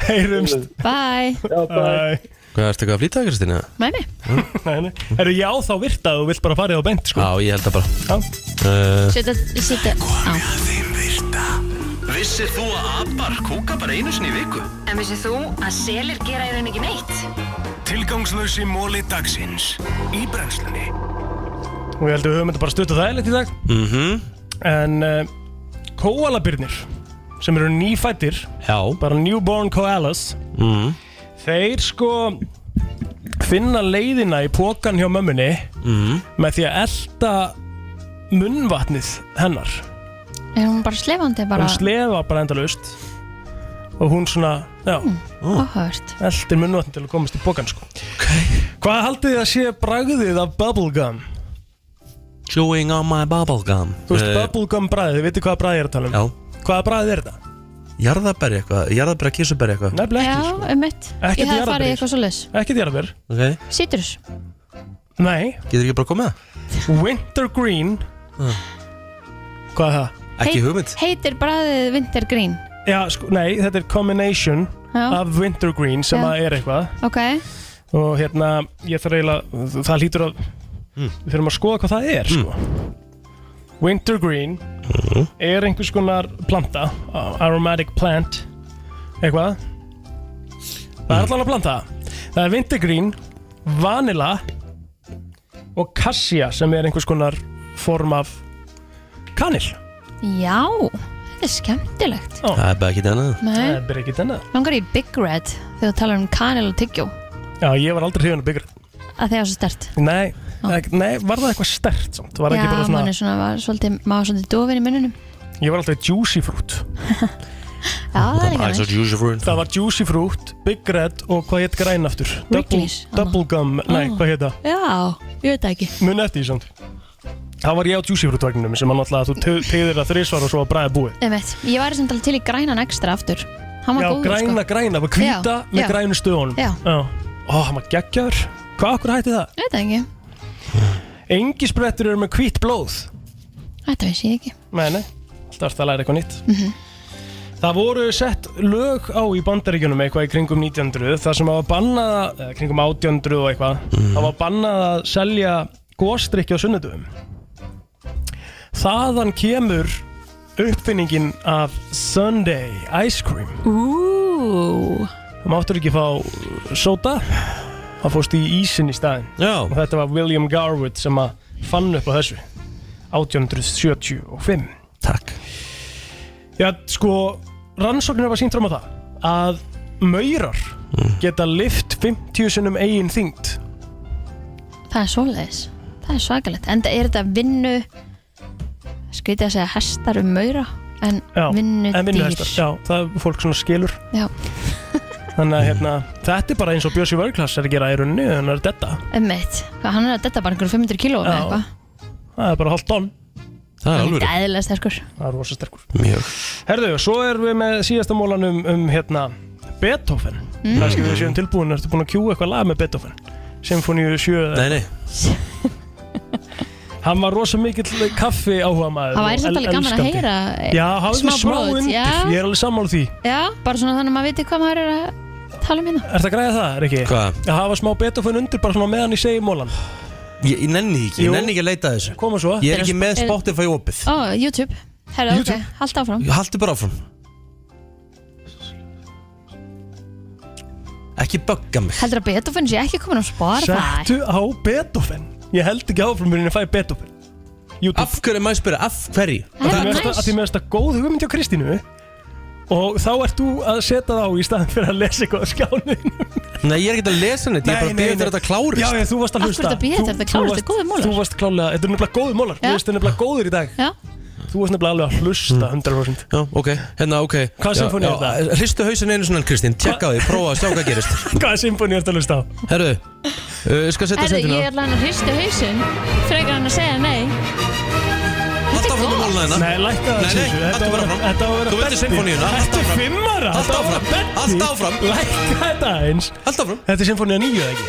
Heyrumst Bye Já, bye Hvað ertu eitthvað að flýta Kristín? eða? Með mig Nei, nei Eru já þá virta að þú vilt bara farið á bent sko Já, ég held það bara uh, Setta, setta á Vissir þú að abar kúka bara einu sinni í viku? En vissið þú að selir gera í raun ekki neitt? Tilgangslösi móli dagsins í brennslunni Og ég held að við höfum þetta bara stutt og þægilegt í dag Mhm. En uh, koalabirnir sem eru nýfættir Já Bara newborn koalas mm. Þeir sko finna leiðina í pókan hjá mömmunni Mm. með því að elta munnvatnið hennar Er hún bara slefandi bara? hún slefa bara endalaust og hún svona, já Áhört eldir munnvatnið til að komast í pókan sko okay. Hvað haldið þið að sé bragðið af bubblegum? Chewing on my bubblegum Þú veist, Eh, bubblegum bræðið, þið veitir hvaða bræðið er að tala um? Já Hvaða bræðið er þetta? Jarðabæri eitthvað, jarðabæri kísubæri eitthvað Nefnilega Já, ekki sko. um mitt Ekkert Ég hef farið í jarðarberjur. eitthvað svo les Ekkert jarðabær Ok, Sýtrus Nei getur ekki bara komið það? Wintergreen Ah. Hvað er það? Heitir bræðið Wintergreen Já, sko, nei, þetta er combination Já. af Wintergreen sem Já. að er eitthvað Ok og hérna, ég þarf eiginlega það hlýtur að, við þurfum að skoða hvað það er sko Wintergreen er einhvers konar planta uh, aromatic plant eitthvað það er allan að planta það er Wintergreen, vanilla og cassia sem er einhvers konar form af kanil Já, þetta er skemmtilegt Já. Það er bara ekki annað Nei. það er bara ekkert annað Langar í Big Red þegar þú talar um kanil og tyggjó Já, ég var aldrei hrifin að byggra að það er svo stert Nei, ek- nei, var það eitthvað stert samt? Var það Ah. Já, ekki bara svona, mann er svona, var svolítið, maður svolítið dofin í mununum ég var alltaf juicy fruit Já, það er líka næst juicy fruit Það var juicy fruit, big red og hvað hétt græn aftur? Double, double gum, nei, Ah. hvað hétt það? Já, ég veit það ekki Mun eftir því samt Það var ég á juicy fruit vagninum sem að náttúrulega þú te- tegðir það þrísvar og svo að bræða búið Einmitt. Ég væri samt alveg til í grænan ekstra aftur Hann var Já, góður græna, sko. græna, bara hvíta Já, með já. grænu stöðunum Já. Ó, hann var geggjaður Hvað okkur hætti það? Veit það ekki, Engisprettur eru með hvitt blóð þetta vissi ég ekki Nei, nei, alltaf ertu að læra eitthvað nýtt Mhm. Það voru sett lög á í bandaríkjunum eitthvað í kringum 1900 þar sem það var bannað, að- eða kringum 1800 og eitthvað, það var bannað að selja góstrykki á sunnudöfum. Þaðan kemur uppfinningin af Sunday Ice Cream. Úúú. Það máttur ekki fá sóta, það fórst í ísin í staðin. Já. Og þetta var William Garwood sem að fann upp á þessu 1875. Já, sko, rannsóknir hafa sínt fram á það að maurar Mm. geta lift 50 sinnum eigin þyngd Það er svoleiðis Það er svakalegt Enda er þetta vinnu Skvitið að segja hestar um maura En Já, vinnu en vinnu dýr hestar, já, það er fólk svona skilur Já. þannig Mm. að hérna, þetta er bara eins og Bjössi Vörglas er að gera í runni en er þetta, Emmett Hvað hann er að detta bara einhverjum 500 kíló eða Já, eitthvað það er bara hálft tonn Það Hann er eðlilega sterkur það er rosa sterkur Mjög Herðu, svo erum við með síðasta mólan um, um hérna, Beethoven Mm. kannski við séum tilbúin, ertu búin að kjúa eitthvað lag með Beethoven Symfóníu 7 Nei, nei Hann var rosa mikill kaffi áhuga maður Það væri samt alveg gaman að heyra, eh, Já, hafðu smá smá brot, undir, já. ég er alveg sammála því Já, bara svona þannig að maður viti hvað maður er að tala um hérna Er það græðið það, Rikki? Hvað? Að hafa smá Beethoven undir bara svona meðan ég segi mólan Ég, ég nenni því ekki, Jú. ég nenni ekki að leita að þessu Koma svo Ég er ekki með Spotify opið Ó, YouTube Herra, ok, halda áfram Haltu bara áfram Ekki bugga mig Heldur að Beethoven sé ekki komin á Spotify Settu á Beethoven Ég held ekki áfram mér en ég fæ Beethoven YouTube. Af hverju maður spyrja, af hverju? Að því mér finnst það- að því mér finnst það góð hugmynd hjá Kristínu Og þá ert þú að setja það á í staðan fyrir að lesa eitthvað á skjánin Nei, ég er ekki að lesa neitt, ég er bara að byrja þetta klárist Já, já, þú varst Af að hverju hlusta ertu að bíða Þú- þetta þú klárist? varst- Þetta er góðir mólar. Þú varst klálega, þetta er nefnilega góður mólar Þú Já. veist, þetta er nefnilega góður í dag Já. Þú varst nefnilega alveg að Mm. hlusta 100% Já, ok, hérna, ok Hvaða Já, sinfóníu já, eh, er þetta? Hristu hausin einu svona, Kristín, tjekka á því, prófa að sjá hvað gerist Hvaða symfóni ertu að hlusta á? Herru, uh, ég skal setja Herðu, sendina ég er alveg að hristi hausinn Frekar hann að segja nei Halda áfram með málna hérna Nei, lækka það Nei, nei, Siggi. Þetta haltu á að bara vera- áfram. Þetta á að vera Þú veitir Bentley. sinfóníuna, haltu Þetta er áfram. fimmara Haltu þetta á að vera áfram, Bentley. haltu áfram. Lækka þetta eins Haltu áfram Þetta er symfónía nýju eða ekki?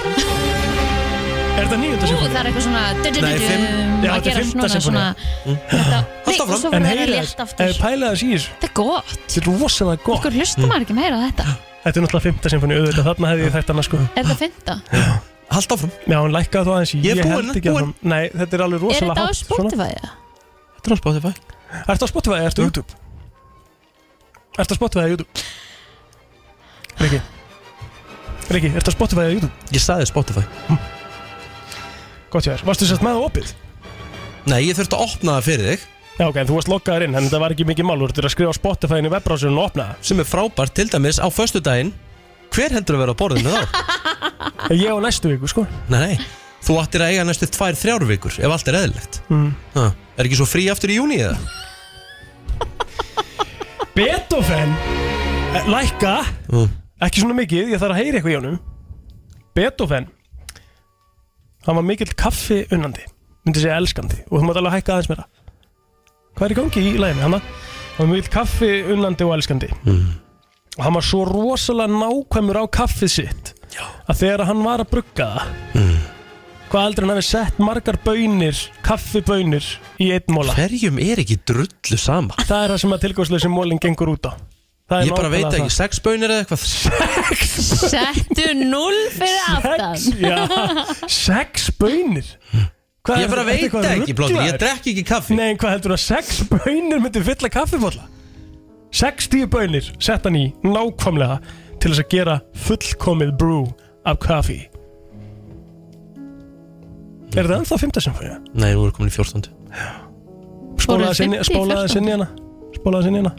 Er þetta nýjönda Ú, symfónía? það er eitthvað svona Nei, fimm- að Já, þetta er gera fimmta svona, svona sinfónía. þetta, nei, og svo En verður það heyra létt þess, aftur pæla þess í þessu Þetta er gott Þetta er rosalega gott Mm. Okkur hlusta maður ekki meira á þetta Þetta er náttúrulega fymta symfóni, auðvitað þarna hefði ég þekkt annars sko Er þetta fymta? Halda áfram Já, hún lækkaði þú aðeins í. Ég er búinn, held ekki búinn. áfram. Nei, þetta er alveg Er rosalega þetta á hátt, svona. Spotify? eða? Þetta er á Spotify Ertu á Spotify eða ertu á YouTube? Ertu á Spotify eða YouTube? Riki Riki, ertu á Spotify eða YouTube? Ég sagði Spotify Gott hjá þér, varstu sérst með það opið? Nei, ég þurfti að opna það fyrir þig Já ok, en þú varst loggaður inn, en þetta var ekki mikið mál Þú ertur að skrifa á Spotify inn í webbrásunum og opna Sem er frábært, til dæmis, á föstudaginn Hver hendur að vera á borðinu þá? það Ég á næstu viku sko nei, nei, þú ættir að eiga næstu tvær, þrjár vikur Ef allt er eðlilegt mm. ha, Er ekki svo frí aftur í júni eða? Beethoven eh, Lækka Mm. Ekki svona mikið, ég þarf að heyra eitthvað í honum Beethoven Hann var mikill kaffi unnandi Myndi segja elskandi Og þú mátt alveg hækka aðeins meira Hvað er í gangi í læginu hann? Hann var mikill kaffi unnandi og elskandi Mm. Og hann var svo rosalega nákvæmur á kaffið sitt Já. Að þegar hann var að brugga það Mm. Hvað heldur hann hafi sett margar bönir, kaffibönir í einn móla? Hverjum er ekki drullu sama? Það er það sem að tilgóðslösi mólinn gengur út á. Það er Ég bara veit nákvæmlega ekki, sex bönir eða eitthvað Settu 0 fyrir aftan Já, sex bönir? Ég bara veit ekki, Blóti, ég drekk ekki kaffi. Nei, en hvað heldur að sex bönir myndi fylla kaffibólla? 60 bönir sett hann í nákvæmlega til þess að gera fullkomið brew af kaffi. Er það ennþá fymtasymfónia? Nei, nú erum við komin í 14. Spólaði sinni, spólaði sinni hana Spólaði sinni hana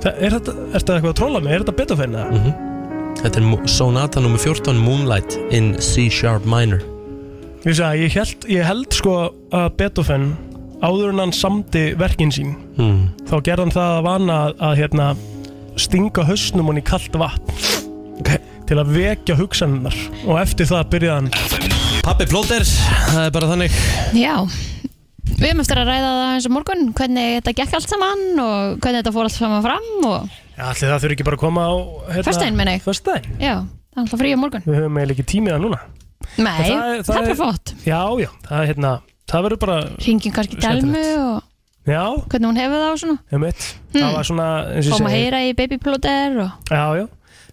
Þa, Er þetta, er þetta eitthvað að trolla mig? Er þetta Beethoven eða? Mm Þetta er Mo- Sonata nr. 14, Moonlight in C-sharp minor Ég, sagði, ég, held, ég held sko að Beethoven áður en hann samdi verkin sín mm. þá gerði hann það að vana að, að hérna, stinga hausnum hann í kallt vatn til að vekja hugsanarnar og eftir það byrjaði hann Pappi Plóter, það er bara þannig Já Við hefum eftir að ræða það eins og morgun Hvernig þetta gekk allt saman og hvernig þetta fór allt saman fram og Já, allir það þurfi ekki bara að koma á hérna, Föstudaginn, meina ég. Föstudaginn já Það er alltaf frí á morgun Við höfum eiginlega ekki tímið að núna Nei, En það, er bara flott Já, já, það er hérna Það verður bara Ringjum kannski Delmu og Já, hvernig hún hefur það og svona einmitt Það var svona eins og ég Hmm. Fáum að segi- heyra í babyplóter og Já, já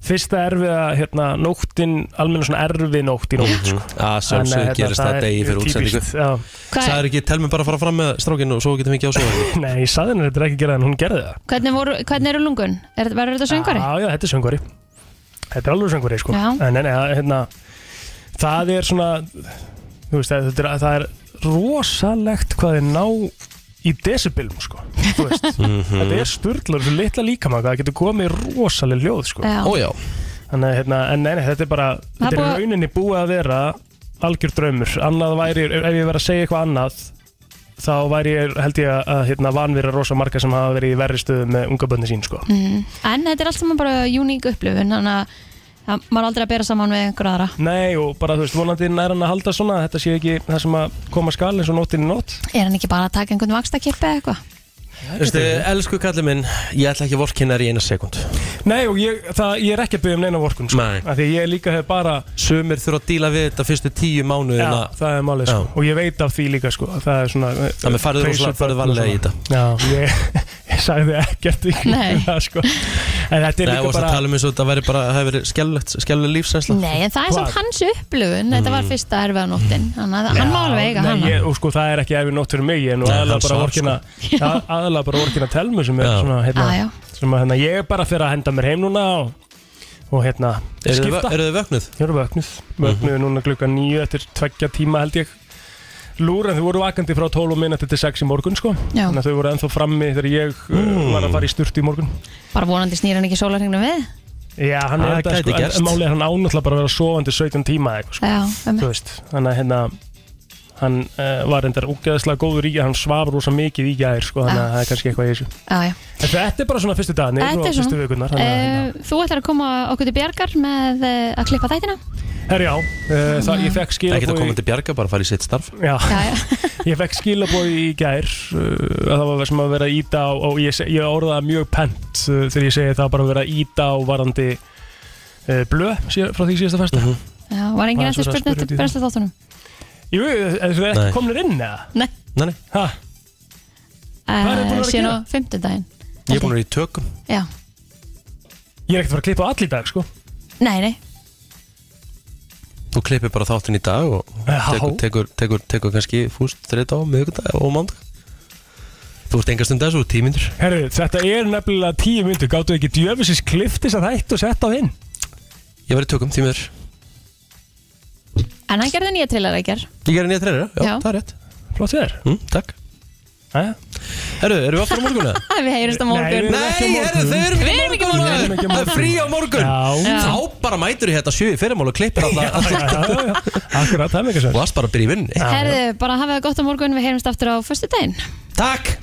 Fyrsta erfiða, hérna, nóttin Almenna svona erfið nótt í nótt sko. Að Þannig að sjálfsög hérna, gerist það eh, það er degi fyrir típist, útsendingu já. Það er ekki, tel mér bara að fara fram með strákinn og svo getum við ekki á svo Nei, ég saði henni þetta er ekki gerða en hún gerði það Hvernig, voru, hvernig eru lungun? Er, verður þetta söngari? Já, já, þetta er söngvari Þetta er alveg söngvari, sko Já. En, en, hérna, það er svona Þú veist, það, það, er, það er rosalegt hvað þið ná í decibelum, sko Þú veist, Mhm. þetta er sturglur Svo litla líkamann, það getur komið rosaleg hljóð, sko Já. Ó, já. Þannig, að, hérna, en nei, nei, þetta er bara Það Þetta er búið- í rauninni búið að vera algjör draumur, annað væri ef ég verið að segja eitthvað annað þá væri ég, held ég að hérna, vanvira rosa marga sem hafa verið í verri stöðu með unga bönni sín sko. Mm. En þetta er allt saman bara uník upplifun Þannig að að maður er aldrei að bera saman við einhver aðra Nei og bara þú veist, vonandi nær hann að halda svona þetta sé ekki það sem að koma skal eins og nóttin í nótt Er hann ekki bara að taka einhvern vakstakippi eða eitthvað? Veistu, elsku kallið minn, ég ætla ekki að vorkinna þér í eina sekund Nei og ég, það, ég er ekki að byggja um neina vorkun sko. Nei. af því ég líka hef bara Sumir þurfa að díla við þetta fyrstu tíu mánuðina Já, það er málið sko. Hérna- Já. og ég veit af því líka sko. að það er svona Þannig farðu Hreinsa rosalega- farðu börn og varlega í svona. Já, ég, ég sagði ekkert í kringum það sko. en þetta er Nei, líka og það bara tala um eins og þetta væri bara, það hefur verið skellulegt, skelluleg lífsænsla Nei, en það er samt hans upplifun Þetta var fyrsta erfiða nóttin Þannig að hann má alveg eiga Mm. Nei, hana ég, og sko það er ekki erfið nótt fyrir mig ég er nú um- Nei, aðalega hann bara svaf, vorkina sko. að- aðalega bara vorkina telmu sem er svona hérna, Ah, já. sem að hérna ég er bara fyrir að henda mér heim núna og, og hérna Eru þið- skipta eru þið vöknuð? Ég eru vöknuð, vöknuð Mhm. núna klukka nýju eftir tveggja tíma held ég Lúr en þau voru vakandi frá 12 og minna til 6 í morgun sko Já. Þannig að þau voru ennþá frammi þegar ég mm. var að fara í sturt í morgun Bara vonandi snýr hann ekki sólarhengnum við Já, hann Það er þetta gæti sko, en gerst. málið er hann ánáttúrulega bara að vera sofandi 17 tíma eða eitthvað sko Já, um þú veist, þannig að hérna hann uh, var reyndar ógeðslega góður í að hann svaf rosa mikið í gæðir sko, þannig að það er kannski eitthvað í þessu Já, já. en þetta er bara svona fyrstu dagarnir Ah. Þetta og er fyrstu svona vikurnar þannig að, hérna- Eh, Þú ætlar að koma okkur til bjargar með eh, að klippa þættina herri já, uh, það, ég fekk Það geta skilabói komið til bjarga, bara að fara í sitt starf já, ég fekk skilabói í gær uh, að það var sem að vera að íta á, og ég, se- ég orðaði mjög pent uh, þegar ég segi það bara að vera að íta á varandi uh, blöð síð, frá því síðasta festa Já, var engin Maður eftir svo spurning spurði út í eftir það. brennslu þáttunum jú, er þið ekki Nei. komnir inn eða? Nei, Nei, nei, Ha, er búin að vera eh, að síðan á gera? fimmtudaginn ég er búin að vera í tökum Já, ég er ekkert að fara að klippa á all í dag sko nei, nei Þú klippir bara þáttinn í dag og tekur, tekur, tekur, tekur kannski fúst þriðdag og miðvikudag og mándag Þú ert engast um þessu, tímindur Herru, þetta er nefnilega tíu myndu Gáttu ekki djöfisins kliftis að þætt og sett á hinn Ég var í tökum, tímindur En hann gerði nýja trillar ekki Ég gerir nýja treyra, já, Já. það er rétt Flott við þér mm, Takk Jæja. Herru, erum við aftur á morgunu? Við heyrumst á morgun Við erum ekki á morgun Það er frí á morgun Já. Þá bara mætur ég þetta sjö í fyrirmál og klippir alltaf Akkurat, það er mikið Og það bara að byrja í vinni Herðu, bara hafið það gott á morgun Við heyrumst aftur á föstudaginn Takk